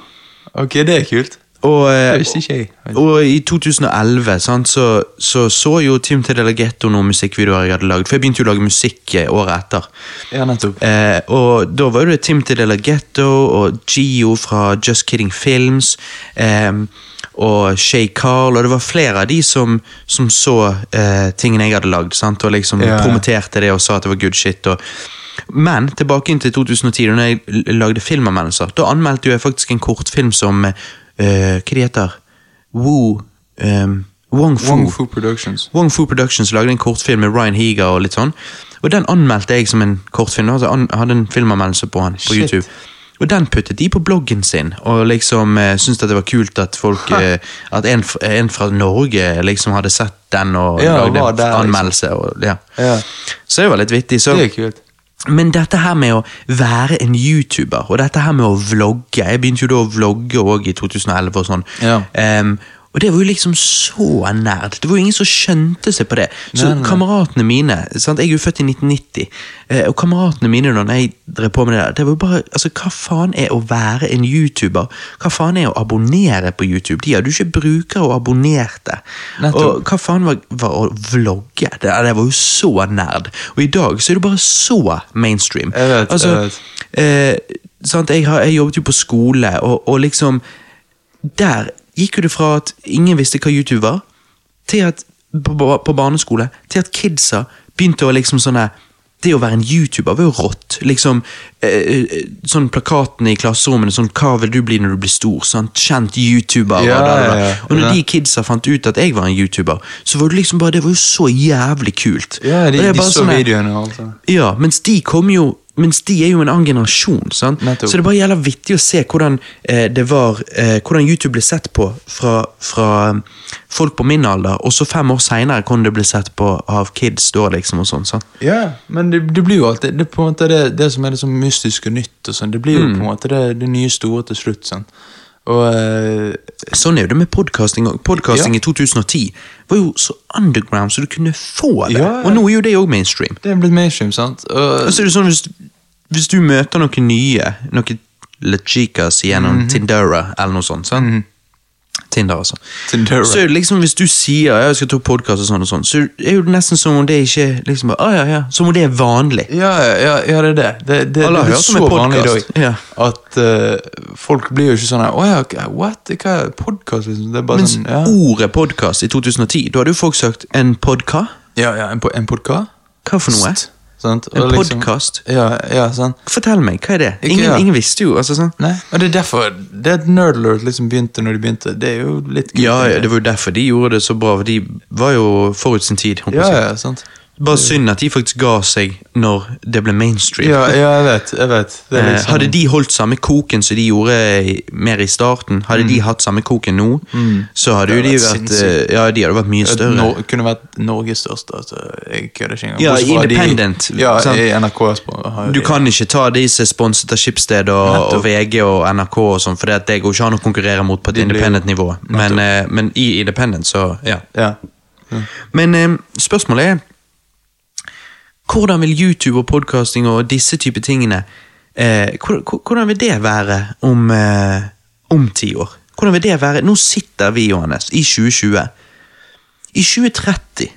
S4: Ok, det er kult.
S3: og, eh,
S4: Det visste ikke jeg.
S3: Og i 2011 sant, så, så så jo Team Tedelegetto noen musikkvideoer jeg hadde lagd. For jeg begynte jo å lage musikk eh, året etter.
S4: Ja, nettopp.
S3: Eh, og da var det Tim Tedelegetto og Gio fra Just Kidding Films. Eh, og Shay Carl, og det var flere av de som, som så eh, tingene jeg hadde lagd. Sant? Og liksom
S4: Ja, ja.
S3: promoterte det og sa at det var good shit. Og... Men tilbake inn til 2010, da jeg l- lagde filmanmeldelser. Da anmeldte jo jeg faktisk en kortfilm som eh, Hva de heter Woo eh, Wong Fu.
S4: Wong Fu Productions.
S3: Wong Fu Productions lagde en kortfilm med Ryan Higa og litt sånn. Og den anmeldte jeg som en kortfilm. Altså, an, hadde en filmanmeldelse på han på
S4: Shit.
S3: YouTube. Og den puttet de på bloggen sin, og liksom eh, syntes at det var kult at folk eh, At en, f- en fra Norge liksom hadde sett den og
S4: Ja,
S3: lagde
S4: var
S3: en
S4: der, liksom.
S3: anmeldelse. Og, ja.
S4: Ja.
S3: Så det var litt vittig. Så.
S4: Det er kult.
S3: Men dette her med å være en YouTuber, og dette her med å vlogge Jeg begynte jo da å vlogge òg i 2011 og sånn.
S4: Ja.
S3: Ehm, Og det var jo liksom så nerd. Det var jo ingen som skjønte seg på det. Så
S4: Nei, nei, nei.
S3: kameratene mine sant? Jeg er jo født i 1990, eh, og kameratene mine når jeg drev på med det der, det var jo bare altså, Hva faen er å være en YouTuber? Hva faen er å abonnere på YouTube? De hadde jo ikke brukere og abonnerte.
S2: Nettopp.
S3: Og hva faen var, var å vlogge? Det, det var jo så nerd. Og i dag så er det bare så mainstream.
S4: Jeg vet, jeg vet.
S3: Eh, sant? Jeg, har, jeg jobbet jo på skole, og, og liksom Der gikk jo det fra at ingen visste hva YouTube var, til at på, på, på barneskole, til at kidsa begynte å liksom sånne det å være en YouTuber var jo rått. Liksom, eh, eh, sånn Plakatene i klasserommene sånn 'Hva vil du bli når du blir stor?' Sant? Kjent YouTuber.
S4: Ja,
S3: og da, da, da.
S4: ja, ja.
S3: Og når
S4: Ja.
S3: de kidsa fant ut at jeg var en YouTuber, så var det liksom bare, det var jo så jævlig kult.
S4: Ja,
S3: Og
S4: de,
S3: det er
S4: de
S3: bare
S4: så
S3: sånn her-
S4: videoene og alt det.
S3: ja, mens de kom jo mens de er jo en annen generasjon, sant?
S4: Nettopp.
S3: så det er bare gjelder vittig å se hvordan eh, det var, eh, hvordan YouTube ble sett på fra, fra eh, folk på min alder, og så fem år seinere hvordan det ble sett på av kids da, liksom, og sånn. sant?
S4: Ja, men det, det blir jo alltid det, er på en måte det, det som er det så mystisk og nytt. og sånn, Det blir
S3: Mm.
S4: jo på en måte det, det nye store til slutt. sånn. Og eh,
S3: Sånn er jo det med podcasting òg. Podcasting i 2010 var jo så underground så du kunne få det,
S4: Ja, ja.
S3: og nå er jo det òg mainstream.
S4: det er blitt mainstream, sant? Og,
S3: Og så er det sånn, hvis, hvis du møter noen nye, noen lechicas gjennom
S4: Mhm.
S3: Tindera, eller noe sånt, sant? Tinder, altså.
S4: Tindera.
S3: Så er det liksom, hvis du sier ja, jeg skal ta podcast og sånn, og sånn, så er jo det nesten som om det ikke liksom bare, ah, ja, ja, som om det er vanlig.
S4: ja, ja, ja, ja, det er det. Det, Eh, det,
S3: Alle har
S4: det er
S3: hørt om
S4: så
S3: en
S4: vanlig i dag
S3: podcast. Ja.
S4: at eh, folk blir jo ikke sånn her Å ja, ok, what? Hva er podkast? Liksom? Det er bare
S3: Mens
S4: sånn ja.
S3: ordet podcast i 2010, da hadde jo folk sagt en podka?
S4: ja, ja, en, po- en podkast?
S3: Hva for noe?
S4: Sant?
S3: En
S4: Og liksom-
S3: podcast?
S4: Ja, ja, sant?
S3: Fortell meg, hva er det?
S4: Ikke,
S3: Ingen,
S4: ja.
S3: ingen visste jo, altså sånn.
S4: Nei, og det er derfor det at Nerd Alert liksom begynte når de begynte. Det er jo litt kult.
S3: Ja, ja,
S4: egentlig.
S3: det var jo derfor de gjorde det så bra, for de var jo forut sin tid. holdt på å
S4: ja,
S3: si.
S4: ja, sant?
S3: Bare synd at de faktisk ga seg når det ble mainstream.
S4: Ja, ja, jeg vet. jeg vet. Det er
S3: Eh,
S4: liksom,
S3: Hadde de holdt samme koken som de gjorde i- mer i starten, hadde de hatt samme koken nå, så hadde jo
S4: Mm. Det hadde
S3: de
S4: vært
S3: vært
S4: sinnssykt.
S3: eh, Ja, de hadde vært mye
S4: at
S3: større.
S4: Nor kunne vært Norges største. altså, Jeg kødder ikke engang.
S3: Ja,
S4: Bortsett fra de-
S3: independent,
S4: Ja,
S3: sant?
S4: i NRK spor- har
S3: du kan ikke ta de som er sponset av Schibsted og, og VG og NRK og sånn, for det, at det går ikke an å konkurrere mot på et
S4: De blir-
S3: independent-nivå. Men, eh, men i independent, så ja.
S4: Ja.
S3: Men eh, spørsmålet er Hvordan vil YouTube og podcasting og disse type tingene eh, hvor- hvor- Hvordan vil det være om, eh, om ti år? Hvordan vil det være? Nå sitter vi, Johannes, i 2020. I 2030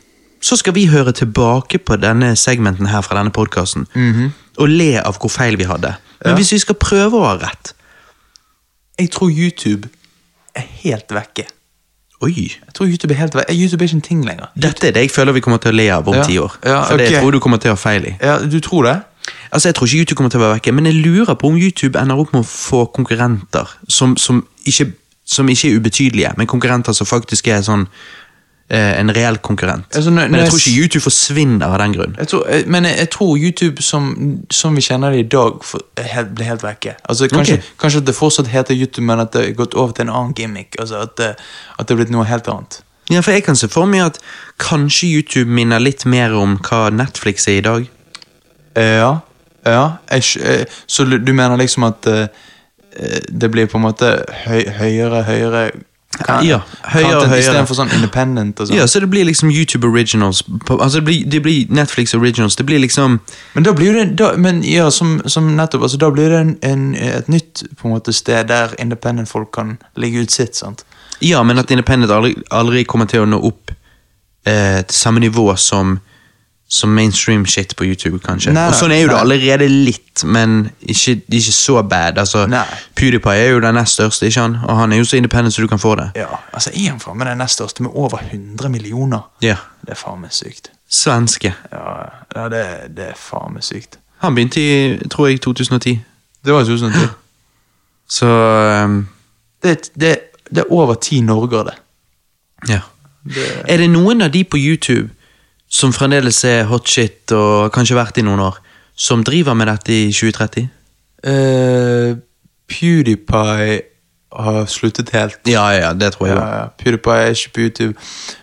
S3: så skal vi høre tilbake på denne segmenten her fra denne podkasten og le av hvor feil vi hadde. Men hvis vi skal prøve å ha rett
S4: Jeg tror YouTube er helt vekke.
S3: Oi!
S4: Jeg tror YouTube er helt vekke. YouTube er ikke en ting lenger.
S3: Dette er det jeg føler vi kommer til å le av om
S4: Ja,
S3: ti år.
S4: ja,
S3: For det
S4: ok.
S3: tror jeg du kommer til å ha feil i.
S4: Ja, Du tror det?
S3: Altså, Jeg tror ikke YouTube kommer til å være vekke, men jeg lurer på om YouTube ender opp med å få konkurrenter som, som, ikke, som ikke er ubetydelige, men konkurrenter som faktisk er sånn eh, en reell konkurrent.
S4: Altså, når-
S3: men
S4: når
S3: jeg tror
S4: jeg
S3: ikke YouTube forsvinner av den grunn.
S4: Jeg tror, eh, men jeg, jeg tror YouTube som, som vi kjenner det i dag, for- er helt- blir helt vekke. Altså, kanskje,
S3: Ok.
S4: kanskje at det fortsatt heter YouTube, men at det har gått over til en annen gimmick. Altså, at, det, at det er blitt noe helt annet.
S3: Ja, for Jeg kan se for meg at kanskje YouTube minner litt mer om hva Netflix er i dag.
S4: Eh, Ja, ja jeg, skj- eh, Så du du mener liksom at eh, eh, det blir på en måte høy, høyere, høyere kan-
S3: Ja, høyere,
S4: content,
S3: høyere.
S4: Istedenfor sånn independent og sånn.
S3: Ja, så Det blir liksom YouTube Originals. På, altså det blir, det blir Netflix Originals. Det blir liksom
S4: Men da blir jo det da, men ja, som, som nettopp, altså, da blir det en, en, et nytt på en måte, sted der independent folk kan legge ut sitt. sant?
S3: Ja, men at Independent aldri, aldri kommer til å nå opp eh, til samme nivå som, som mainstream shit på YouTube, kanskje.
S4: Nei,
S3: og sånn er jo det
S4: nei.
S3: allerede litt, men ikke, ikke så bad. Altså,
S4: Nei.
S3: PewDiePie er jo den nest største, ikke han? Og han er jo så independent som du kan få det.
S4: Ja, altså er han framme den nest største med over 100 millioner?
S3: Ja.
S4: Det er faen meg sykt.
S3: Svenske.
S4: Ja, ja det, det er faen meg sykt.
S3: Han begynte i, tror jeg, 2010.
S4: Det var 2010.
S3: Så ehm,
S4: Det, det, det er over ti Norger, det.
S3: Ja.
S4: Det-
S3: Er det noen av de på YouTube som fremdeles er hot shit og kanskje har vært i noen år, som driver med dette i 2030?
S4: Eh, PewDiePie har sluttet helt.
S3: Ja, ja, det tror jeg.
S4: Ja, ja, eh, PewDiePie er ikke på YouTube.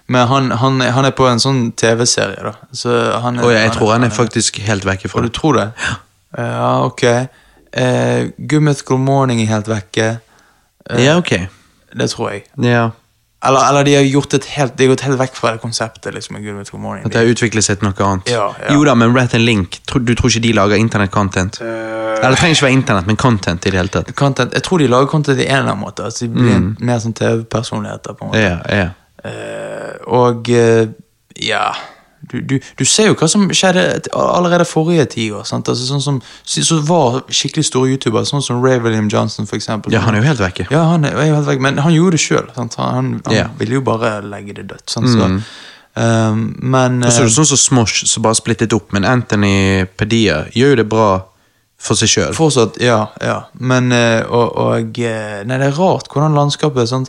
S4: Men han, han, han er på en sånn TV-serie, da. Så han er,
S3: Og jeg tror han er
S4: faktisk
S3: faktisk helt vekke fra
S4: Og du
S3: det.
S4: tror det? Ja, ok. Eh, Uh, Good Mythical Morning er helt vekke.
S3: Ja, ok.
S4: Det tror jeg.
S3: Ja.
S4: Eller, eller de har gjort et helt, de har gått helt vekk fra det konseptet. liksom, med Good Mythical Morning.
S1: At det har utviklet seg til noe annet.
S4: Ja, ja.
S1: Jo da, men Rat and Link, tro- du tror ikke de lager internett-content? Eller det trenger ikke være internett, men content i det hele tatt.
S4: Content, jeg tror de lager content i en eller annen måte. altså De blir
S3: Mm.
S4: en- mer sånn TV-personligheter. på en måte.
S1: Ja, ja.
S4: Eh, og eh, ja du, du, du ser jo hva som skjedde t- allerede forrige tiår. sant? Altså, sånn som så- så var skikkelig store youtubere, sånn som Ray William Johnson. For eksempel,
S1: ja, han er jo helt vekke.
S4: Ja, han er er jo helt vekk, men han gjorde det sjøl. Han, han
S1: Ja. Mm.
S4: ville jo bare legge det dødt. Sant? Så, eh, men
S1: Og så er
S4: eh,
S1: det sånn som Smosh, som bare er splittet opp, men Anthony Padilla gjør jo det bra for seg sjøl.
S4: Fortsatt, ja. ja. Men eh, og, og eh, Nei, det er rart hvordan landskapet sånt,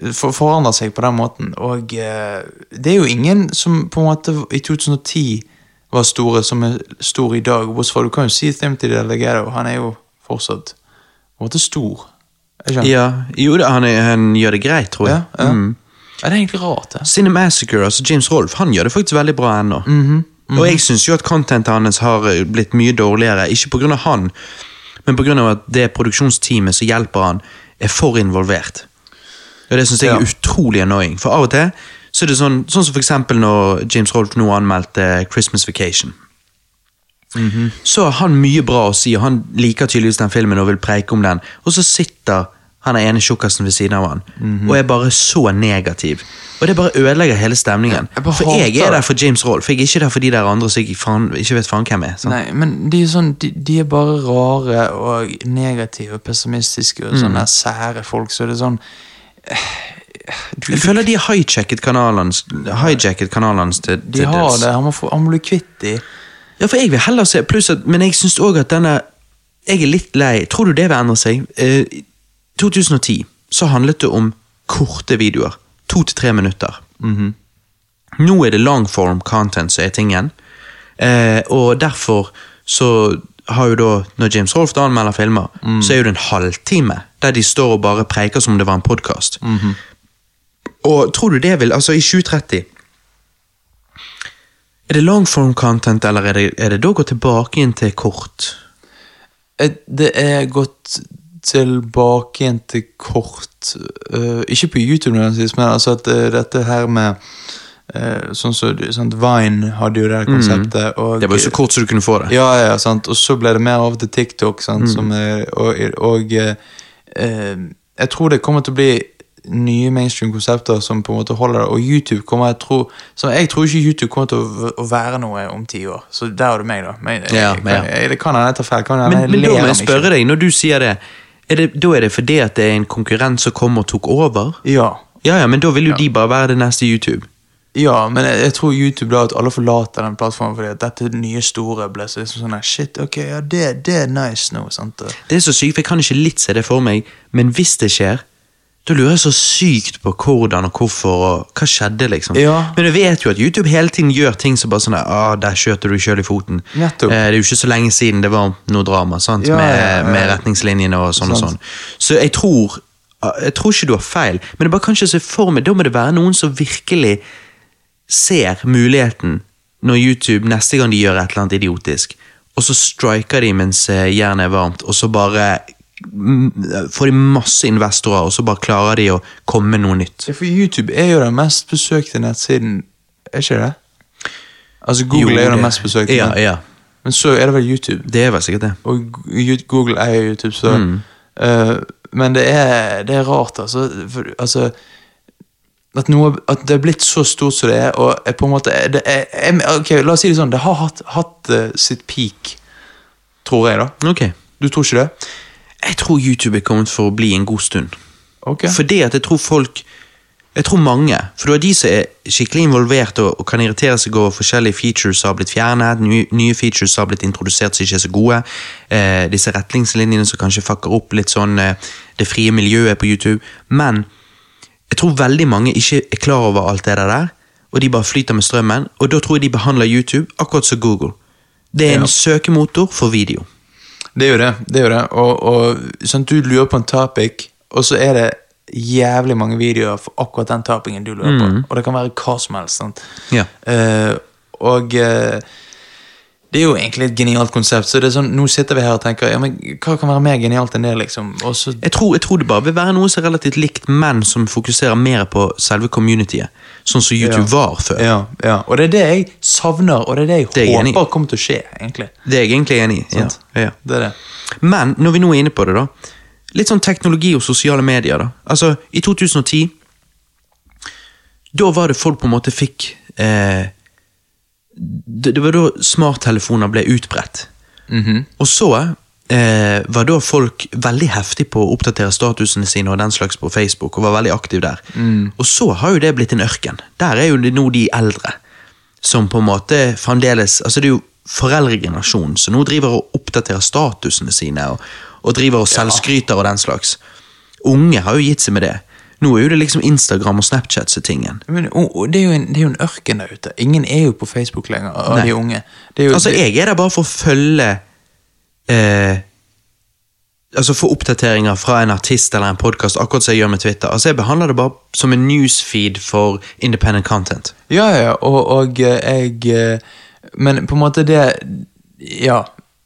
S4: eh, for, forandrer seg på den måten. Og eh, det er jo ingen som på en måte i 2010 var store, som er store i dag. Bortsett fra du kan jo si Thimpty Delegato. Han er jo fortsatt på en måte stor. Er ikke han?
S1: Ja, jo da, han, er, han gjør det greit, tror jeg.
S4: Ja, ja.
S1: Mm.
S4: Ja, det er egentlig rart, det.
S1: Cinemassacre, altså James Rolfe, han gjør det faktisk veldig bra ennå. Og
S4: Mhm.
S1: jeg syns jo at contentet hans har eh, blitt mye dårligere, ikke pga. han, men pga. at det produksjonsteamet som hjelper han, er for involvert. Og det syns jeg er
S4: Ja.
S1: utrolig annoying, for av og til så er det sånn, sånn som for eksempel når James Rolfe nå anmeldte Christmas Vacation.
S4: Mhm.
S1: Så har han mye bra å si, og han liker tydeligvis den filmen og vil preike om den. Og så sitter han er ene tjukkasen ved siden av han,
S4: Mhm.
S1: og er bare så negativ. Og det bare ødelegger hele stemningen.
S4: Jeg bare
S1: for jeg
S4: hater
S1: er
S4: det.
S1: der for James Rolfe, jeg er ikke der for de der andre som jeg faen, ikke vet faen hvem er. sant?
S4: Nei, men de er, sånn, de, de er bare rare og negative og pessimistiske og sånne
S1: Mm.
S4: sære folk, så det er sånn
S1: Jeg føler de har hijacket kanalen, hijacket kanalen til, til
S4: De har
S1: dels.
S4: det, han må, få, han må bli kvitt de.
S1: Ja, for jeg vil heller se, pluss at, men jeg syns òg at denne Jeg er litt lei. Tror du det vil endre seg? Eh, I 2010 så handlet det om korte videoer. To til tre minutter. Nå er det longform content som er tingen. Eh, og derfor så har jo da, når James Rolfe da anmelder filmer,
S4: Mm.
S1: så er jo det en halvtime der de står og bare preiker som om det var en podkast.
S4: Mhm.
S1: Og tror du det vil Altså, i 2030 er det longform content, eller er det, er det da å gå tilbake igjen til kort?
S4: Eh, Det er gått tilbake igjen til kort eh, Ikke på YouTube, nødvendigvis, men altså at eh, dette her med eh, Sånn som du- sant, Vine hadde jo det her konseptet. Og,
S1: Mm. Det var jo så kort som du kunne få det.
S4: Ja, ja, sant. Og så ble det mer over til TikTok, sant.
S1: Mm.
S4: Som, eh, og og eh, eh, jeg tror det kommer til å bli nye mainstream-konsepter som på en måte holder det. Og YouTube kommer jeg tror, så jeg tror ikke YouTube kommer til å, v- å være noe om ti år. Så der har du meg, da. Men, jeg,
S1: Ja,
S4: jeg,
S1: ja.
S4: jeg, eh, det kan hende jeg tar feil. Kan hende
S1: Men,
S4: jeg
S1: men da
S4: ler
S1: må
S4: om
S1: jeg
S4: ikke.
S1: spørre deg, når du sier det, er det da er det fordi at det er en konkurrent som kom og tok over?
S4: Ja.
S1: Ja, ja, men da vil jo de bare være det neste YouTube.
S4: Ja, men jeg, jeg tror YouTube da at alle forlater den plattformen fordi at dette nye store ble så liksom sånn her, Shit, ok, ja, det, det er nice nå, sant. Og-
S1: Det er så sykt, for jeg kan ikke litt se det for meg, men hvis det skjer, da lurer jeg så sykt på hvordan og hvorfor og hva skjedde, liksom.
S4: Ja.
S1: Men du vet jo at YouTube hele tiden gjør ting som bare sånn der, ah, der skjøter du sjøl i foten.
S4: Nettopp.
S1: Eh, det er jo ikke så lenge siden det var noe drama, sant,
S4: Ja,
S1: med,
S4: ja, ja.
S1: med retningslinjene og sånn og sånn.
S4: Sant.
S1: Så jeg tror ah, jeg tror ikke du har feil, men jeg bare kan ikke se for meg Da må det være noen som virkelig ser muligheten når YouTube neste gang de gjør et eller annet idiotisk, og så striker de mens eh, jernet er varmt, og så bare mm, får de masse investorer, og så bare klarer de å komme med noe nytt.
S4: Ja, for YouTube er jo den mest besøkte nettsiden, er ikke det? Altså Google
S1: Jo,
S4: er jo
S1: det-
S4: den mest besøkte,
S1: Ja,
S4: men-
S1: ja.
S4: men så er det vel YouTube.
S1: Det er vel sikkert det.
S4: Og Gu- Google er jo YouTube, så
S1: Mm.
S4: eh, Men det er, det er rart, altså. For, altså at, noe, at det er blitt så stort som det er, og er på en måte er det er, er, Ok, la oss si det sånn, det har hatt, hatt eh, sitt peak, tror jeg, da.
S1: Ok.
S4: Du tror ikke det?
S1: Jeg tror YouTube er kommet for å bli en god stund.
S4: Ok.
S1: Fordi at jeg tror folk Jeg tror mange. For du har de som er skikkelig involvert og, og kan irritere seg over forskjellige features som har blitt fjernet, nye, nye features som har blitt introdusert som ikke er så gode, eh, disse retningslinjene som kanskje fucker opp litt sånn eh, det frie miljøet på YouTube. Men jeg tror veldig mange ikke er klar over alt det der, og de bare flyter med strømmen. Og da tror jeg de behandler YouTube akkurat som Google. Det er en
S4: Ja.
S1: søkemotor for video.
S4: Det er jo det. det, er jo det. Og, og sånn, Du lurer på en topic, og så er det jævlig mange videoer for akkurat den topingen du
S3: Mm.
S4: lurer på. Eh, Og det kan være hva som helst. sant?
S1: Ja.
S4: Eh, og eh, Det er jo egentlig et genialt konsept. Så det er sånn, Nå sitter vi her og tenker ja, men hva kan være mer genialt enn det, liksom? Og så
S3: Jeg tror, jeg tror det bare vil være noe som er relativt likt, men som fokuserer mer på selve communityet. Sånn som YouTube
S4: Ja.
S3: var før.
S4: Ja, ja. Og det er det jeg savner, og det er det jeg
S3: Det er jeg enig i.
S4: håper kommer til å skje, egentlig.
S3: Det er jeg egentlig enig i. Ja.
S4: Sant.
S3: Ja.
S4: Det er det.
S3: Men når vi nå er inne på det, da. Litt sånn teknologi og sosiale medier. da. Altså, I 2010 Da var det folk på en måte fikk eh, det, det var da smarttelefoner ble utbredt. Og så eh, var da folk veldig heftig på å oppdatere statusene sine og den slags på Facebook, og var veldig aktiv der. Og så har jo det blitt en ørken. Der er jo det nå de eldre som på en måte fremdeles Altså, det er jo foreldregenerasjonen som nå driver og oppdaterer statusene sine, og, og driver og selvskryter og den slags. Unge har jo gitt seg med det. Nå er jo det liksom Instagram og Snapchat som er tingen.
S4: Men, og, og det, er jo en, det er jo en ørken der ute. Ingen er jo på Facebook lenger, av
S3: Nei.
S4: de unge. Det er jo,
S3: Altså,
S4: det-
S3: jeg er der bare for å følge eh, Altså få oppdateringer fra en artist eller en podkast, akkurat som jeg gjør med Twitter. Altså, Jeg behandler det bare som en newsfeed for independent content.
S4: Ja, ja, og, og eh, jeg eh, Men på en måte, det Ja.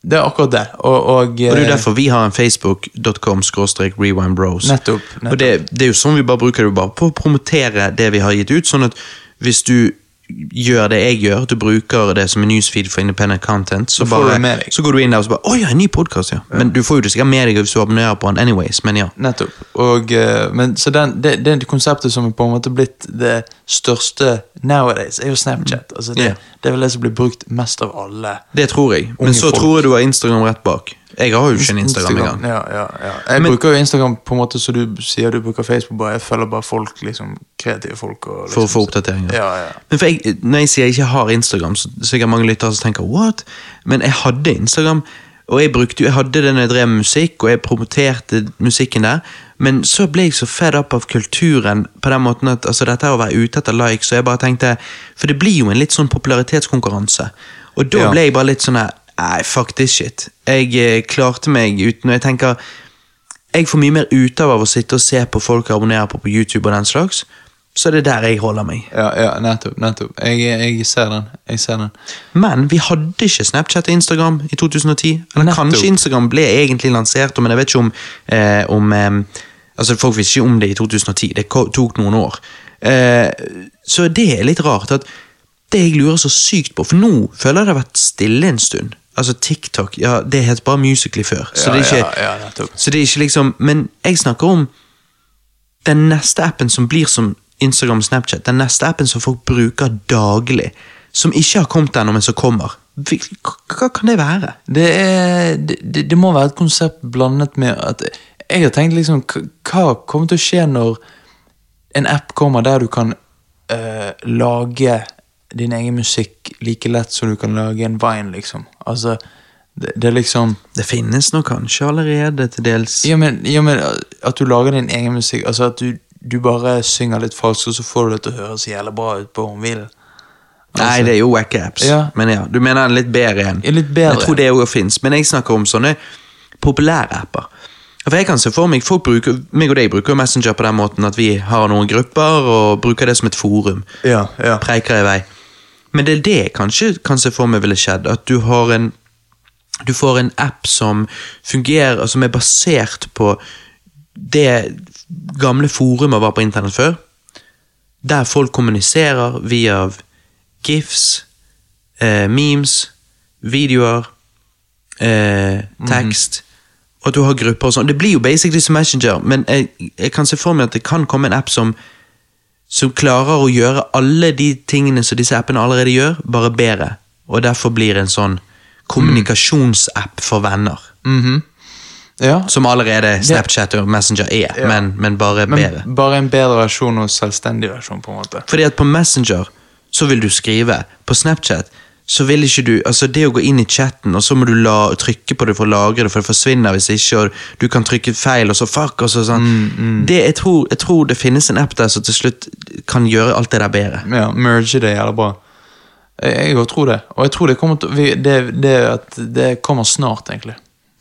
S4: Det er akkurat det. Og, eh, og,
S3: Og Det er jo derfor vi har en facebook.com skråstrek rewindbros.
S4: Nettopp, nettopp.
S3: Og det, det er jo sånn vi bare bruker det jo bare på å promotere det vi har gitt ut, sånn at hvis du gjør det jeg gjør, du bruker det som en newsfeed for independent content, så,
S4: Så får du
S3: bare,
S4: det med deg.
S3: så går du inn der og så bare Å ja, en ny podkast, ja. Men du får jo det sikkert med deg hvis du abonnerer på den anyways, men ja.
S4: Nettopp. Og, eh, men, så den, det, det er konseptet som er på en måte blitt det største nowadays, er jo Snapchat. Altså det,
S3: Mm. Ja.
S4: det er vel det som blir brukt mest av alle.
S3: Det tror jeg. Men
S4: Unge
S3: så
S4: folk.
S3: tror jeg du har Instagram rett bak. Jeg har jo ikke en Instagram engang.
S4: Ja, ja, ja. Jeg
S3: Men-
S4: bruker jo Instagram på en måte så du sier du bruker Facebook. bare Jeg følger bare folk, liksom kreative folk. Og, liksom,
S3: For å få oppdateringer.
S4: Ja, ja.
S3: Men for jeg, når jeg sier jeg ikke har Instagram, så så er det mange lyttere som tenker what? Men jeg hadde Instagram, og jeg brukte jo, jeg hadde det når jeg drev med musikk, og jeg promoterte musikken der, men så ble jeg så fed up av kulturen på den måten at altså, dette her å være ute etter likes, og jeg bare tenkte, for det blir jo en litt sånn popularitetskonkurranse. Og da
S4: Ja.
S3: ble jeg bare litt sånn her, nei, fuck this shit. Jeg eh, klarte meg uten, og jeg tenker, jeg får mye mer ut av å sitte og se på folk jeg abonnerer på på YouTube og den slags, så det er der jeg holder meg.
S4: ja, ja nettopp. nettopp. Jeg, jeg ser den. Jeg ser den.
S3: Men vi hadde ikke Snapchat og Instagram i 2010. Eller
S4: Nettopp.
S3: kanskje Instagram ble egentlig lansert, men jeg vet ikke om, eh, om eh, Altså, folk visste ikke om det i 2010. Det ko- tok noen år. Eh, så det er litt rart at det jeg lurer så sykt på For nå føler jeg det har vært stille en stund. Altså TikTok, ja, det het bare Musically før. Så,
S4: Ja,
S3: det er ikke,
S4: ja, ja, nettopp.
S3: så det er ikke liksom Men jeg snakker om den neste appen som blir som Instagram og Snapchat, den neste appen som folk bruker daglig, som ikke har kommet ennå, men som kommer, Vi- hva hva kan det være?
S4: Det, er, det, det, det må være et konsept blandet med at Jeg har tenkt liksom k- Hva kommer til å skje når en app kommer der du kan eh, lage din egen musikk like lett som du kan lage en vine, liksom? Altså, det, det er liksom
S3: Det finnes nå kanskje allerede til dels.
S4: ja men, ja, men at du lager din egen musikk Altså at du, du bare synger litt falskt, og så får du det til å høres jævlig bra ut på mobilen.
S3: Nei, det er jo wack apps,
S4: Ja.
S3: men ja, du mener en litt bedre en.
S4: Ja, litt bedre.
S3: Jeg tror det òg fins, men jeg snakker om sånne populære apper. For jeg kan se for meg, folk bruker, meg og deg bruker jo Messenger på den måten at vi har noen grupper og bruker det som et forum.
S4: Ja, ja.
S3: preiker i vei. Men det er det jeg kanskje kan se for meg ville skjedd, at du har en du får en app som fungerer, som er basert på det gamle forumet var på internett før, der folk kommuniserer via gifs, eh, memes, videoer, eh, tekst, og at du har grupper og sånn. Det blir jo basically som Messenger, men jeg, jeg kan se for meg at det kan komme en app som som klarer å gjøre alle de tingene som disse appene allerede gjør, bare bedre. Og derfor blir en sånn kommunikasjonsapp for venner.
S4: ja.
S3: Som allerede Snapchat og Messenger er, men, men bare bedre.
S4: Men bare en bedre versjon og selvstendig versjon, på en måte.
S3: Fordi at på Messenger så vil du skrive, på Snapchat så vil ikke du, altså det å gå inn i chatten, og så må du la, trykke på det for å lagre det, for det forsvinner hvis ikke, og du kan trykke feil, og så fuck, og så sånn.
S4: Mm,
S3: Det, jeg, tror, jeg tror det finnes en app der som til slutt kan gjøre alt det der bedre.
S4: ja, merge det jævla bra. Jeg, jeg også tror det. Og jeg tror det kommer, til, vi, det, det, at det kommer snart, egentlig.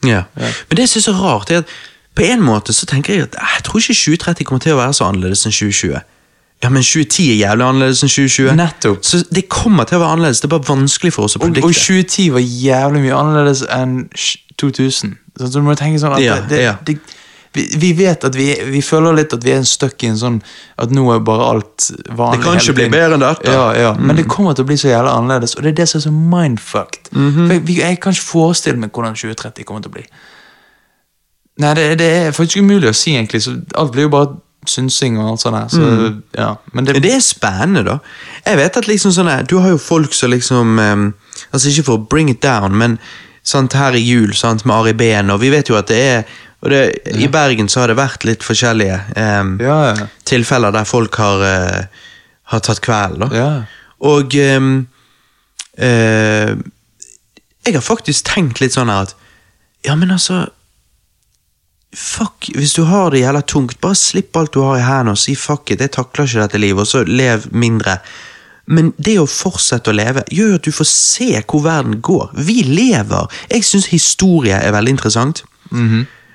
S3: Ja. Men det jeg synes er rart, er at på en måte så tenker jeg at eh, jeg tror ikke 2030 kommer til å være så annerledes enn 2020. Ja, men 2010 er jævlig annerledes enn 2020.
S4: Nettopp.
S3: Så det kommer til å være annerledes. Det er bare vanskelig for oss å
S4: Og, og
S3: predikte.
S4: 2010 var jævlig mye annerledes enn sj- 2000. Så du må tenke sånn at
S3: Ja,
S4: det,
S3: ja.
S4: det, vi, vi vet at vi, vi føler litt at vi er en støkk i en sånn At nå er bare alt vanlig.
S3: Det kan ikke
S4: hele
S3: bli
S4: tiden.
S3: bedre enn dette. Mm.
S4: Ja, ja. Men det kommer til å bli så jævlig annerledes, og det er det som er så mindfucked.
S3: Mhm.
S4: For jeg, vi- jeg kan ikke forestille meg hvordan 2030 kommer til å bli. Nei, det, det er faktisk umulig å si, egentlig. Så alt blir jo bare synsing og alt sånt. her, Så, ja. Men det,
S3: Men det Mm. er spennende, da. Jeg vet at liksom sånn her, Du har jo folk som liksom ehm, Altså Ikke for å bring it down, men sant, her i jul sant, med Ari Behn, og vi vet jo at det er og det, I Bergen så har det vært litt forskjellige ehm,
S4: Ja, ja.
S3: tilfeller der folk har, eh, har tatt kvelden. da.
S4: Ja.
S3: Og ehm, eh, Jeg har faktisk tenkt litt sånn her at Ja, men altså Fuck, hvis du har det jævla tungt, bare slipp alt du har i hendene og si fuck it, jeg takler ikke dette livet, og så lev mindre. Men det å fortsette å leve gjør jo at du får se hvor verden går. Vi lever. Jeg syns historie er veldig interessant.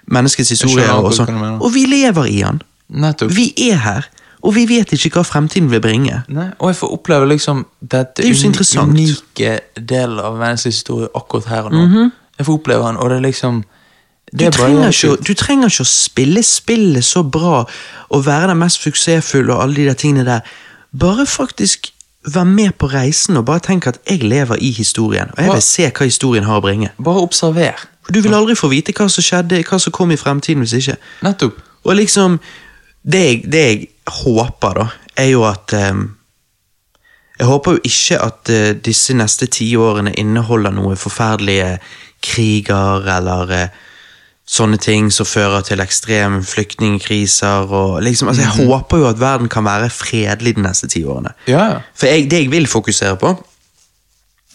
S3: Menneskets
S4: Mhm.
S3: historie
S4: skjønner
S3: og
S4: akkurat hva du
S3: sånn.
S4: mener.
S3: Og vi lever i den.
S4: nettopp.
S3: Vi er her, og vi vet ikke hva fremtiden vil bringe.
S4: Nei, og jeg får oppleve liksom dette
S3: er jo så
S4: uni-
S3: interessant.
S4: unike delen av menneskets historie akkurat her og nå. Jeg får oppleve den, og det er liksom det
S3: Mhm. Du
S4: er bare
S3: trenger,
S4: helt
S3: ikke, å-
S4: sjukt.
S3: du trenger ikke å spille spillet så bra og være den mest suksessfulle og alle de der tingene der. Bare faktisk være med på reisen og bare tenke at jeg lever i historien, og jeg vil se hva historien har å bringe.
S4: Bare observer.
S3: For du vil aldri få vite hva som skjedde, hva som kom i fremtiden hvis ikke.
S4: Nettopp.
S3: Og liksom Det jeg, det jeg håper, da, er jo at ehm, Jeg håper jo ikke at eh, disse neste ti årene inneholder noe forferdelige kriger eller eh, sånne ting som fører til ekstreme flyktningkriser og liksom Altså,
S4: Mhm.
S3: jeg håper jo at verden kan være fredelig de neste ti årene.
S4: Ja, ja.
S3: For jeg, det jeg vil fokusere på,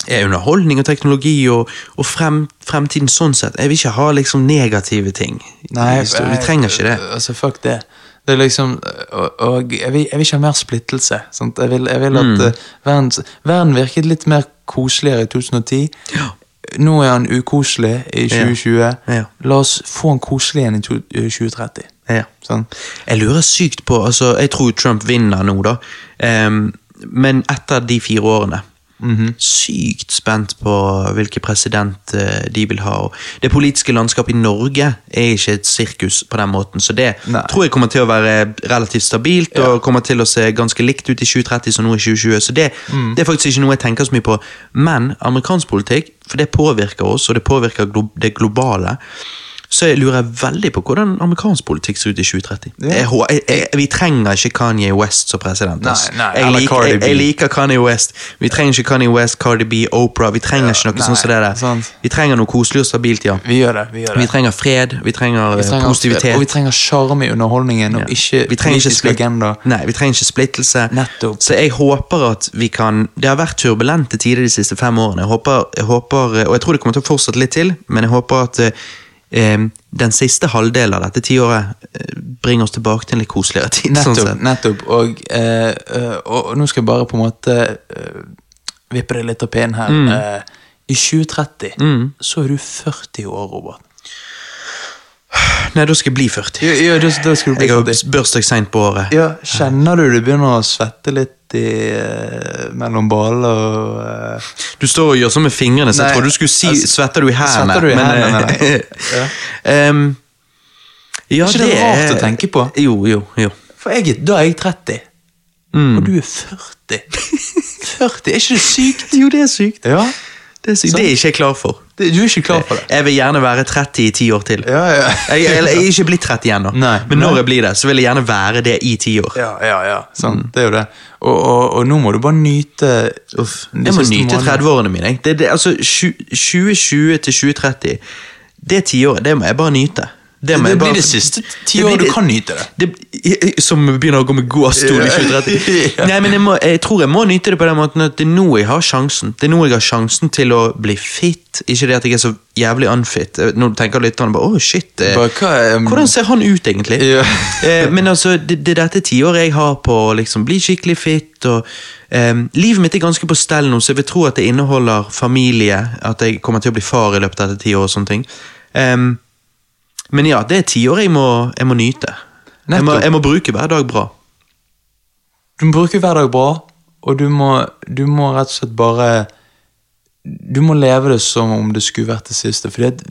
S3: er underholdning og teknologi og, og frem, fremtiden sånn sett. Jeg vil ikke ha liksom negative ting.
S4: Nei,
S3: Vi står-
S4: jeg-
S3: Vi trenger ikke det.
S4: Altså, fuck det. Det er liksom Og, og jeg, vil, jeg vil ikke ha mer splittelse. Sant? Jeg vil, jeg vil
S3: Mm.
S4: at eh, verden, verden virket litt mer koseligere i 2010. Nå er han ukoselig i 2020.
S3: Ja.
S4: La oss få han koselig igjen i to, eh, 2030.
S3: Ja.
S4: Sånn.
S3: Jeg lurer sykt på altså, Jeg tror Trump vinner nå, da. Ehm, men etter de fire årene. Sykt spent på hvilken president eh, de vil ha. Og det politiske landskapet i Norge er ikke et sirkus på den måten, så det
S4: Nei.
S3: tror jeg kommer til å være relativt stabilt og kommer til å se ganske likt ut i 2030 som nå i 2020. Så det, det er faktisk ikke noe jeg tenker så mye på. Men amerikansk politikk, for det påvirker oss, og det påvirker glo det globale. Så jeg lurer veldig på hvordan amerikansk politikk ser ut i 2030. Jeg, hå- jeg, jeg, vi trenger ikke Kanye West som president. ass.
S4: Nei, nei,
S3: jeg,
S4: eller
S3: liker,
S4: Cardi
S3: jeg,
S4: B.
S3: jeg liker Kanye West. Vi trenger ikke Kanye West, Cardi B, Oprah. Vi trenger ikke noe
S4: nei,
S3: sånt som det der.
S4: sant.
S3: Vi trenger noe koselig og stabilt, ja.
S4: Vi gjør det. Vi gjør det.
S3: Vi trenger fred, vi trenger,
S4: Vi trenger-
S3: eh, positivitet.
S4: Og vi trenger sjarm i underholdningen, og
S3: Ja.
S4: ikke
S3: vi trenger ikke
S4: politiske
S3: splitt-
S4: agenda.
S3: Nei, vi trenger ikke splittelse.
S4: Nettopp.
S3: Så jeg håper at vi kan Det har vært turbulente tider de siste fem årene. Jeg håper, jeg håper Og jeg tror det kommer til å fortsette litt til, men jeg håper at eh, em, den siste halvdelen av dette tiåret eh, bringer oss tilbake til en litt koseligere tid.
S4: Nettopp.
S3: sånn sett.
S4: nettopp. Og, eh, eh, og, og nå skal jeg bare på en måte eh, vippe det litt av pinnen her.
S3: Mm.
S4: Eh, I 2030 så er du 40 år, Robert.
S3: Nei, da skal jeg bli 40.
S4: Ja, ja, da, da skal du bli
S3: Jeg har
S4: 40.
S3: bursdag seint på året.
S4: Ja, kjenner du du begynner å svette litt i, eh, mellom baller og eh,
S3: Du står og gjør sånn med fingrene, så jeg
S4: Nei,
S3: tror du skulle si
S4: altså,
S3: 'svetter du i hendene'?
S4: svetter du i
S3: men,
S4: hendene, nei.
S3: eh, em, ja,
S4: Ikke det rart å tenke på?
S3: Jo, jo, jo.
S4: For jeg, er- da er jeg 30, og du er 40. 40, Er ikke det sykt?
S3: Jo, det er sykt.
S4: Ja,
S3: Det er, sykt. Det er ikke jeg klar for.
S4: det, Du er ikke klar for det?
S3: Jeg vil gjerne være 30 i ti år til.
S4: Ja, ja.
S3: Jeg, jeg, jeg er ikke blitt 30 ennå,
S4: Nei.
S3: men når
S4: Nei.
S3: jeg blir det, så vil jeg gjerne være det i ti år.
S4: Ja, ja, ja. Sånn, Det er jo det. Og, og, og nå må du bare nyte Uff,
S3: Jeg må nyte 30-årene mine. jeg. Det, det, altså, tju- 2020 til 2030, det tiåret, det må jeg bare nyte. Det, må
S4: Det
S3: jeg
S4: blir
S3: bare-
S4: det siste
S3: Det blir
S4: tiåret du
S3: det-
S4: kan nyte det.
S3: det, som begynner å gå med gåstol i 2030.
S4: Ja.
S3: Nei, men jeg, må, jeg tror jeg må nyte det på den måten at det er nå jeg har sjansen. Det er nå jeg har sjansen til å bli fit. Ikke det at jeg er så jævlig unfit. Eh, Nå tenker lytterne bare 'å, shit'. eh,
S4: Bare, hva, em,
S3: Hvordan ser han ut, egentlig?
S4: Ja.
S3: Eh, men altså, det, det er dette tiåret jeg har på å liksom, bli skikkelig fit. Og, em, livet mitt er ganske på stell nå, så jeg vil tro at det inneholder familie. At jeg kommer til å bli far i løpet av dette tiåret og sånne ting. Em, men ja, det er tiår jeg må, jeg må nyte. Jeg må,
S4: Nettopp.
S3: jeg må bruke hver dag bra.
S4: Du Du må bruke hver dag bra, og du må, du må rett og slett bare Du må leve det som om det skulle vært det siste. Fordi at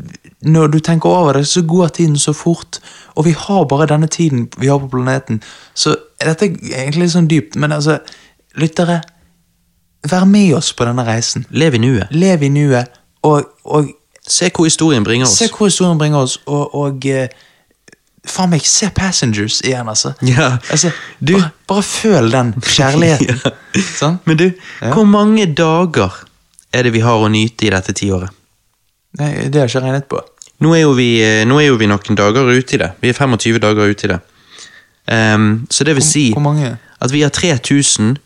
S4: når du tenker over det, så går tiden så fort. Og vi har bare denne tiden vi har på planeten. Så dette er egentlig litt sånn dypt, men altså, lyttere Vær med oss på denne reisen.
S3: Lev i nuet.
S4: Lev i nuet, og, og
S3: Se hvor historien bringer oss.
S4: se hvor historien bringer oss. Og, og eh, faen meg, se Passengers igjen, altså.
S3: Ja,
S4: altså
S3: du-
S4: bare, bare føl den kjærligheten. Sånn?
S3: Men du, hvor mange dager er det vi har å nyte i dette tiåret?
S4: Nei, det har jeg ikke regnet på.
S3: Nå er, jo vi, eh, nå er jo vi noen dager ute i det. Vi er 25 dager ute i det. Ehm, så det vil si
S4: Hvor mange?
S3: at vi har 3620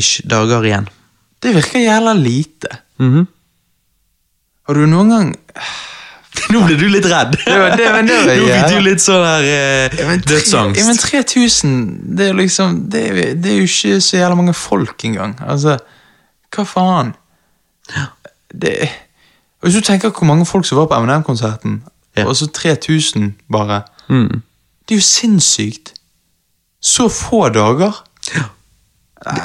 S3: ish dager igjen.
S4: Det virker jævla lite.
S3: Mhm.
S4: Har du noen gang
S3: Nå ble du litt redd!
S4: var- det- men det var
S3: Nå fikk
S4: jævla-
S3: du litt sånn her eh,
S4: Ja, men
S3: dødsangst.
S4: 3000 Det er jo liksom det er, det er jo ikke så jævla mange folk engang. Altså, hva faen? Det Hvis du tenker hvor mange folk som var på MNM-konserten,
S3: Ja.
S4: og så 3000 bare
S3: Mm.
S4: Det er jo sinnssykt. Så få dager.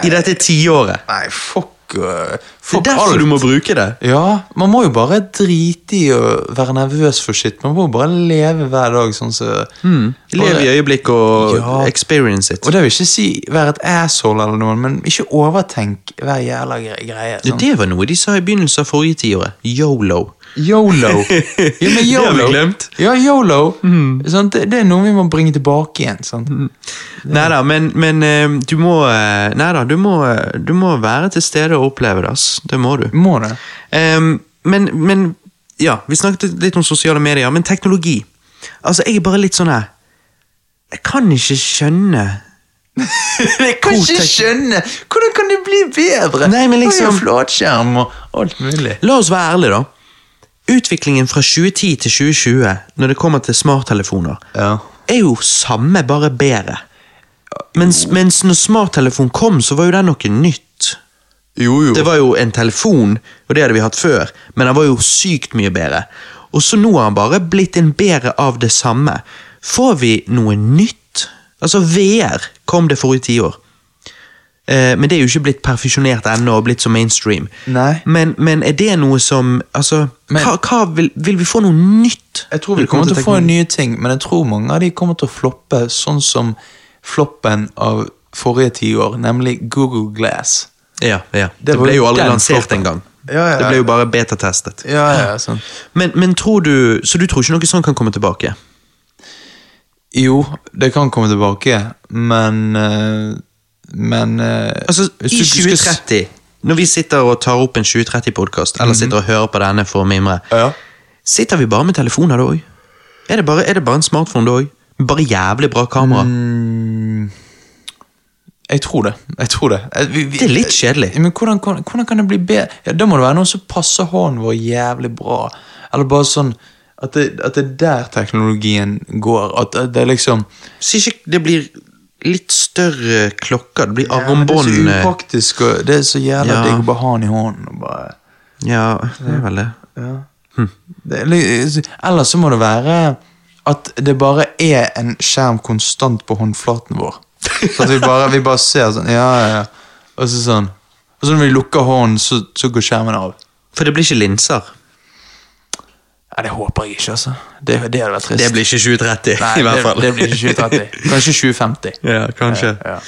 S3: I dette tiåret.
S4: Nei, fuck øh,
S3: Det er
S4: Fuck
S3: derfor
S4: alt.
S3: du må bruke det.
S4: Ja, man må jo bare drite i å være nervøs for shit. Man må jo bare leve hver dag sånn som
S3: Mm. Lev i øyeblikket og
S4: Ja.
S3: experience it.
S4: Og det vil ikke si være et asshole eller noe, men ikke overtenk hver jævla gre- greie.
S3: Ja,
S4: Sånn.
S3: det var noe de sa i begynnelsen av forrige tiåret. Yolo.
S4: Yolo. Ja, men
S3: Det har vi
S4: YOLO.
S3: glemt.
S4: Ja, YOLO.
S3: Hmm.
S4: Sånn, det, det er noe vi må bringe tilbake igjen. Sånn.
S3: Nei da, men, men eh, du må eh, Neida, du må, eh, du må være til stede og oppleve det, ass. Det må du.
S4: Må det.
S3: Ehm, men, men Ja, vi snakket litt om sosiale medier, men teknologi. Altså, jeg er bare litt sånn her Jeg kan ikke skjønne
S4: Jeg kan
S3: ikke
S4: skjønne! Hvordan kan det bli bedre? Nei, men
S3: Det er jo
S4: liksom... Flatskjerm og alt mulig.
S3: La oss være ærlige, da. Utviklingen fra 2010 til 2020 når det kommer til smarttelefoner,
S4: Ja.
S3: er jo samme, bare bedre. Mens, mens når smarttelefon kom, så var jo den noe nytt.
S4: Jo, jo.
S3: Det var jo en telefon, og det hadde vi hatt før, men den var jo sykt mye bedre. Og så nå har han bare blitt en bedre av det samme. Får vi noe nytt? Altså, VR kom det forrige tiår. Eh, men det er jo ikke blitt perfeksjonert ennå og blitt så mainstream.
S4: Nei.
S3: Men, men er det noe som Altså,
S4: Men-
S3: hva, hva vil, vil vi få noe nytt?
S4: Jeg tror vi
S3: Når det kommer
S4: kommer til å få
S3: teknologi?
S4: nye ting, men jeg tror mange av de kommer til å floppe, sånn som floppen av forrige tiår, nemlig Google Glass.
S3: Ja, ja. Det,
S4: Det var
S3: ble
S4: jo
S3: jo aldri
S4: den
S3: lansert
S4: floppen.
S3: engang.
S4: Ja, ja.
S3: Det ble jo bare betatestet.
S4: Ja, ja, sånn.
S3: Men, men tror du Så du tror ikke noe sånt kan komme tilbake?
S4: Jo, det kan komme tilbake, men eh, Men eh,
S3: Altså,
S4: hvis
S3: i
S4: du skal-
S3: 2030 Når vi sitter og tar opp en 2030-podkast, eller sitter og hører på denne for å mimre,
S4: Mhm. Ja.
S3: sitter vi bare med telefoner da òg? Er, det bare- er det bare en smartphone da òg? Bare jævlig bra kamera?
S4: Jeg tror det. jeg tror Det Eh, vi- vi-
S3: Det er litt kjedelig.
S4: Ja, Men hvordan, kan- hvordan kan det bli bedre? Ja, Da må det være noen som passer hånden vår jævlig bra. Eller bare sånn at det, at det er der teknologien går. At det, det er liksom
S3: Så ikke det blir litt større klokker, det blir
S4: Ja, men
S3: armbånd
S4: Det er så
S3: eh,
S4: upraktisk, og det er så jævla
S3: Ja.
S4: digg å bare ha den i hånden. Og bare,
S3: Ja, det er vel det.
S4: det, er litt- eller så må det være at det bare er en skjerm konstant på håndflaten vår. Så at vi bare, vi bare ser sånn, ja, ja, ja. Og så sånn. Og så når vi lukker hånden, så, så går skjermen av.
S3: For det blir ikke linser.
S4: Ja, det håper jeg ikke, altså. Det, det hadde vært trist.
S3: Det blir ikke 2030,
S4: Nei,
S3: i hvert
S4: det-
S3: fall.
S4: Det blir ikke 2030. Kanskje 2050.
S3: Ja, kanskje.
S4: Ja, ja.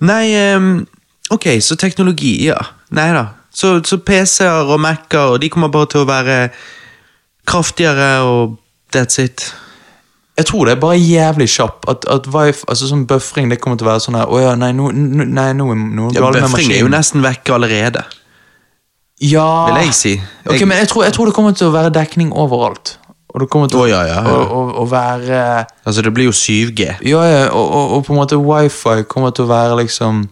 S3: Nei, ehm, ok, så teknologi, ja. Nei da. Så, så PC-er og Mac-er, og de kommer bare til å være kraftigere, og that's it.
S4: Jeg tror det er bare jævlig kjapp at, at wifi, altså sånn buffering det kommer til å være sånn her Å ja, nei, nå nå- nei, nå er noe
S3: Ja,
S4: galt med
S3: Bøfring er jo
S4: maskinen.
S3: nesten vekk allerede,
S4: Ja
S3: vil jeg si.
S4: Ok,
S3: Jeg-
S4: men jeg tror, jeg tror det kommer til å være dekning overalt. Og det kommer til
S3: Å, ja, ja, ja.
S4: Å, å, å være
S3: Altså, det blir jo 7G.
S4: Ja, ja, og, og, og på en måte wifi kommer til å være liksom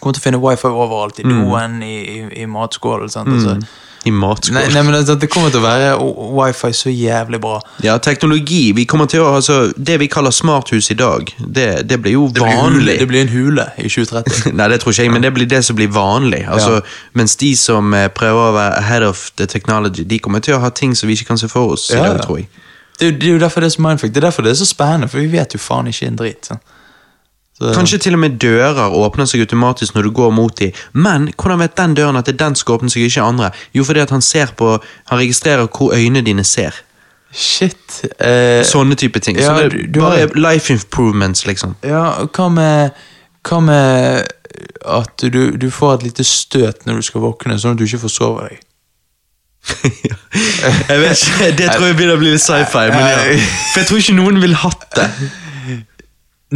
S4: Kommer til å finne wifi overalt. I doen, i, i, i matskålen. sant, Altså.
S3: Mm. I
S4: Nei,
S3: matskål.
S4: nei, men altså, det, det kommer til å være o- wifi så jævlig bra.
S3: Ja, teknologi. Vi kommer til å, altså, det vi kaller smarthus i dag, det, det blir jo vanlig.
S4: Det blir en hule i 2030.
S3: Nei, det tror ikke jeg, men det blir det som blir vanlig. Altså, Mens de som eh, prøver å være ahead of the technology, de kommer til å ha ting som vi ikke kan se for oss i
S4: Ja,
S3: dag,
S4: ja.
S3: tror jeg.
S4: Det, er jo- det er jo derfor det er så mindfuck. Det er derfor det er så spennende, for vi vet jo faen ikke en drit. sant? Så-
S1: Kanskje til og med dører åpner seg automatisk når du går mot dem. Men hvordan vet den døren at det er den som skal åpne seg, ikke andre? Jo, fordi at han ser på Han registrerer hvor øynene dine ser.
S4: Shit. Eh,
S1: Sånne type ting.
S4: ja,
S1: Sånne,
S4: du- du har-
S1: bare life improvements, liksom.
S4: Ja, og hva med Hva med at du, du får et lite støt når du skal våkne, sånn at du ikke får sove deg?
S1: Jeg vet ikke, Det tror jeg begynner å bli litt sci-fi. Men ja.
S4: Eh,
S1: For jeg tror ikke noen vil hatt det.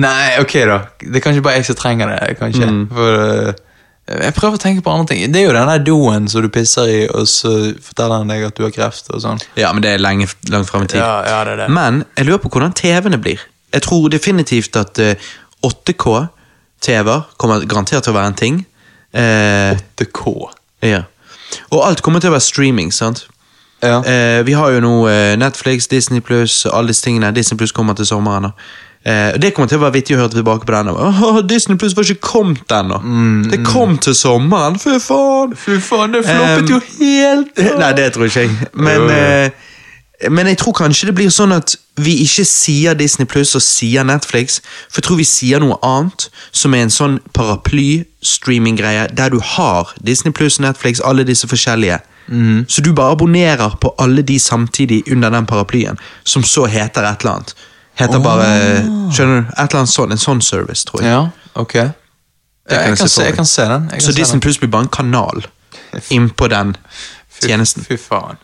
S4: Nei, ok da. Det er kanskje bare jeg som trenger det. kanskje.
S1: Mm.
S4: For, eh, jeg prøver å tenke på andre ting. Det er jo den der doen som du pisser i, og så forteller han deg at du har kreft og sånn.
S1: Ja, men det er lenge, langt frem i tid.
S4: Ja, ja, det er det.
S1: Men jeg lurer på hvordan TV-ene blir. Jeg tror definitivt at eh, 8K-TV-er kommer garantert til å være en ting. Eh,
S4: 8K.
S1: ja. Og alt kommer til å være streaming, sant?
S4: Ja.
S1: Eh, vi har jo nå eh, Netflix, Disney Pluss, alle disse tingene. Disney Pluss kommer til sommeren. da. Eh, det kommer til å være vittig å høre tilbake på den. Åh, Disney Pluss var ikke kommet ennå! det kom til sommeren! Mm. Fy faen!
S4: Fy faen, det
S1: floppet jo
S4: helt!
S1: eh, Nei, det tror ikke jeg. Men,
S4: Jo, jo.
S1: eh, men jeg tror kanskje det blir sånn at vi ikke sier Disney Pluss og sier Netflix, for jeg tror vi sier noe annet, som er en sånn paraply-streaming-greie, der du har Disney Pluss, Netflix, alle disse forskjellige.
S4: Mhm.
S1: Så du bare abonnerer på alle de samtidig under den paraplyen, som så heter et eller annet. Heter bare Skjønner du? Et eller annet sånn, En sånn service, tror jeg.
S4: Ja, ok. Ja,
S1: kan jeg se
S4: jeg, kan
S1: for
S4: se, jeg
S1: meg.
S4: kan se den. Jeg
S1: så
S4: kan se
S1: Disney
S4: den.
S1: Pluss blir bare en kanal innpå den
S4: Fy-
S1: tjenesten.
S4: Fy faen.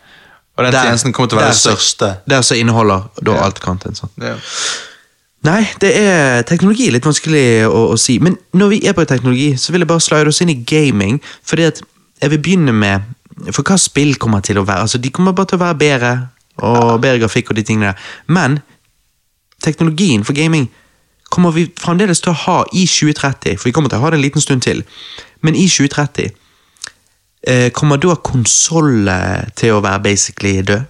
S4: Og den
S1: Der-
S4: tjenesten kommer til å være
S1: der
S4: den
S1: så-
S4: største.
S1: Der som inneholder da alt content. Sånn.
S4: Ja.
S1: Nei, det er teknologi er litt vanskelig å, å si. Men når vi er på teknologi, så vil jeg bare slide oss inn i gaming. Fordi at jeg vil begynne med For hva spill kommer til å være? Altså, De kommer bare til å være bedre, og bedre grafikk og de tingene der. Men teknologien for gaming kommer vi fremdeles til å ha i 2030, for vi kommer til å ha det en liten stund til. Men i 2030 eh, kommer da konsollet til å være basically død?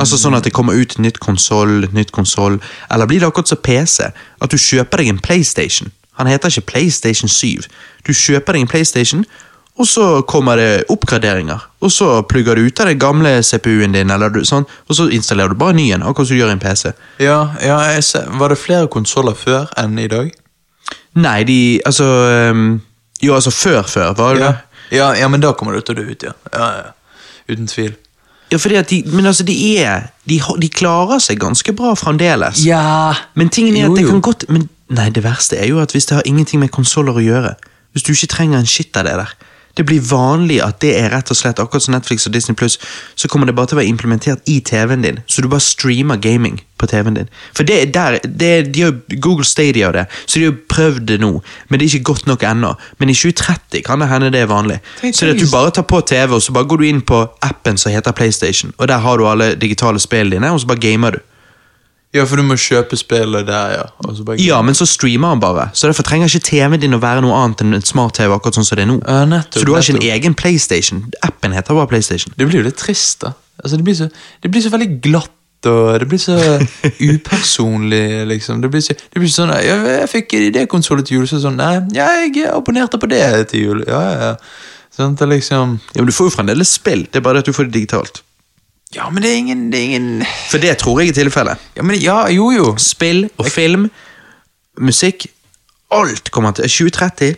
S1: Altså sånn at det kommer ut nytt konsoll, nytt konsoll. Eller blir det akkurat som PC? At du kjøper deg en PlayStation. Han heter ikke PlayStation 7. Du kjøper deg en PlayStation, og så kommer det oppgraderinger. Og så plugger du ut av den gamle CPU-en din, eller du, sånn, og så installerer du bare ny en. Akkurat som du gjør i en PC.
S4: Ja, ja jeg ser. Var det flere konsoller før enn i dag?
S1: Nei, de Altså øhm, Jo, altså før, før, var det
S4: Ja.
S1: det?
S4: Ja, ja, men da kommer det til å dø ut, ja. ja, ja. Uten tvil.
S1: Ja, fordi at de, men altså, de er de, har- de klarer seg ganske bra fremdeles.
S4: Ja.
S1: Men tingen er at
S4: Jo,
S1: det
S4: jo.
S1: kan godt men, Nei, det verste er jo at hvis det har ingenting med konsoller å gjøre Hvis du ikke trenger en shit av det der Det blir vanlig at det er rett og slett Akkurat som Netflix og Disney Plus Så kommer det bare til å være implementert i TV-en din Så du bare streamer gaming på TV-en din For det er der det er, De har jo Google Stadia og det Så de har jo prøvd det nå Men det er ikke godt nok ennå Men i 2030 kan det hende det er vanlig
S3: Tenk-
S1: Så det at du
S3: tenk-
S1: bare tar på TV Og så bare går du inn på appen som heter Playstation Og der har du alle digitale spillene dine Og så bare gamer du
S4: Ja, for du må kjøpe spillet der, ja. Og så bare...
S1: ja, men så streamer han bare. Så derfor trenger ikke TV-en din å være noe annet enn en smart-TV. akkurat sånn som det er nå.
S4: Ja, nettopp,
S1: så du har ikke en e-
S4: nettopp.
S1: egen PlayStation. Appen heter bare PlayStation.
S4: Det blir jo litt trist, da. Altså, det blir så, det blir så veldig glatt. Og det blir så upersonlig, liksom. Det blir, så, det blir sånn Jeg, jeg fikk det konsollet til jul, så sånn Nei, jeg abonnerte på det til jul. Ja, ja, ja. Sånn at det liksom
S1: Ja, men Du får jo fremdeles spill, det er bare det at du får det digitalt.
S4: Ja, men det er ingen, det er ingen
S1: For det tror jeg er tilfellet.
S4: Ja, men ja, jo, jo.
S1: Spill og film, musikk Alt kommer til 2030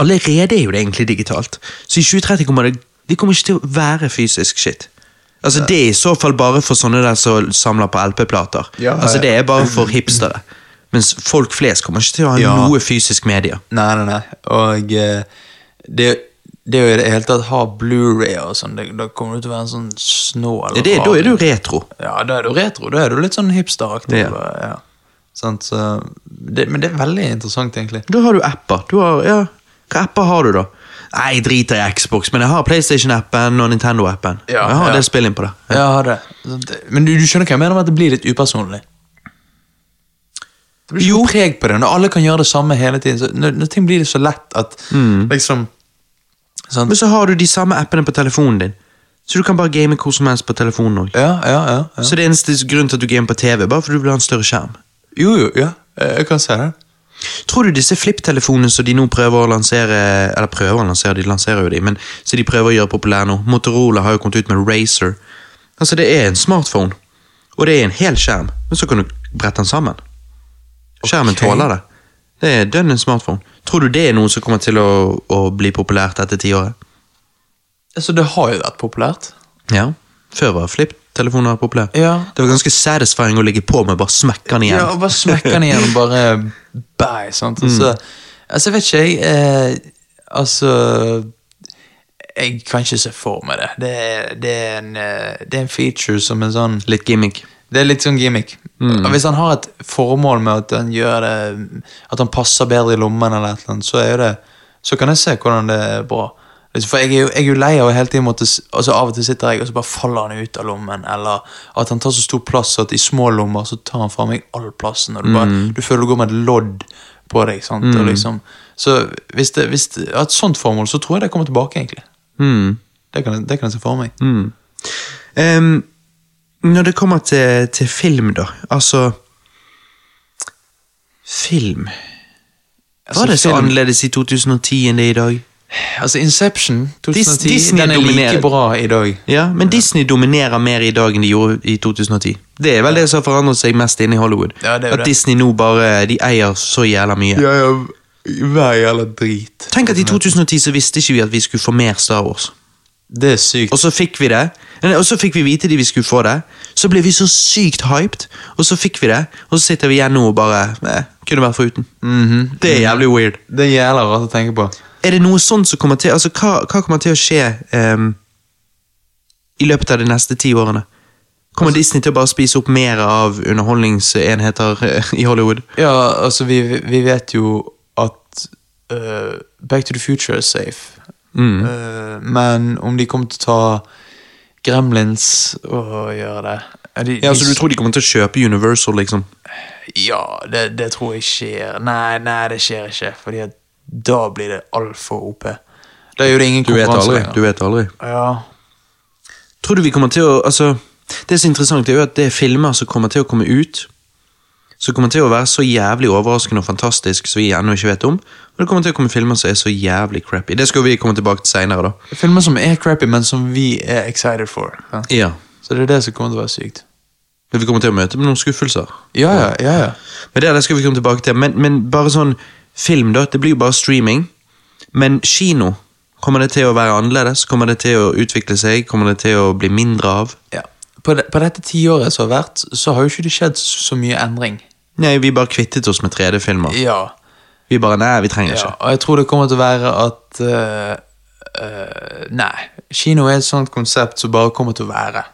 S1: Allerede er jo det egentlig digitalt. Så i 2030 kommer det Det kommer ikke til å være fysisk shit. Altså Det er i så fall bare for sånne der som samler på LP-plater.
S4: Ja,
S1: altså
S4: ja.
S1: Det er bare for hipstere. Mens folk flest kommer ikke til å ha
S4: Ja.
S1: noe fysisk media.
S4: Nei, nei, nei. Og eh, det, det å i det hele tatt ha Blu-ray og sånn, det- da kommer du til å være en sånn snål.
S1: Det, da er du retro.
S4: Ja, da er du retro. Da er du litt sånn hipsteraktig.
S1: Ja.
S4: bare, Ja. Sant, så det, men det er veldig interessant, egentlig.
S1: Da har du apper. Du har, ja. Hva apper har du, da? Nei, jeg driter i Xbox, men jeg har PlayStation-appen og Nintendo-appen.
S4: Ja,
S1: jeg har
S4: ja.
S1: en del spill innpå det.
S4: Ja, ha det. Sant, det- Men du, du skjønner hva jeg mener med at det blir litt upersonlig? Det blir ikke noe preg på det. Når alle kan gjøre det samme hele tiden, så når, når ting blir det så lett at
S1: Mm.
S4: liksom sant?
S1: Men så har du de samme appene på telefonen din. Så du kan bare game hvor som helst på telefonen òg.
S4: Ja, ja, ja. ja.
S1: Så det eneste grunnen til at du gamer på TV, er bare fordi du vil ha en større skjerm.
S4: Jo, jo, ja. Eh, Jeg kan se det.
S1: Tror du disse flip-telefonene som de nå prøver å lansere Eller prøver å lansere, de lanserer jo de, men så de prøver å gjøre populære nå Motorola har jo kommet ut med Razer.
S3: Altså, det er en smartphone, og det er en hel skjerm, men så kan du brette den sammen. Skjermen
S4: Ok.
S3: tåler det. Det er dønn en smartphone. Tror du det er noe som kommer til å, å bli populært etter tiåret?
S4: Altså, det har jo vært populært.
S3: Ja. Før var flipptelefoner populære.
S4: Ja.
S3: Det var ganske satisfying å ligge på med bare smekke den igjen.
S4: Ja, og bare smekke den igjen og bare bæ, sant. Og så, altså, vet ikke jeg eh, Altså Jeg kan ikke se for meg det. Det er, det er, en, eh, det er en feature som en sånn
S3: Litt gimmick.
S4: Det er litt sånn gimmick. Og Hvis han har et formål med at han gjør det At han passer bedre i lommen, eller et eller annet, så er jo det Så kan jeg se hvordan det er bra. Liksom, For jeg er jo, jeg er jo lei av å hele tiden måtte s- Altså Av og til sitter jeg og så bare faller han ut av lommen, eller at han tar så stor plass at i små lommer så tar han fra meg all plassen, og du, bare, du føler du går med et lodd på deg. sant? Og liksom, så hvis det, hvis det har et sånt formål, så tror jeg det kommer tilbake, egentlig.
S1: hmm.
S3: Mm.
S4: Det kan, jeg- det kan jeg se for meg.
S3: Ehm, når det kommer til, til film, da. Altså Film Var
S4: Altså,
S3: det så
S4: film-
S3: annerledes i 2010 enn det er i dag?
S4: Altså Inception 2010
S3: Disney
S4: Den er
S3: dominerer.
S4: like bra i dag
S3: Ja, Men Disney dominerer mer i dag enn de gjorde i 2010. Det er vel det som har forandret seg mest inne i Hollywood.
S4: Ja, det er jo
S3: At
S4: det.
S3: Disney nå bare de eier så jævla mye.
S4: ja, hver jævla drit
S3: Tenk at i 2010 så visste ikke vi at vi skulle få mer Star Wars.
S4: Det er sykt
S3: Og så fikk vi det. Nei, Og så fikk vi vite de vi skulle få det. Så ble vi så sykt hyped, og så fikk vi det. Og så sitter vi igjen nå og bare eh, Kunne vært foruten. Det er jævlig weird.
S4: Det er jævla rart å tenke på
S3: Er det noe sånt som kommer til Altså, hva, hva kommer til å skje ehm, i løpet av de neste ti årene? Kommer
S4: Altså-
S3: Disney til å bare spise opp mer av underholdningsenheter eh, i Hollywood?
S4: Ja, altså vi, vi vet jo at øh, Back to the Future er safe
S3: Mm.
S4: Øh, Men om de kommer til å ta Gremlins og gjøre det er de,
S3: Ja,
S4: de-
S3: Så du tror de kommer til å kjøpe Universal, liksom?
S4: Ja, det, det tror jeg skjer Nei, nei, det skjer ikke Fordi at da blir det alt for OP Da gjør det ingen konkurranse lenger.
S3: vet aldri.
S4: Ja,
S3: Tror du vi kommer til å altså, Det som er interessant, er jo at det er filmer som kommer til å komme ut. Som kommer til å være så jævlig overraskende og fantastisk som vi ennå ikke vet om. Og det kommer til å komme filmer som er så jævlig crappy. Det skal vi komme tilbake til seinere, da.
S4: Filmer som er crappy, men som vi er excited for. Ja.
S3: Ja.
S4: Så det er det som kommer til å være sykt.
S3: Men vi kommer til å møte med noen skuffelser.
S4: Ja, ja, ja, ja.
S3: Men det, det skal vi komme tilbake til. Men, men bare sånn film, da. Det blir jo bare streaming. Men kino, kommer det til å være annerledes? Kommer det til å utvikle seg? Kommer det til å bli mindre av?
S4: ja. På, de, på dette tiåret som har vært, så har jo ikke det skjedd så, så mye endring.
S3: Nei, vi bare kvittet oss med 3D-filmer.
S4: Ja,
S3: Vi bare Nei, vi trenger
S4: ja.
S3: ikke.
S4: Og jeg tror det kommer til å være at eh, eh, Nei. Kino er et sånt konsept som bare kommer til å være.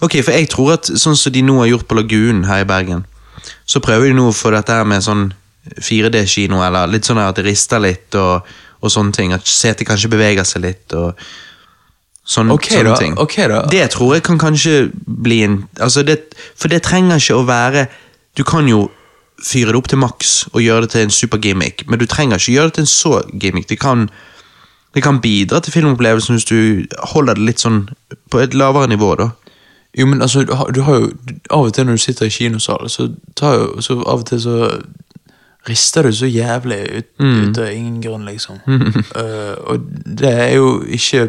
S3: Ok, for jeg tror at sånn som de nå har gjort på Lagunen her i Bergen, så prøver de nå å få dette her med sånn 4D-kino, eller litt sånn her at det rister litt og, og sånne ting. At setet kanskje beveger seg litt og sånne,
S4: Ok
S3: sånne
S4: da,
S3: ting.
S4: ok da.
S3: Det tror jeg kan kanskje bli en altså det, For det trenger ikke å være Du kan jo fyre det opp til maks og gjøre det til en super gimmick, men du trenger ikke gjøre det til en så gimmick. Det kan, det kan bidra til filmopplevelsen hvis du holder det litt sånn på et lavere nivå, da.
S4: Jo, men altså, du har, du har jo Av og til når du sitter i kinosalen, så tar jo så Av og til så rister du så jævlig ut,
S3: Mm.
S4: ut av ingen grunn, liksom. Eh, og det er jo ikke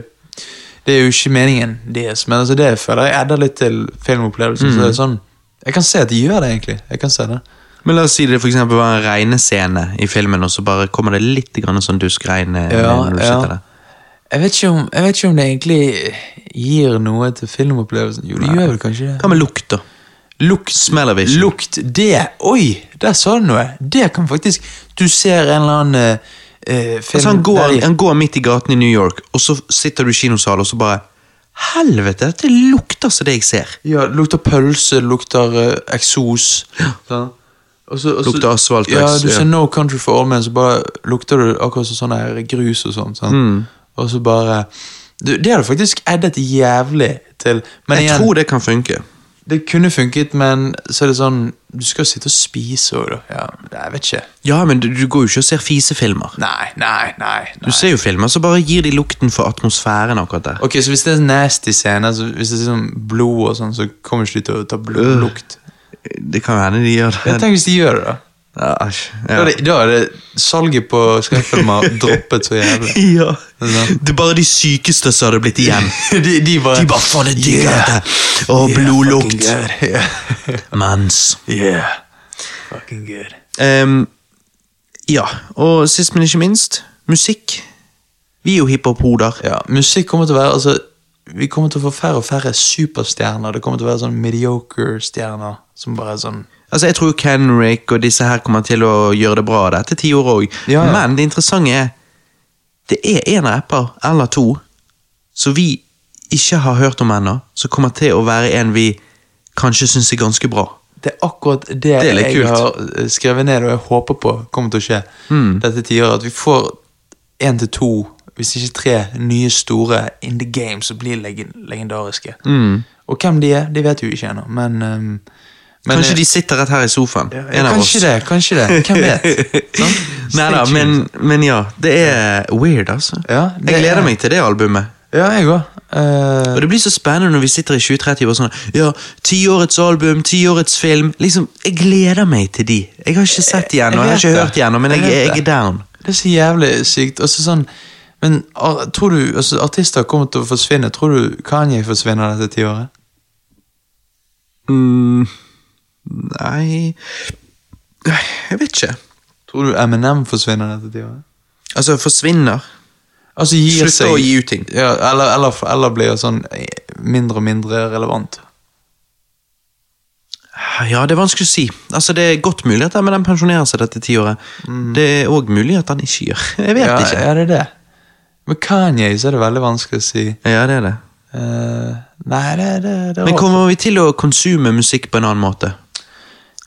S4: Det er jo ikke meningen deres, men altså det føler jeg adder litt til filmopplevelsen.
S3: Mm.
S4: Så det er sånn Jeg kan se at de gjør det, egentlig. Jeg kan se det.
S3: Men la oss si det for eksempel var en regnescene i filmen, og så bare kommer det litt grann sånn duskregn eh,
S4: Ja,
S3: når du
S4: ja.
S3: sitter der.
S4: Jeg vet, ikke om, jeg vet ikke om det egentlig gir noe til filmopplevelsen. Jo, det gjør vel kanskje det.
S3: Hva med lukt, da? Lukt smeller vi ikke.
S4: Lukt, det Oi, der sa du noe! Det kan faktisk Du ser en eller annen eh, eh, film
S3: Altså, han, går,
S4: der de-
S3: han går midt i gaten i New York, og så sitter du i kinosalen, og så bare Helvete, det lukter som det jeg ser.
S4: Ja, det lukter pølse, det lukter eh, eksos. Sånn. Og så- og så-
S3: Lukter asfalt og
S4: Ja,
S3: eks-
S4: du ser
S3: ja.
S4: No Country for All Men, så bare lukter du akkurat som sånn her grus og sånn. sant?
S3: Mm.
S4: Og så bare du, Det hadde faktisk addet jævlig til. Men
S3: Jeg
S4: igjen,
S3: tror det kan funke.
S4: det kunne funket, men så er det sånn Du skal jo sitte og spise òg, da. Ja, nei, jeg vet ikke.
S3: Ja, men du, du går jo ikke og ser fisefilmer.
S4: Nei, nei, nei.
S3: Du
S4: nei.
S3: ser jo filmer, så bare gir de lukten for atmosfæren akkurat der.
S4: Ok, Så hvis det er nasty scene, altså hvis det er sånn blod og sånn, så kommer ikke de til å ta blodlukt?
S3: Øh. Det kan jo hende de gjør det.
S4: Tenk hvis de gjør det, da.
S3: Ja, æsj.
S4: Da
S3: Ja.
S4: hadde, da hadde salget på skrekkfilmer droppet så jævlig.
S3: ja. Det er bare de sykeste som hadde blitt igjen.
S4: De, de bare
S3: De bare faen, jeg digger
S4: Yeah.
S3: dette! Og blodlukt. Mens.
S4: Yeah. Fucking good.
S3: Ehm, ja, og sist, men ikke minst, musikk. Vi er jo hiphop-hoder.
S4: Ja, musikk kommer til å være altså, Vi kommer til å få færre og færre superstjerner. Det kommer til å være sånn mediocre stjerner som bare er sånn
S3: Altså, jeg tror Kenrick og disse her kommer til å gjøre det bra det etter ti år òg,
S4: Ja, ja.
S3: men det interessante er Det er en rapper eller to som vi ikke har hørt om ennå, som kommer til å være en vi kanskje syns er ganske bra.
S4: Det er akkurat det,
S3: er litt
S4: jeg
S3: kult.
S4: har eh, skrevet ned og jeg håper på kommer til å skje
S3: Hmm.
S4: dette tiåret. At vi får én til to, hvis ikke tre, nye store in the game som blir legen- legendariske.
S3: Hmm.
S4: Og hvem de er, det vet vi jo ikke ennå, men, ehm, men
S3: kanskje de sitter rett her i sofaen.
S4: ja,
S3: en av
S4: Kanskje
S3: oss.
S4: det, kanskje det. Hvem vet? Sånn?
S3: Nei da,
S4: Stay tuned.
S3: men, men ja. Det er weird, altså.
S4: Ja, det
S3: jeg gleder
S4: er-
S3: meg til det albumet.
S4: Ja, jeg Eh, òg.
S3: Og det blir så spennende når vi sitter i 2030 og bare sånn Ja, tiårets album, tiårets film. Liksom, Jeg gleder meg til de. Jeg har ikke sett de ennå, jeg har
S4: vet
S3: ikke
S4: det.
S3: hørt de ennå, men
S4: Jeg
S3: jeg,
S4: vet
S3: jeg er
S4: det.
S3: down.
S4: Det er så jævlig sykt. Altså sånn, men ar- tror du altså, artister kommer til å forsvinne? Tror du Kanye forsvinner dette tiåret?
S3: Mm. Nei Jeg vet ikke.
S4: Tror du Eminem forsvinner dette tiåret?
S3: Altså, forsvinner.
S4: Altså gir
S3: Slutter
S4: seg
S3: å gi ut ting.
S4: Ja, eller, eller, eller blir sånn eh, mindre og mindre relevant.
S3: Ja, det er vanskelig å si. Altså, Det er godt mulig at han- men han pensjonerer seg dette tiåret.
S4: Mm.
S3: Det er òg mulig at han ikke gjør. Jeg vet
S4: ja,
S3: ikke.
S4: Ja, det er det. Med Kanye så er det veldig vanskelig å si.
S3: Ja, det er det.
S4: Eh, nei, det, det, det er
S3: Men
S4: rart.
S3: kommer vi til å konsume musikk på en annen måte?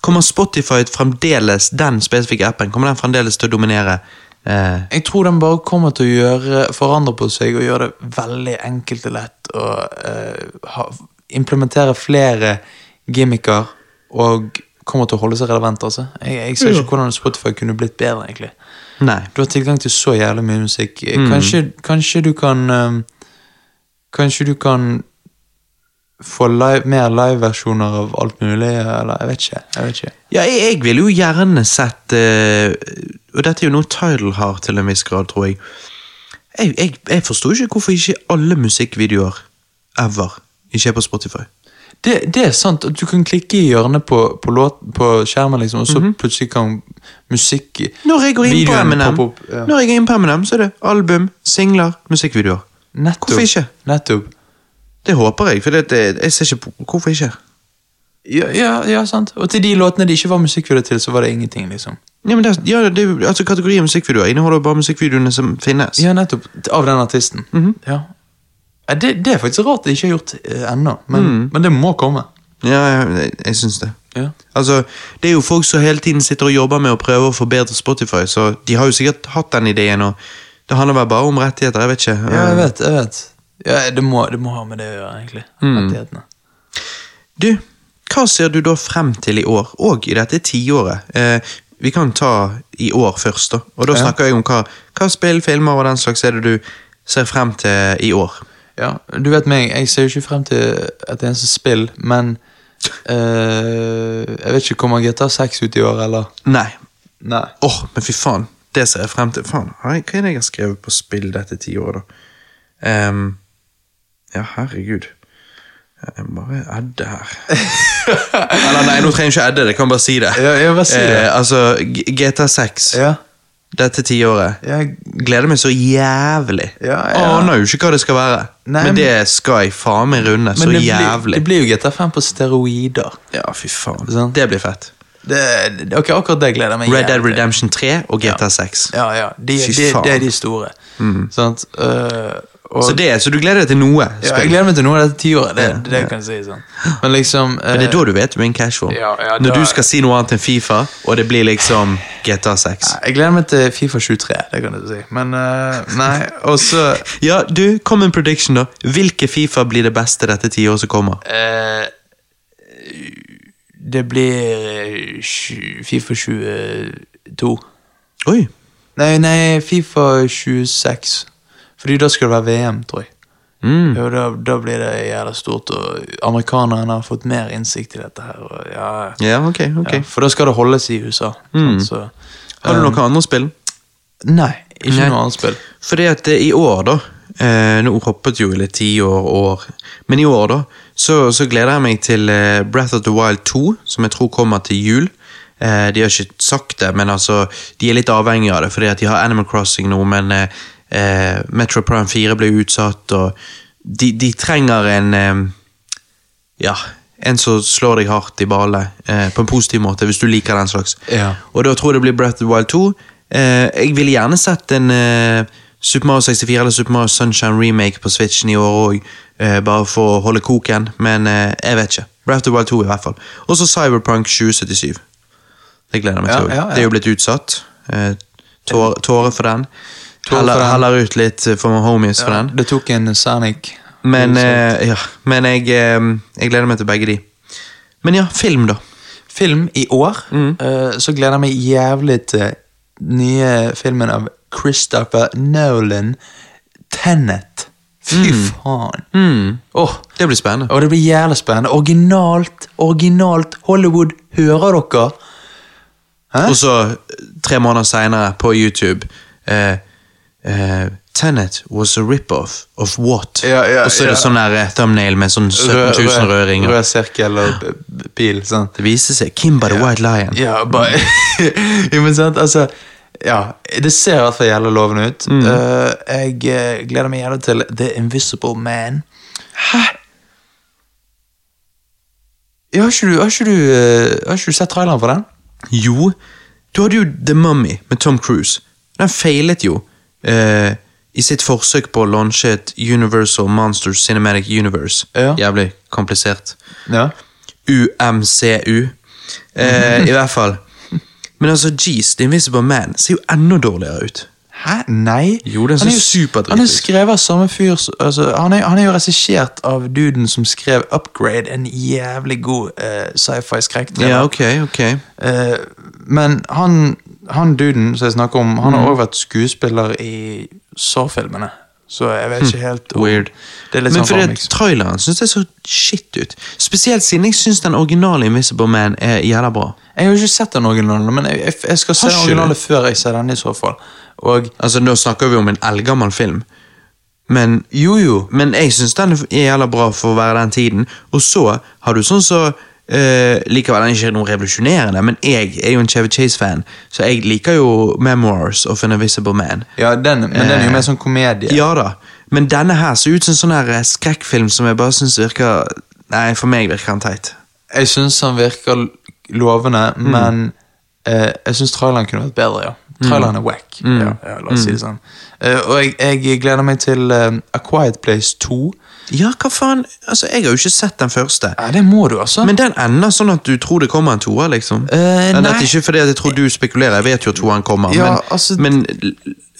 S3: Kommer Spotify fremdeles, den spesifikke appen, kommer den fremdeles til å dominere? Eh,
S4: Jeg tror den bare kommer til å gjøre, forandre på seg og gjøre det veldig enkelt og lett å eh, ha, implementere flere gimmicker og kommer til å holde seg relevant. Altså. Jeg, jeg ser ikke hvordan Spotify kunne blitt bedre, egentlig.
S3: nei.
S4: Du har tilgang til så jævlig mye musikk. Eh, Kanskje, kanskje du kan eh, Kanskje du kan få live, mer liveversjoner av alt mulig, eller jeg vet ikke. Jeg vet ikke.
S3: Ja, jeg, jeg ville jo gjerne sett eh, Og dette er jo noe Tidal har til en viss grad, tror jeg. Jeg, jeg, jeg forstår ikke hvorfor ikke alle musikkvideoer ever ikke er på Spotify.
S4: Det, det er sant. at Du kan klikke i hjørnet på, på, låt, på skjermen, liksom, og så plutselig kan musikk
S3: Når Mhm. jeg går inn på M&M.
S4: videoen
S3: Eminem,
S4: poppe opp, ja.
S3: Når jeg går inn på Eminem så er det album, singler, musikkvideoer.
S4: Nettopp.
S3: Hvorfor ikke?
S4: Nettopp.
S3: Det håper jeg, for det, det, jeg ser ikke på- Hvorfor ikke?
S4: Ja, ja, ja, sant. Og til de låtene det ikke var musikkvideo til, så var det ingenting, liksom.
S3: Ja, men det, er- ja, det, er jo- altså Kategorien musikkvideoer inneholder jo bare musikkvideoene som finnes.
S4: Ja, nettopp. Av den artisten.
S3: Mhm.
S4: ja. Ja, det, det er faktisk rart det ikke er gjort eh, ennå, men,
S3: Mhm.
S4: men det må komme.
S3: Ja, jeg, jeg, jeg syns det.
S4: Ja.
S3: Altså, Det er jo folk som hele tiden sitter og jobber med å prøve å forbedre Spotify, så de har jo sikkert hatt den ideen. og Det handler vel bare om rettigheter, jeg vet ikke.
S4: Ja, jeg vet, jeg vet. Ja, det, må, det må ha med det å gjøre, egentlig.
S3: Mhm.
S4: Rettighetene.
S3: Du, hva ser du da frem til i år, og i dette tiåret? Eh, vi kan ta i år først, da. Og da
S4: Ja.
S3: snakker jeg om hva, hva spill, filmer og den slags er det du ser frem til i år.
S4: Ja, du vet meg, jeg ser jo ikke frem til et eneste spill, men eh, Jeg vet ikke, kommer GTA 6 ut i år, eller?
S3: Nei.
S4: Nei.
S3: Åh, men fy faen. Det ser jeg frem til. Faen, har jeg- hva er det jeg har skrevet på spill dette tiåret, da? Ehm, ja, herregud. Jeg må bare edde her. Eller nei, nå trenger jeg ikke edde, det kan bare si det.
S4: Ja, jeg bare si det.
S3: Eh, altså, G- GTA 6
S4: Ja,
S3: dette tiåret.
S4: jeg,
S3: Gleder meg så jævlig.
S4: Ja, ja.
S3: Aner jo ikke hva det skal være.
S4: Nei,
S3: men
S4: men-
S3: det skal jeg faen meg runde. Så
S4: men det blir,
S3: jævlig.
S4: det blir jo GTA 5 på steroider.
S3: Ja, fy faen.
S4: Sant?
S3: Det blir fett.
S4: Det, det, ok, Akkurat det gleder jeg meg
S3: Red Dead
S4: jævlig til.
S3: Redemption 3 og GTA 6.
S4: Ja, ja. De,
S3: Fy
S4: de, de,
S3: faen. Mm.
S4: er de store. Sant? Eh, og,
S3: Så, det, så du gleder deg til noe?
S4: Eh, ja,
S3: spill.
S4: jeg gleder meg til noe av dette tiåret. Det, det, kan jeg si. sånn. Men liksom
S3: Men det er
S4: eh,
S3: da du vet du er en cashform.
S4: Ja, ja, da-
S3: Når du skal si noe annet enn Fifa, og det blir liksom GTA 6.
S4: Jeg gleder meg til Fifa 23, det kan jeg si. Men eh, nei, og så
S3: Ja, du, kom en prediction, da. Hvilke Fifa blir det beste dette tiåret som kommer?
S4: eh, Det blir eh, sju- Fifa 22.
S3: Oi.
S4: Nei, nei, Fifa 26. Fordi da skal det være VM, tror jeg.
S3: Mm.
S4: Jo, da, da blir det jævla stort, og amerikanerne har fått mer innsikt i dette her. Og ja,
S3: Ja, ok. ok.
S4: ja, for da skal det holdes i USA.
S3: Mm.
S4: Sant? Så,
S3: Har du noen andre spill?
S4: nei, ikke
S3: Nei.
S4: noe annet spill.
S3: Fordi at eh, i år, da eh, Nå hoppet jo litt tiår, år Men i år, da, så, så gleder jeg meg til eh, Breath of the Wild 2, som jeg tror kommer til jul. Eh, de har ikke sagt det, men altså de er litt avhengige av det, fordi at de har Animal Crossing nå, men eh, eh, Metro Prime 4 ble utsatt, og de, de trenger en eh, ja, en som slår deg hardt i ballet eh, på en positiv måte, hvis du liker den slags.
S4: Ja.
S3: Og da tror jeg det blir Breath of the Wild 2. Eh, jeg ville gjerne sett en eh, Super Mario 64 eller Super Mario Sunshine remake på Switchen i år òg, eh, bare for å holde koken, men eh, jeg vet ikke. Breath of the Wild 2 i hvert fall. Og så Cyberpunk 2077. Det gleder jeg meg
S4: Ja,
S3: til. også.
S4: ja, ja.
S3: Det er jo blitt utsatt. Eh, tår, tårer for den.
S4: for
S3: Heller,
S4: den.
S3: heller ut litt eh, for homies for den.
S4: Det tok en Sanic.
S3: Men, eh, ja. Men jeg, eh, jeg gleder meg til begge de. Men ja, film, da. Mm.
S4: Film i år, eh, så gleder jeg meg jævlig til nye filmen av Christopher Nolan, Tenet. Fy faen. Åh,
S3: Mm. Det blir spennende.
S4: og det blir jævlig spennende. Originalt, originalt. Hollywood, hører dere? Hæ?
S3: Og så eh, tre måneder seinere på YouTube eh, eh, Tenet was a rip-off of what?
S4: Ja, ja,
S3: og så er det
S4: ja.
S3: sånn der eh, thumbnail med sånn 17 000 rødringer.
S4: Rød sirkel og b- b- pil, sant?
S3: Det viser seg. Kim by the White Lion.
S4: Ja, bare Jo, men sant, altså Ja, det ser i hvert fall jævla lovende ut.
S3: Mm.
S4: Eh, jeg eh, gleder meg jævla til The Invisible Man. Hæ? Ja, har ikke du, har ikke du, eh, har ikke du sett traileren for den?
S3: Jo, du hadde jo The Mummy med Tom Cruise. Den feilet jo eh, i sitt forsøk på å lansje et Universal Monsters Cinematic Universe.
S4: Ja.
S3: Jævlig komplisert.
S4: Ja.
S3: UMCU. Eh, I hvert fall. Men altså, jeez, The Invisible Man ser jo enda dårligere ut.
S4: Hæ? Nei?
S3: Jo, den
S4: Han er
S3: ser superdritt
S4: Han
S3: ut.
S4: er skrevet av samme fyr s- altså, han, er, han er jo regissert av duden som skrev Upgrade, en jævlig god eh, sci-fi-skrekk.
S3: Ja, ok, ok.
S4: Eh, men han, han duden som jeg snakker om, han
S3: Mm.
S4: har også vært skuespiller i Saw-filmene. Så jeg vet ikke helt om-
S3: Hm. Weird.
S4: Det er litt
S3: Men
S4: sånn
S3: fordi
S4: for
S3: at traileren syns jeg så shit ut. Spesielt siden jeg syns den originale Invisible Man er jævla bra.
S4: Jeg har jo ikke sett den originale, men jeg, jeg, jeg skal se
S3: Har
S4: den
S3: ikke du?
S4: originale før jeg ser den i så fall. Og
S3: Altså, Nå snakker vi om en eldgammel film, men
S4: jo, jo.
S3: Men jeg syns den er jævla bra for å være den tiden. Og så har du sånn så eh, Likevel, den er ikke noe revolusjonerende, men jeg er jo en Chevy Chase-fan, så jeg liker jo 'Memoirs of an Invisible Man'.
S4: Ja, den, men
S3: Eh.
S4: den er jo mer sånn komedie.
S3: Ja da, men denne her ser ut som en sånn her eh, skrekkfilm som jeg bare syns virker Nei, for meg virker den teit.
S4: Jeg syns han virker l- lovende,
S3: Mm.
S4: men eh, jeg syns traileren kunne vært bedre, ja.
S3: Mm.
S4: Traileren er wack. Ja, ja, la oss si det sånn. Eh, og jeg, jeg gleder meg til eh, A Quiet Place 2.
S3: Ja, hva faen? Altså, Jeg har jo ikke sett den første.
S4: Ja, det må du, altså.
S3: Men den ender sånn at du tror det kommer en toer, liksom.
S4: Eh,
S3: Nei,
S4: nei.
S3: dette er ikke fordi at jeg tror du spekulerer, jeg vet jo at toeren kommer,
S4: Ja,
S3: men,
S4: altså-
S3: men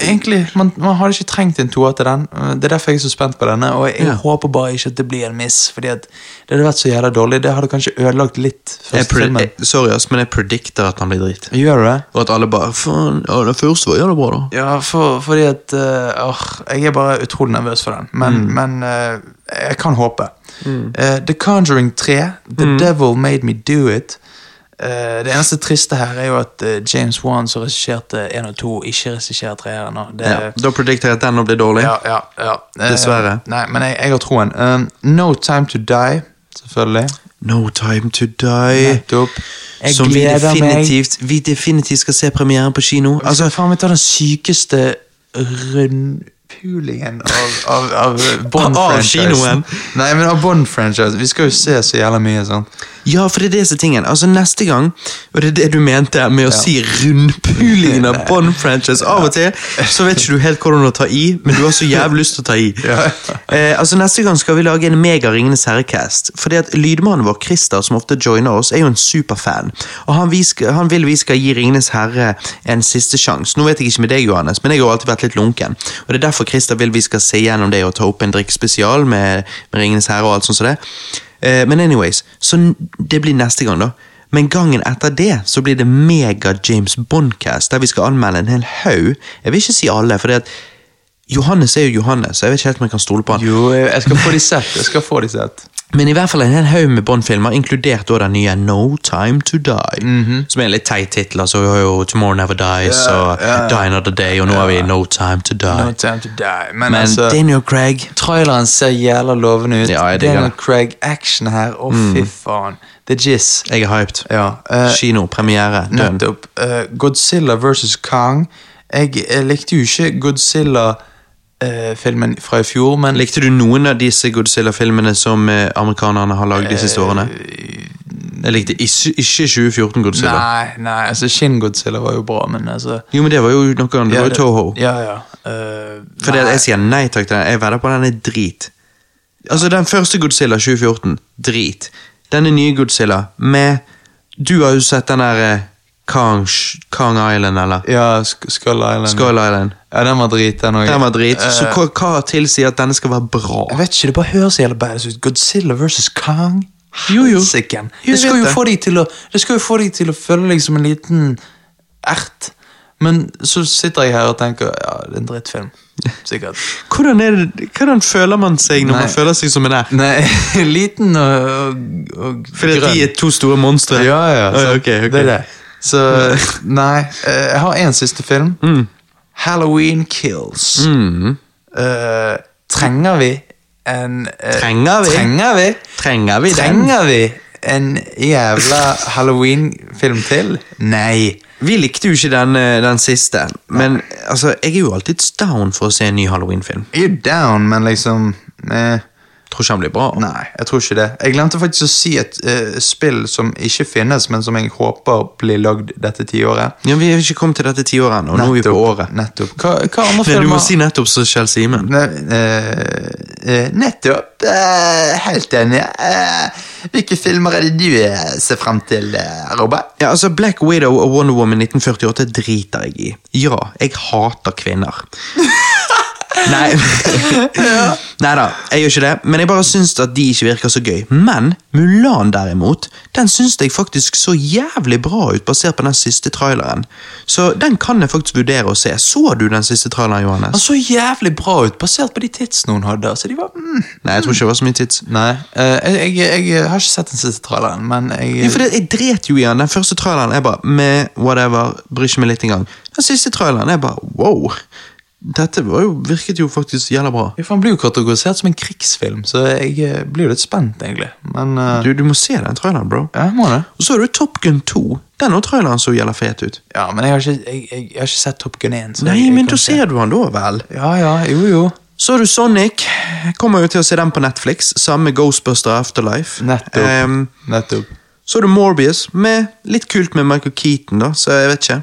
S4: Egentlig, man, man hadde ikke trengt en toer til den. Eh, Det er derfor jeg er så spent på denne. Og jeg
S3: Ja.
S4: håper bare ikke at det blir en miss, Fordi at det hadde vært så jævla dårlig. Det hadde kanskje ødelagt litt
S3: Jeg
S4: første
S3: pred-
S4: filmen.
S3: jeg, sorry, ass, men jeg predikter at han blir drit.
S4: Gjør du det?
S3: Og at alle bare Faen, ja, den første var jævla bra, da.
S4: Ja, for, fordi at eh, åh, Jeg er bare utrolig nervøs for den, men,
S3: Mm.
S4: men eh, jeg kan håpe. Eh, The Conjuring 3, The
S3: Mm.
S4: Devil Made Me Do It. Eh, det eneste triste her er jo at eh, James Wan, som regisserte 1 og 2, ikke regisserer 3 her ennå. Det-
S3: Ja. Da predikter jeg at den nå blir dårlig.
S4: Ja, ja, ja. Eh,
S3: Dessverre.
S4: Nei, men jeg, jeg har troen. Um, no Time To Die, selvfølgelig.
S3: No Time To Die.
S4: Nettopp. Jeg
S3: Som vi
S4: gleder meg.
S3: definitivt, vi definitivt skal se premieren på kino.
S4: Vi skal
S3: Altså,
S4: faen meg ta den sykeste rundpulingen av, av, av
S3: Av
S4: Bond-franchisen.
S3: kinoen.
S4: Nei, men av Bond-franchisen. Vi skal jo se så jævla mye, sånn. sant.
S3: ja, for det er det som er tingen. Altså, neste gang Og det er det du mente med å si rundpulingen av Bond franchise. Av og til så vet ikke du helt hvordan å ta i, men du har så jævlig lyst til å ta i.
S4: Ja.
S3: Eh, altså Neste gang skal vi lage en mega Ringenes herre-cast. Fordi at lydmannen vår, Christer, som ofte joiner oss, er jo en superfan. Og han, vi skal, han vil vi skal gi Ringenes herre en siste sjanse. Nå vet jeg ikke med deg, Johannes, men jeg har alltid vært litt lunken. Og det er derfor Christer vil vi skal se gjennom det og ta opp en drikkspesial med, med Ringenes herre og alt sånt som det. Eh, men anyways, så n- det blir neste gang, da. Men gangen etter det så blir det mega James Bond-cast, der vi skal anmelde en hel haug. Jeg vil ikke si alle, for det at Johannes er jo Johannes, så jeg vet ikke helt om jeg kan stole på han.
S4: Jo, jeg jeg skal få de sett. Jeg skal få de sett.
S3: Men i hvert fall en hel haug med Bond-filmer, inkludert da den nye No Time To Die.
S4: Mhm.
S3: Som er en litt teit tittel. Altså, vi har jo Tomorrow Never Dies og Die Another Day, og nå har vi No Time To Die.
S4: No time to die. Men,
S3: Men
S4: altså,
S3: Daniel Craig
S4: traileren ser jævla lovende ut.
S3: Ja, jeg digger
S4: Daniel
S3: det. Mm.
S4: Craig action her. Å, fy faen. Det er jizz.
S3: Jeg er hyped.
S4: Ja. eh,
S3: Kino, premiere, dønn.
S4: Nettopp. Eh, Godzilla versus Kong. Jeg, eh, likte jo ikke Godzilla-filmen fra i fjor, men
S3: Likte du noen av disse Godzilla-filmene som eh, amerikanerne har lagd de siste årene? Jeg likte ikke, ikke 2014 Godzilla.
S4: Nei, nei, altså Shin Godzilla var jo bra, men altså
S3: Jo, men det var jo noe annet. Det var jo Toho.
S4: Ja, ja. eh,
S3: Fordi at
S4: nei.
S3: jeg sier nei takk til den. Jeg vedder på at den er drit. Altså, den første Godzilla 2014, drit. Denne nye Godzilla, med Du har jo sett den der eh, Kong, Kong Island, eller?
S4: Ja, Sk- Skull Island.
S3: Skull Island.
S4: Ja, den var drit, den òg.
S3: Den var drit. Så hva, hva tilsier at denne skal være bra?
S4: Eh, Jeg vet ikke, det bare høres jævla badass ut. Godzilla versus Kong.
S3: Jo, jo.
S4: Helsike.
S3: Jo, jeg
S4: Det skal
S3: vet
S4: jo
S3: det.
S4: få deg til å Det skal jo få deg til å føle deg som en liten ert. Men så sitter jeg her og tenker ja, det er en drittfilm. Sikkert.
S3: Hvordan, er det, hvordan føler man seg når
S4: Nei.
S3: man føler seg som en ert?
S4: Nei, liten og, og, og
S3: Fordi at de er to store monstre?
S4: Ja, ja.
S3: Å,
S4: sant.
S3: ok, ok.
S4: Det er det. Så nei, eh, jeg har en siste film.
S3: Mm.
S4: Halloween Kills. Eh, trenger vi en eh,
S3: Trenger vi?
S4: Trenger vi?
S3: Trenger vi den?
S4: Trenger vi en jævla Halloween-film til? Nei.
S3: Vi likte jo ikke den, eh, den siste, men altså, jeg er jo alltid down for å se en ny Halloween-film.
S4: You're down, men liksom eh,
S3: Tror ikke han blir bra.
S4: Nei, jeg tror ikke det. Jeg glemte faktisk å si et eh, spill som ikke finnes, men som jeg håper blir lagd dette tiåret.
S3: Ja, Vi har ikke kommet til dette tiåret ennå. Nå er vi på
S4: Nettopp.
S3: året.
S4: Nettopp. Hva, hva andre
S3: Men du må
S4: filmer
S3: si nettopp så Kjell Simen.
S4: Ne- eh, eh, Nettopp. eh, helt enig. eh, hvilke filmer er det du eh, ser frem til, eh, Robert?
S3: Ja, altså Black Widow og Wonder Woman 1948 driter jeg i. Ja, jeg hater kvinner. Nei Neida, jeg gjør ikke det. Men jeg bare syns at de ikke virker så gøy. Men Mulan, derimot, den syns jeg faktisk så jævlig bra ut, basert på den siste traileren. Så den kan jeg faktisk vurdere å se. Så du den siste traileren,
S4: Han
S3: Johannes?
S4: så jævlig bra ut, basert på de tidsene hun hadde. Så de var, mm.
S3: Nei, jeg tror ikke det var så mye tids.
S4: Nei, eh, jeg, jeg, jeg har ikke sett den siste traileren, men
S3: Ja,
S4: jeg
S3: for det, jeg dret jo i han. Den første traileren jeg bare med whatever, bryr ikke meg litt engang. Den siste traileren jeg bare wow. Dette var jo, virket jo faktisk jævla bra.
S4: Ja, for Han blir jo kategorisert som en krigsfilm, så jeg eh, blir jo litt spent, egentlig. Men eh,
S3: Du, du må se den traileren, bro.
S4: ja, jeg må det.
S3: Og så har du Top Gun 2. Den og traileren så jævla fet ut.
S4: Ja, men jeg har ikke, jeg, jeg, jeg har ikke sett Top Gun 1. Så jeg,
S3: Nei,
S4: jeg
S3: men
S4: kan
S3: da
S4: ikke-
S3: ser du han da, vel.
S4: Ja, ja, jo, jo.
S3: Så har du Sonic. Jeg Kommer jo til å se den på Netflix. Samme med Ghostbuster Afterlife.
S4: Nettopp.
S3: Ehm,
S4: Nettopp.
S3: så har du Morbius, med litt kult med Michael Keaton, da, så jeg vet ikke.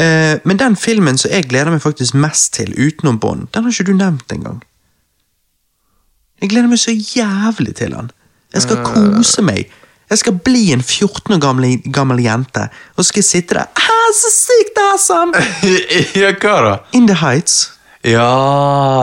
S3: Eh, men den filmen som jeg gleder meg faktisk mest til, utenom Bond, den har ikke du nevnt engang. Jeg gleder meg så jævlig til den. Jeg skal kose meg. Jeg skal bli en 14 år gammel, gammel jente, og skal sitte der ah, Så sykt awesome!
S4: ja, hva da?
S3: In the Heights.
S4: Ja,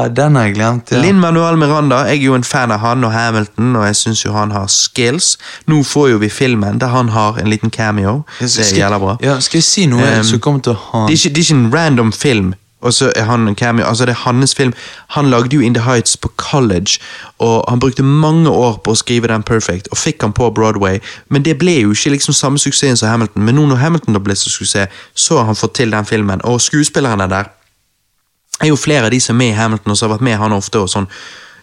S4: den har jeg glemt. Ja.
S3: Lin Manuel Miranda, jeg er jo en fan av han og Hamilton, og jeg syns jo han har skills. Nå får jo vi filmen der han har en liten cameo. Det
S4: Skal-
S3: gjelder bra.
S4: Ja, skal jeg si noe
S3: Ehm,
S4: som kommer til å ha
S3: Det er ikke, det er ikke en random film. Og så er han en cameo, altså det er hans film. Han lagde jo In the Heights på college, og han brukte mange år på å skrive den perfect, og fikk han på Broadway, men det ble jo ikke liksom samme suksessen som Hamilton. Men nå når Hamilton da ble så suksess, så har han fått til den filmen, og skuespillerne der er jo flere av de som er med i Hamilton, og som har vært med han ofte, og sånn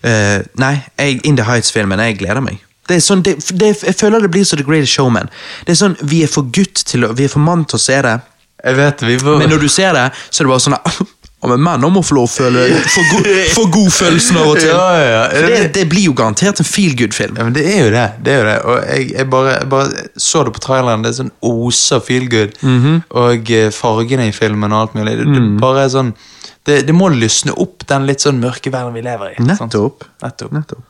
S3: eh, Nei, jeg, In the Heights-filmen, jeg gleder meg. Det er sånn, det, det, jeg føler det blir som The Greatest Showman. Det er sånn, Vi er for gutt til å Vi er for mann til å se det.
S4: Jeg vet vi var
S3: Men når du ser det, så er det bare sånn «Å, men menn må få lov å føle få god, få god følelsen av og til.
S4: Ja, ja, ja.
S3: For det, det blir jo garantert en feel good-film.
S4: ja, men det er jo det. det, er jo det. Og jeg, jeg, bare, jeg bare så det på traileren. Det er sånn oser feel good.
S3: Mhm.
S4: Og eh, fargene i filmen og alt mulig. Det, det bare er sånn det, det må lysne opp den litt sånn mørke verden vi lever i. sant?
S3: Nettopp.
S4: Nettopp.
S3: Nettopp.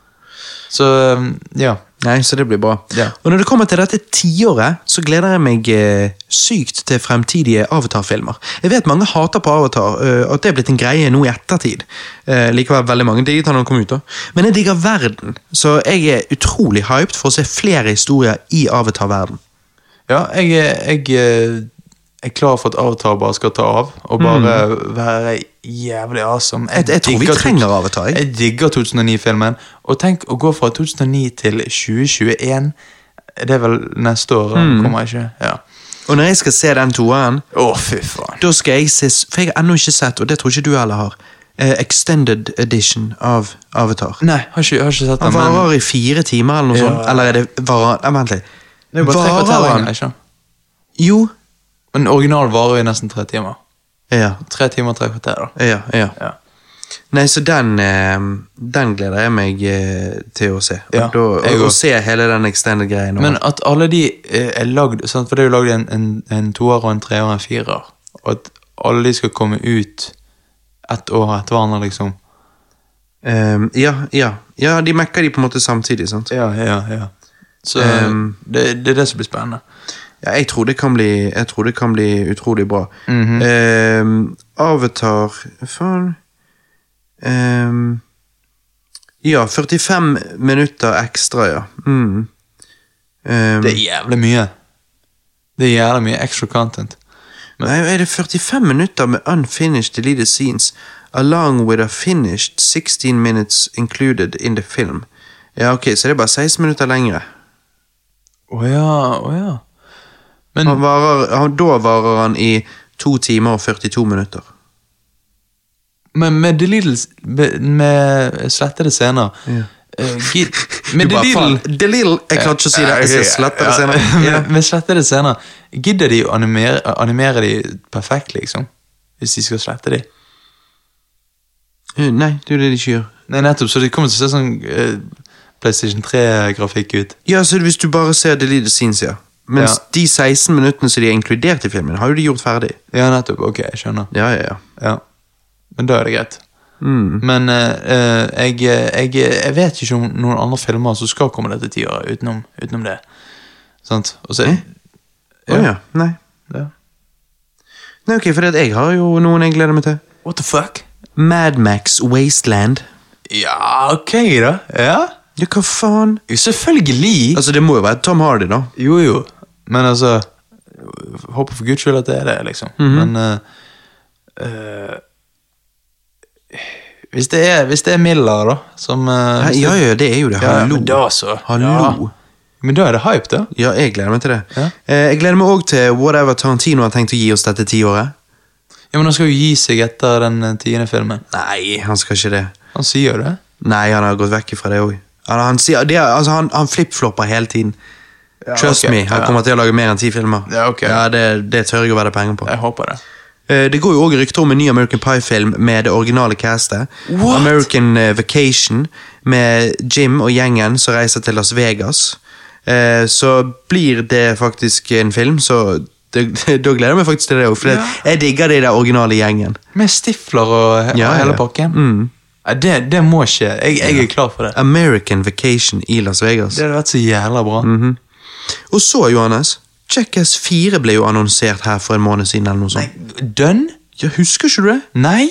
S4: Så um, ja.
S3: Nei, så det blir bra.
S4: Ja.
S3: Og når det kommer til dette tiåret, så gleder jeg meg eh, sykt til fremtidige Avatar-filmer. Jeg vet mange hater på Avatar, eh, at det er blitt en greie nå i ettertid. Eh, likevel veldig mange digget han da han kom ut da. Men jeg digger verden, så jeg er utrolig hyped for å se flere historier i Avatar-verden.
S4: Ja, jeg, eh, er- jeg eh, er klar for at Avatar bare skal ta av, og bare være jævlig awesome. Jeg,
S3: Mhm. Jeg tror vi
S4: digger to-
S3: trenger Avatar. jeg.
S4: Jeg digger 2009-filmen. Og tenk å gå fra 2009 til 2021. Det er vel neste år, mm. kommer jeg ikke? Ja.
S3: Og når jeg skal se den toeren,
S4: Å, fy faen.
S3: da skal jeg se s- For jeg har ennå ikke sett, og det tror ikke du heller har, eh, Extended Edition av Avatar.
S4: Nei, har ikke, har ikke sett
S3: Han
S4: den. men-
S3: varer i fire timer eller noe
S4: Ja.
S3: sånt. Eller er det varer Nei, Vent litt.
S4: Det er jo bare tre kvarter
S3: Varer
S4: lenger,
S3: han?
S4: ikke?
S3: Jo.
S4: Men original varer jo i nesten tre timer.
S3: Ja,
S4: Tre timer, tre kvarter, da.
S3: ja, ja.
S4: Ja.
S3: Nei, så den, eh, den gleder jeg meg eh, til å se. Og
S4: Ja,
S3: da, og,
S4: jeg
S3: og
S4: også.
S3: se hele den extended-greien.
S4: Men at alle de eh, er lagd sant? For det er jo lagd en, en, en toer og en treer og en firer. Og at alle de skal komme ut ett år etter hverandre, liksom.
S3: Ehm, ja, ja. ja, de mekker de på en måte samtidig, sant?
S4: Ja, ja, ja. Så
S3: Ehm.
S4: det, det er det som blir spennende.
S3: Ja, jeg tror det kan bli, jeg tror det kan bli utrolig bra.
S4: Mhm.
S3: Ehm, Avatar Faen. Ehm, ja, 45 minutter ekstra, ja. Mm. Ehm,
S4: Det er jævlig mye. Det er jævlig mye extra content.
S3: Nei, er det 45 minutter med unfinished deleted scenes along with a finished 16 minutes included in the film? Ja, ok, så det er bare 16 minutter lengre.
S4: Å ja, å ja. Men
S3: Han varer, han, da varer han i 2 timer og 42 minutter.
S4: men med deleted med- Med slettede scener eh, gid- Med
S3: Du bare,
S4: deleted
S3: faen, The Little Jeg klarer ikke å si det. Jeg skal slette det senere. Ja.
S4: med, med slettede scener. Gidder de å animere, animere de perfekt, liksom? Hvis de skal slette de?
S3: Eh, Nei, det er jo det de ikke gjør.
S4: Nei, nettopp, så de kommer til å se sånn eh, PlayStation 3-grafikk ut.
S3: Ja, så Hvis du bare ser deleted scenes, ja. Mens
S4: Ja.
S3: de 16 minuttene som de er inkludert i filmen, har jo de gjort ferdig.
S4: Ja, nettopp. Ok, jeg skjønner.
S3: Ja, ja, ja.
S4: Ja. Men da er det greit.
S3: Mm.
S4: Men eh, eh, jeg, jeg, jeg vet ikke om noen andre filmer som skal komme dette tiåret utenom, utenom det. Sant? Og så,
S3: Eh? Å
S4: Ja.
S3: ja. Nei.
S4: Ja.
S3: Nei, ok, for jeg har jo noen jeg gleder meg til.
S4: What the fuck?
S3: Madmax Wasteland.
S4: Ja, ok, da. Ja,
S3: Ja, hva faen?
S4: Jo, selvfølgelig.
S3: Altså, det må jo være Tom Hardy, da.
S4: jo, jo. Men altså Håper for guds skyld at det er det, liksom.
S3: Mhm.
S4: Men eh, eh, hvis, det er, hvis det er Miller, da, som eh,
S3: Hæ,
S4: hvis det-
S3: Ja, ja, det er jo det.
S4: Ja,
S3: Hallo.
S4: men da så.
S3: Hallo.
S4: Ja. Men da er det hype, da.
S3: Ja, jeg gleder meg til det.
S4: Ja.
S3: Eh, jeg gleder meg òg til whatever Tarantino har tenkt å gi oss dette tiåret.
S4: Ja, Men han skal jo gi seg etter den eh, tiende filmen.
S3: Nei, han skal ikke det.
S4: Han sier jo det.
S3: Nei, han har gått vekk fra det òg. Han, han, sier- det er- altså, han, han flipflopper hele tiden. Trust
S4: ok.
S3: me, han
S4: Ja.
S3: kommer til å lage mer enn ti filmer.
S4: Ja, ok.
S3: ja det, det tør jeg å vedde penger på.
S4: Jeg håper det.
S3: Eh, Det går jo også rykter om en ny American Pie-film med det originale castet.
S4: What?
S3: American eh, Vacation med Jim og gjengen som reiser til Las Vegas. Eh, Så blir det faktisk en film, så det, da gleder jeg meg faktisk til det òg. For det-
S4: Ja.
S3: jeg digger det i den originale gjengen.
S4: Med stifler og, he- og
S3: Ja, ja, Mm.
S4: hele
S3: ja.
S4: pakken? Ja, det, det må skje. Jeg, jeg er klar for det.
S3: American Vacation i Las Vegas. Mhm.
S4: Det hadde vært så jævla bra.
S3: Og så, Johannes, Jackass 4 ble jo annonsert her for en måned siden. eller noe sånt.
S4: Dønn?
S3: Ja, Husker ikke du det?
S4: Nei?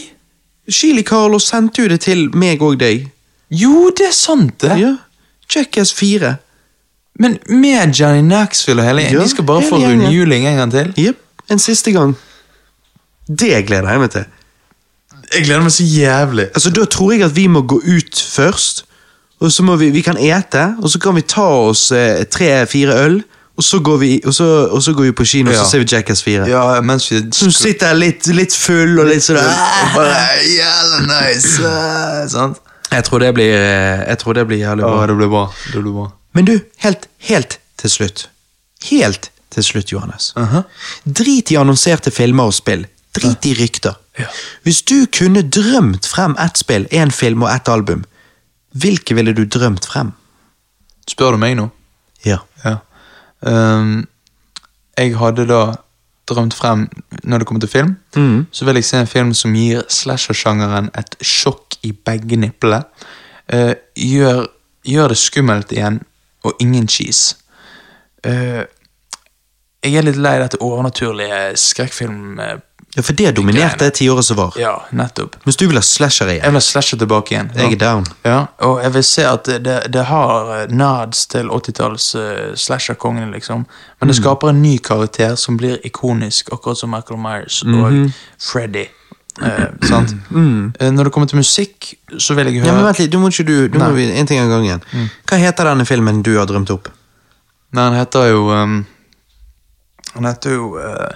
S3: Chili Carlos sendte jo det til meg og deg.
S4: Jo, det er sant, det.
S3: Ja, Jackass 4.
S4: Men med Johnny Knoxville og hele gjengen.
S3: Ja,
S4: De skal bare
S3: hele
S4: få
S3: gjengen.
S4: rundhjuling en gang til.
S3: Jep, en siste gang. Det gleder jeg meg til.
S4: Jeg gleder meg så jævlig.
S3: Altså, Da tror jeg at vi må gå ut først. Og så må vi, vi kan ete, og så kan vi ta oss eh, tre-fire øl. Og så, går vi, og, så, og så går vi på kino, og
S4: Ja.
S3: så ser vi Jackass 4.
S4: Ja, mens vi
S3: Så du sitter litt, litt full og litt sånn
S4: Og bare Jævla nice!
S3: ah!"
S4: eh, Sant?
S3: Jeg tror det blir, eh, jeg tror det blir jævlig bra.
S4: Å, det blir bra. Det blir bra.
S3: Men du, helt, helt til slutt. Helt til slutt, Johannes.
S4: Aha.
S3: Drit i annonserte filmer og spill. Drit i rykter. Hvis du kunne drømt frem ett spill, én film og ett album, hvilke ville du drømt frem?
S4: Spør du meg nå?
S3: Ja.
S4: Ja. Ehm, jeg hadde da drømt frem, når det kommer til film,
S3: Mm.
S4: så vil jeg se en film som gir slasher-sjangeren et sjokk i begge nipplene. Eh, gjør, gjør det skummelt igjen, og ingen cheese. Eh, jeg er litt lei dette overnaturlige skrekkfilm... eh,
S3: ja for det dominerte det tiåret som var.
S4: Ja, nettopp.
S3: Mens du vil ha slasher igjen.
S4: Jeg vil ha slasher tilbake igjen.
S3: Jeg er down.
S4: Ja, og jeg vil se at det, det, det har eh, nads til 80-talls eh, slasher-kongen, liksom. Men
S3: Mm. Mhm.
S4: det skaper en ny karakter som blir ikonisk, akkurat som Michael Myers og Freddy. Eh, sant? Eh, når det kommer til musikk, så vil jeg
S3: Mm. Ja, men
S4: høre
S3: vent litt, du må ikke du, du må
S4: Nei. Mm.
S3: vi, En ting av gangen. Hva heter denne filmen du har drømt opp?
S4: Nei, han heter jo ehm, Han heter jo eh,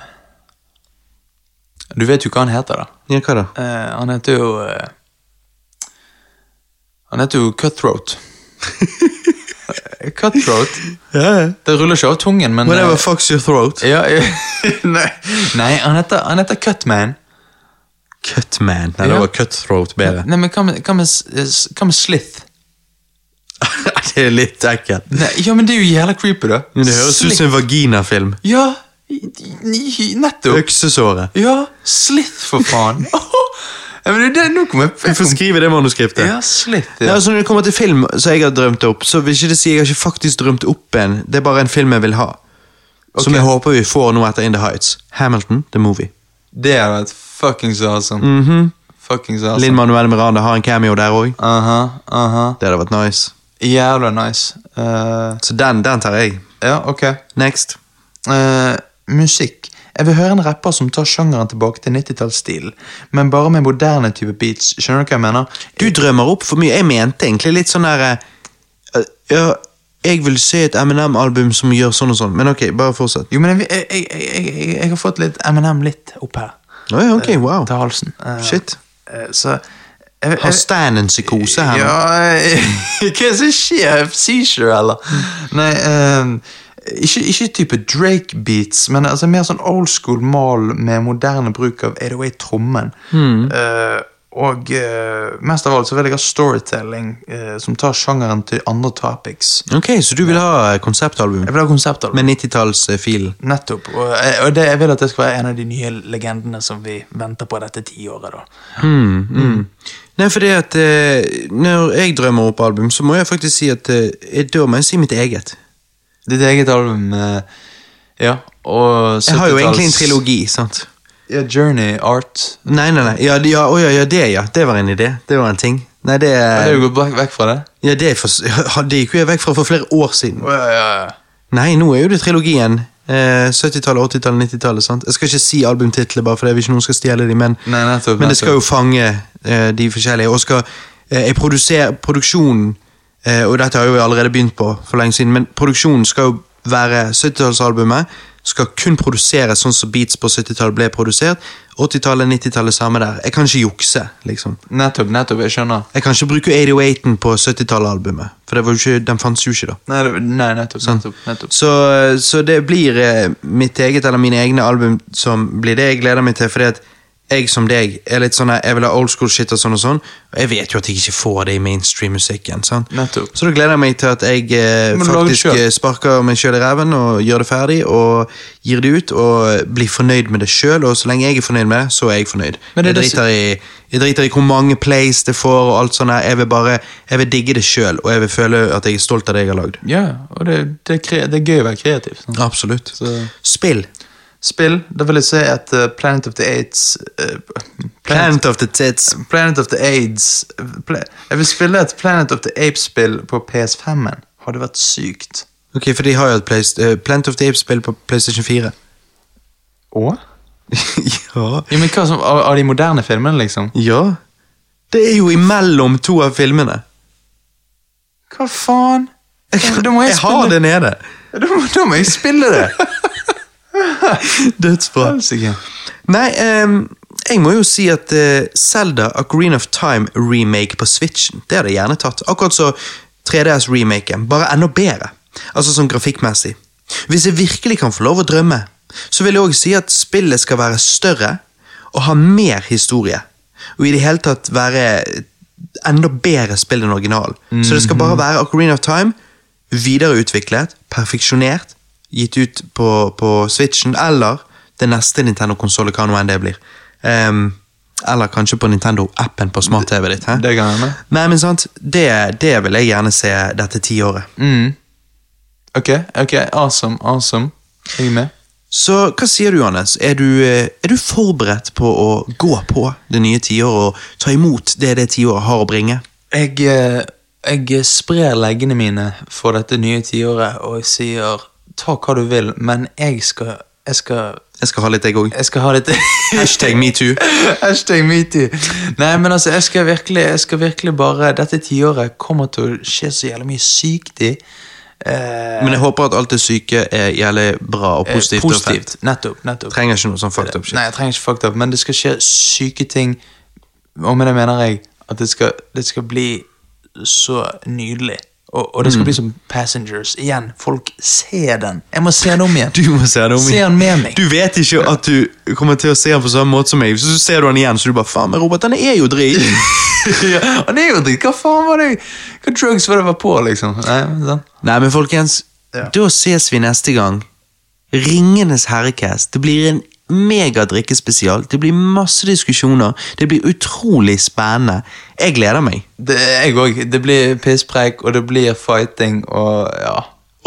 S4: Du vet jo hva han heter, da.
S3: Ja, hva da?
S4: Eh, han heter jo eh, Han heter jo Cutthroat. Eh, Cutthroat? Det ruller ikke av tungen, men eh,
S3: Whatever fucks your throat.
S4: ja, ja, nei, nei, han heter, han heter Cutman.
S3: Cutman. Nei, det
S4: Ja.
S3: var cutthroat bedre.
S4: Nei, men hva med, hva med, s- s- hva med Slith?
S3: det er litt ekkelt.
S4: Nei, ja, men det er jo jævla creepy, da.
S3: Men Det høres ut
S4: Slith.
S3: som en vaginafilm.
S4: Ja, i- i- i- nettopp.
S3: Øksesåret.
S4: Ja, Slith, for faen. ja, men det, er det, nå kommer jeg
S3: Vi får skrive det manuskriptet.
S4: Ja, Slith.
S3: Ja,
S4: Ja.
S3: altså Når det kommer til film som jeg har drømt opp, så vil ikke det si jeg har ikke faktisk drømt opp en. Det er bare en film jeg vil ha. Som jeg håper vi får nå etter In the Heights. Hamilton, the movie.
S4: Det hadde vært fuckings awesome. Fuckings awesome.
S3: Mhm. Linn Manuel Miranda har en cameo der òg.
S4: Aha, aha.
S3: Det hadde vært nice.
S4: Jævla nice. Eh,
S3: Så den, den tar jeg.
S4: ja, ok.
S3: Next.
S4: Eh, musikk. Jeg vil høre en rapper som tar sjangeren tilbake til 90-tallsstilen, men bare med moderne type beats. Skjønner du hva jeg mener?
S3: Du drømmer opp for mye. Jeg mente egentlig litt sånn der eh, Ja, jeg vil se et M&M-album som gjør sånn og sånn, men ok, bare fortsett.
S4: Jo, men jeg, jeg, jeg, jeg, jeg, jeg har fått litt M&M litt opp her.
S3: Å ja, ok, wow.
S4: Til halsen. Eh,
S3: Shit.
S4: eh, så jeg,
S3: Har Stan en psykose her? nå?
S4: Ja, eh, hva er det som skjer? Seizure, eller? Nei, eh, ikke, ikke type Drake-beats, men altså mer sånn old school mal med moderne bruk av 808-trommen.
S3: Hmm.
S4: og eh, mest av alt så vil jeg ha storytelling eh, som tar sjangeren til andre topics.
S3: Ok, så du vil ha eh, konseptalbum
S4: Jeg vil ha konsepter.
S3: med eh, 90-tallsfilen?
S4: Nettopp. Og, eh, og det, jeg vil at det skal være en av de nye legendene som vi venter på dette tiåret. da.
S3: Mm. Nei, fordi at eh, Når jeg drømmer opp album, så må jeg faktisk si at eh, jeg- Da må jeg si mitt eget.
S4: Ditt eget album eh, Ja, og 70-talls
S3: Jeg har jo egentlig en trilogi, sant?
S4: Ja, Journey, Art
S3: Nei, nei, nei. Ja, det- ja, å, ja, ja det, ja. Det var en idé. Det var en ting. Nei, det
S4: Jeg har jo gått vekk- vekk fra det.
S3: Ja, det, er for, ja, det gikk jo jeg vekk fra for flere år siden.
S4: ja, ja, ja.
S3: Nei, nå er jo det trilogien. Eh, 70-tallet, 80-tallet, 90-tallet. sant? Jeg skal ikke si albumtitler, bare fordi jeg vil ikke noen skal stjele dem, men,
S4: Nei, nettopp,
S3: men det skal jo
S4: nettopp.
S3: fange eh, de forskjellige. Og skal eh, jeg produsere Produksjonen, eh, og dette har jo jeg allerede begynt på for lenge siden, men produksjonen skal jo være 70-tallsalbumet. Skal kun produseres sånn som beats på 70-tallet ble produsert. 80-tallet, 90-tallet, samme der. Jeg kan ikke jukse, liksom.
S4: Nettopp, nettopp, jeg skjønner.
S3: Jeg kan ikke bruke 88-en på 70-tallet-albumet, for det var jo ikke, den fantes jo ikke da.
S4: Nei, det- nei nettopp, nettopp, nettopp.
S3: Så, så det blir eh, mitt eget eller mine egne album som blir det jeg gleder meg til, fordi at jeg som deg er litt sånn her, jeg vil ha old school shit og sånn og sånn, og jeg vet jo at jeg ikke får det i mainstream-musikken, sant?
S4: Nettopp.
S3: Så da gleder jeg meg til at jeg eh,
S4: Men lag det
S3: faktisk
S4: selv.
S3: eh, sparker meg sjøl i ræven og gjør det ferdig, og gir det ut, og blir fornøyd med det sjøl, og så lenge jeg er fornøyd med det, så er jeg fornøyd.
S2: Men det er
S3: jeg,
S2: det
S3: driter i, jeg driter i hvor mange plays det får, og alt sånt her, jeg vil bare, jeg vil digge det sjøl, og jeg vil føle at jeg er stolt av det jeg har lagd.
S4: Ja, og det, det, er kre, det er gøy å være kreativ. sant?
S3: Absolutt.
S4: Så-
S3: Spill.
S4: Spill, da vil jeg si at eh, Planet of the Aids eh, Planet,
S3: Planet of the Tits.
S4: Planet of the Aids eh, pla, Jeg vil spille et Planet of the Apes-spill på PS5-en. Hadde vært sykt.
S3: Ok, for de har jo et Playst- eh, Planet of the Apes-spill på PlayStation 4.
S4: Og?
S3: ja.
S4: Ja, men hva som, av, av de moderne filmene, liksom?
S3: ja. Det er jo imellom to av filmene.
S4: Hva faen? Da må jeg,
S3: har det nede.
S4: Da, må- da må jeg spille det!
S3: Dødsbra.
S4: Helsike.
S3: Nei, ehm, jeg må jo si at eh, Zelda Ocarina of Time-remake på Switchen, det hadde jeg gjerne tatt. Akkurat så 3DS-remaken, bare enda bedre. Altså sånn grafikkmessig. Hvis jeg virkelig kan få lov å drømme, så vil jeg òg si at spillet skal være større og ha mer historie. Og i det hele tatt være et enda bedre spill enn originalen. Så det skal bare være Ocarina of Time, videreutviklet, perfeksjonert, gitt ut på, på Switchen, eller det neste Nintendo-konsollet, hva nå enn det blir. Ehm, eller kanskje på Nintendo-appen på smart-TV ditt. Hæ?
S4: Det kan hende.
S3: Nei, men sant, det, det vil jeg gjerne se dette tiåret.
S4: Mm. Ok, ok, awesome, awesome. Jeg er med.
S3: Så hva sier du, Johannes? Er du, eh, er du forberedt på å gå på det nye tiåret og ta imot det det tiåret har å bringe?
S4: Jeg, eh, jeg sprer leggene mine for dette nye tiåret og jeg sier ta hva du vil, men jeg skal, jeg skal
S3: Jeg skal ha litt, jeg òg.
S4: Jeg skal ha litt
S3: Hashtag metoo.
S4: Hashtag metoo. Nei, men altså, jeg skal virkelig, jeg skal virkelig bare Dette tiåret kommer til å skje så jævlig mye sykt i. Eh,
S3: Men jeg håper at alt det syke er jævlig bra og positivt. og fett.
S4: Nettopp. nettopp.
S3: Trenger ikke noe sånn fucked up shit.
S4: Nei, jeg trenger ikke fucked up, men det skal skje syke ting. Og med det mener jeg at det skal, det skal bli så nydelig. Og, og det
S3: Mm.
S4: skal bli som Passengers. Igjen, folk ser den. Jeg må se den om igjen.
S3: Du må se det om
S4: Se han med meg.
S3: Du vet ikke at du kommer til å se han på samme måte som meg. Så så ser du han igjen, så du bare faen, men Robert, han er jo drit.
S4: ja, og det er jo dritt. Hva faen var det? Hva drugs var det var på, liksom? Nei, men sånn.
S3: Nei, men folkens,
S4: Ja.
S3: da ses vi neste gang. Ringenes herrecast. Det blir en megadrikkespesial. Det blir masse diskusjoner. Det blir utrolig spennende. Jeg gleder meg.
S4: Det, jeg òg. Det blir pisspreik, og det blir fighting, og ja.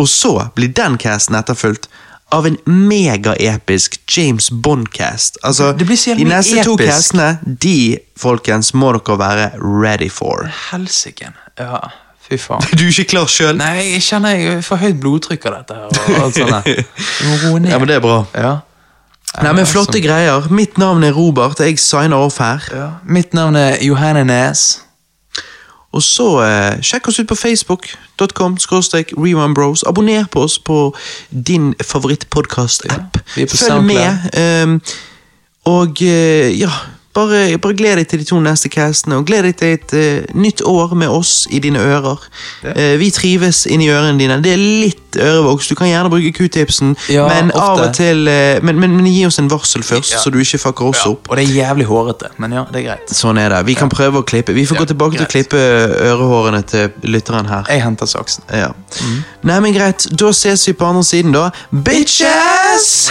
S3: Og så blir den casten etterfulgt av en megaepisk James Bond-cast. Altså,
S4: Det blir så jævlig
S3: de neste to
S4: episk.
S3: castene, de, folkens, må dere være ready for.
S4: Helsike. Ja, fy faen.
S3: Du er ikke klar sjøl?
S4: Nei, jeg kjenner jeg får høyt blodtrykk av dette her. og alt sånt der. Du må roe ned.
S3: Ja, men det er bra.
S4: Ja.
S3: Nei, men flotte
S4: Som-
S3: greier. Mitt navn er Robert, jeg signer off her.
S4: Ja. Mitt navn er Johanne Næs.
S3: Og så eh, sjekk oss ut på facebook.com rewindbros. Abonner på oss på din favorittpodkast-app.
S4: Ja, vi er på
S3: Følg
S4: SoundCloud.
S3: med. ehm, og eh, ja, bare, bare gled deg til de to neste castene, og gled deg til et eh, nytt år med oss i dine ører. Eh, vi trives inni ørene dine. Det er litt ørevoks. Du kan gjerne bruke q-tipsen,
S4: Ja,
S3: men av
S4: ofte.
S3: og til eh, men, men, men gi oss en varsel først,
S4: Ja.
S3: så du ikke fucker oss
S4: Ja.
S3: opp.
S4: Og det er jævlig hårete, men ja, det er greit.
S3: Sånn er det. Vi kan prøve å klippe. Vi får
S4: Ja,
S3: gå tilbake til å
S4: greit.
S3: klippe ørehårene til lytteren her.
S4: Jeg henter saksen.
S3: Ja. Nei, men greit. Da ses vi på andre siden, da. Bitches!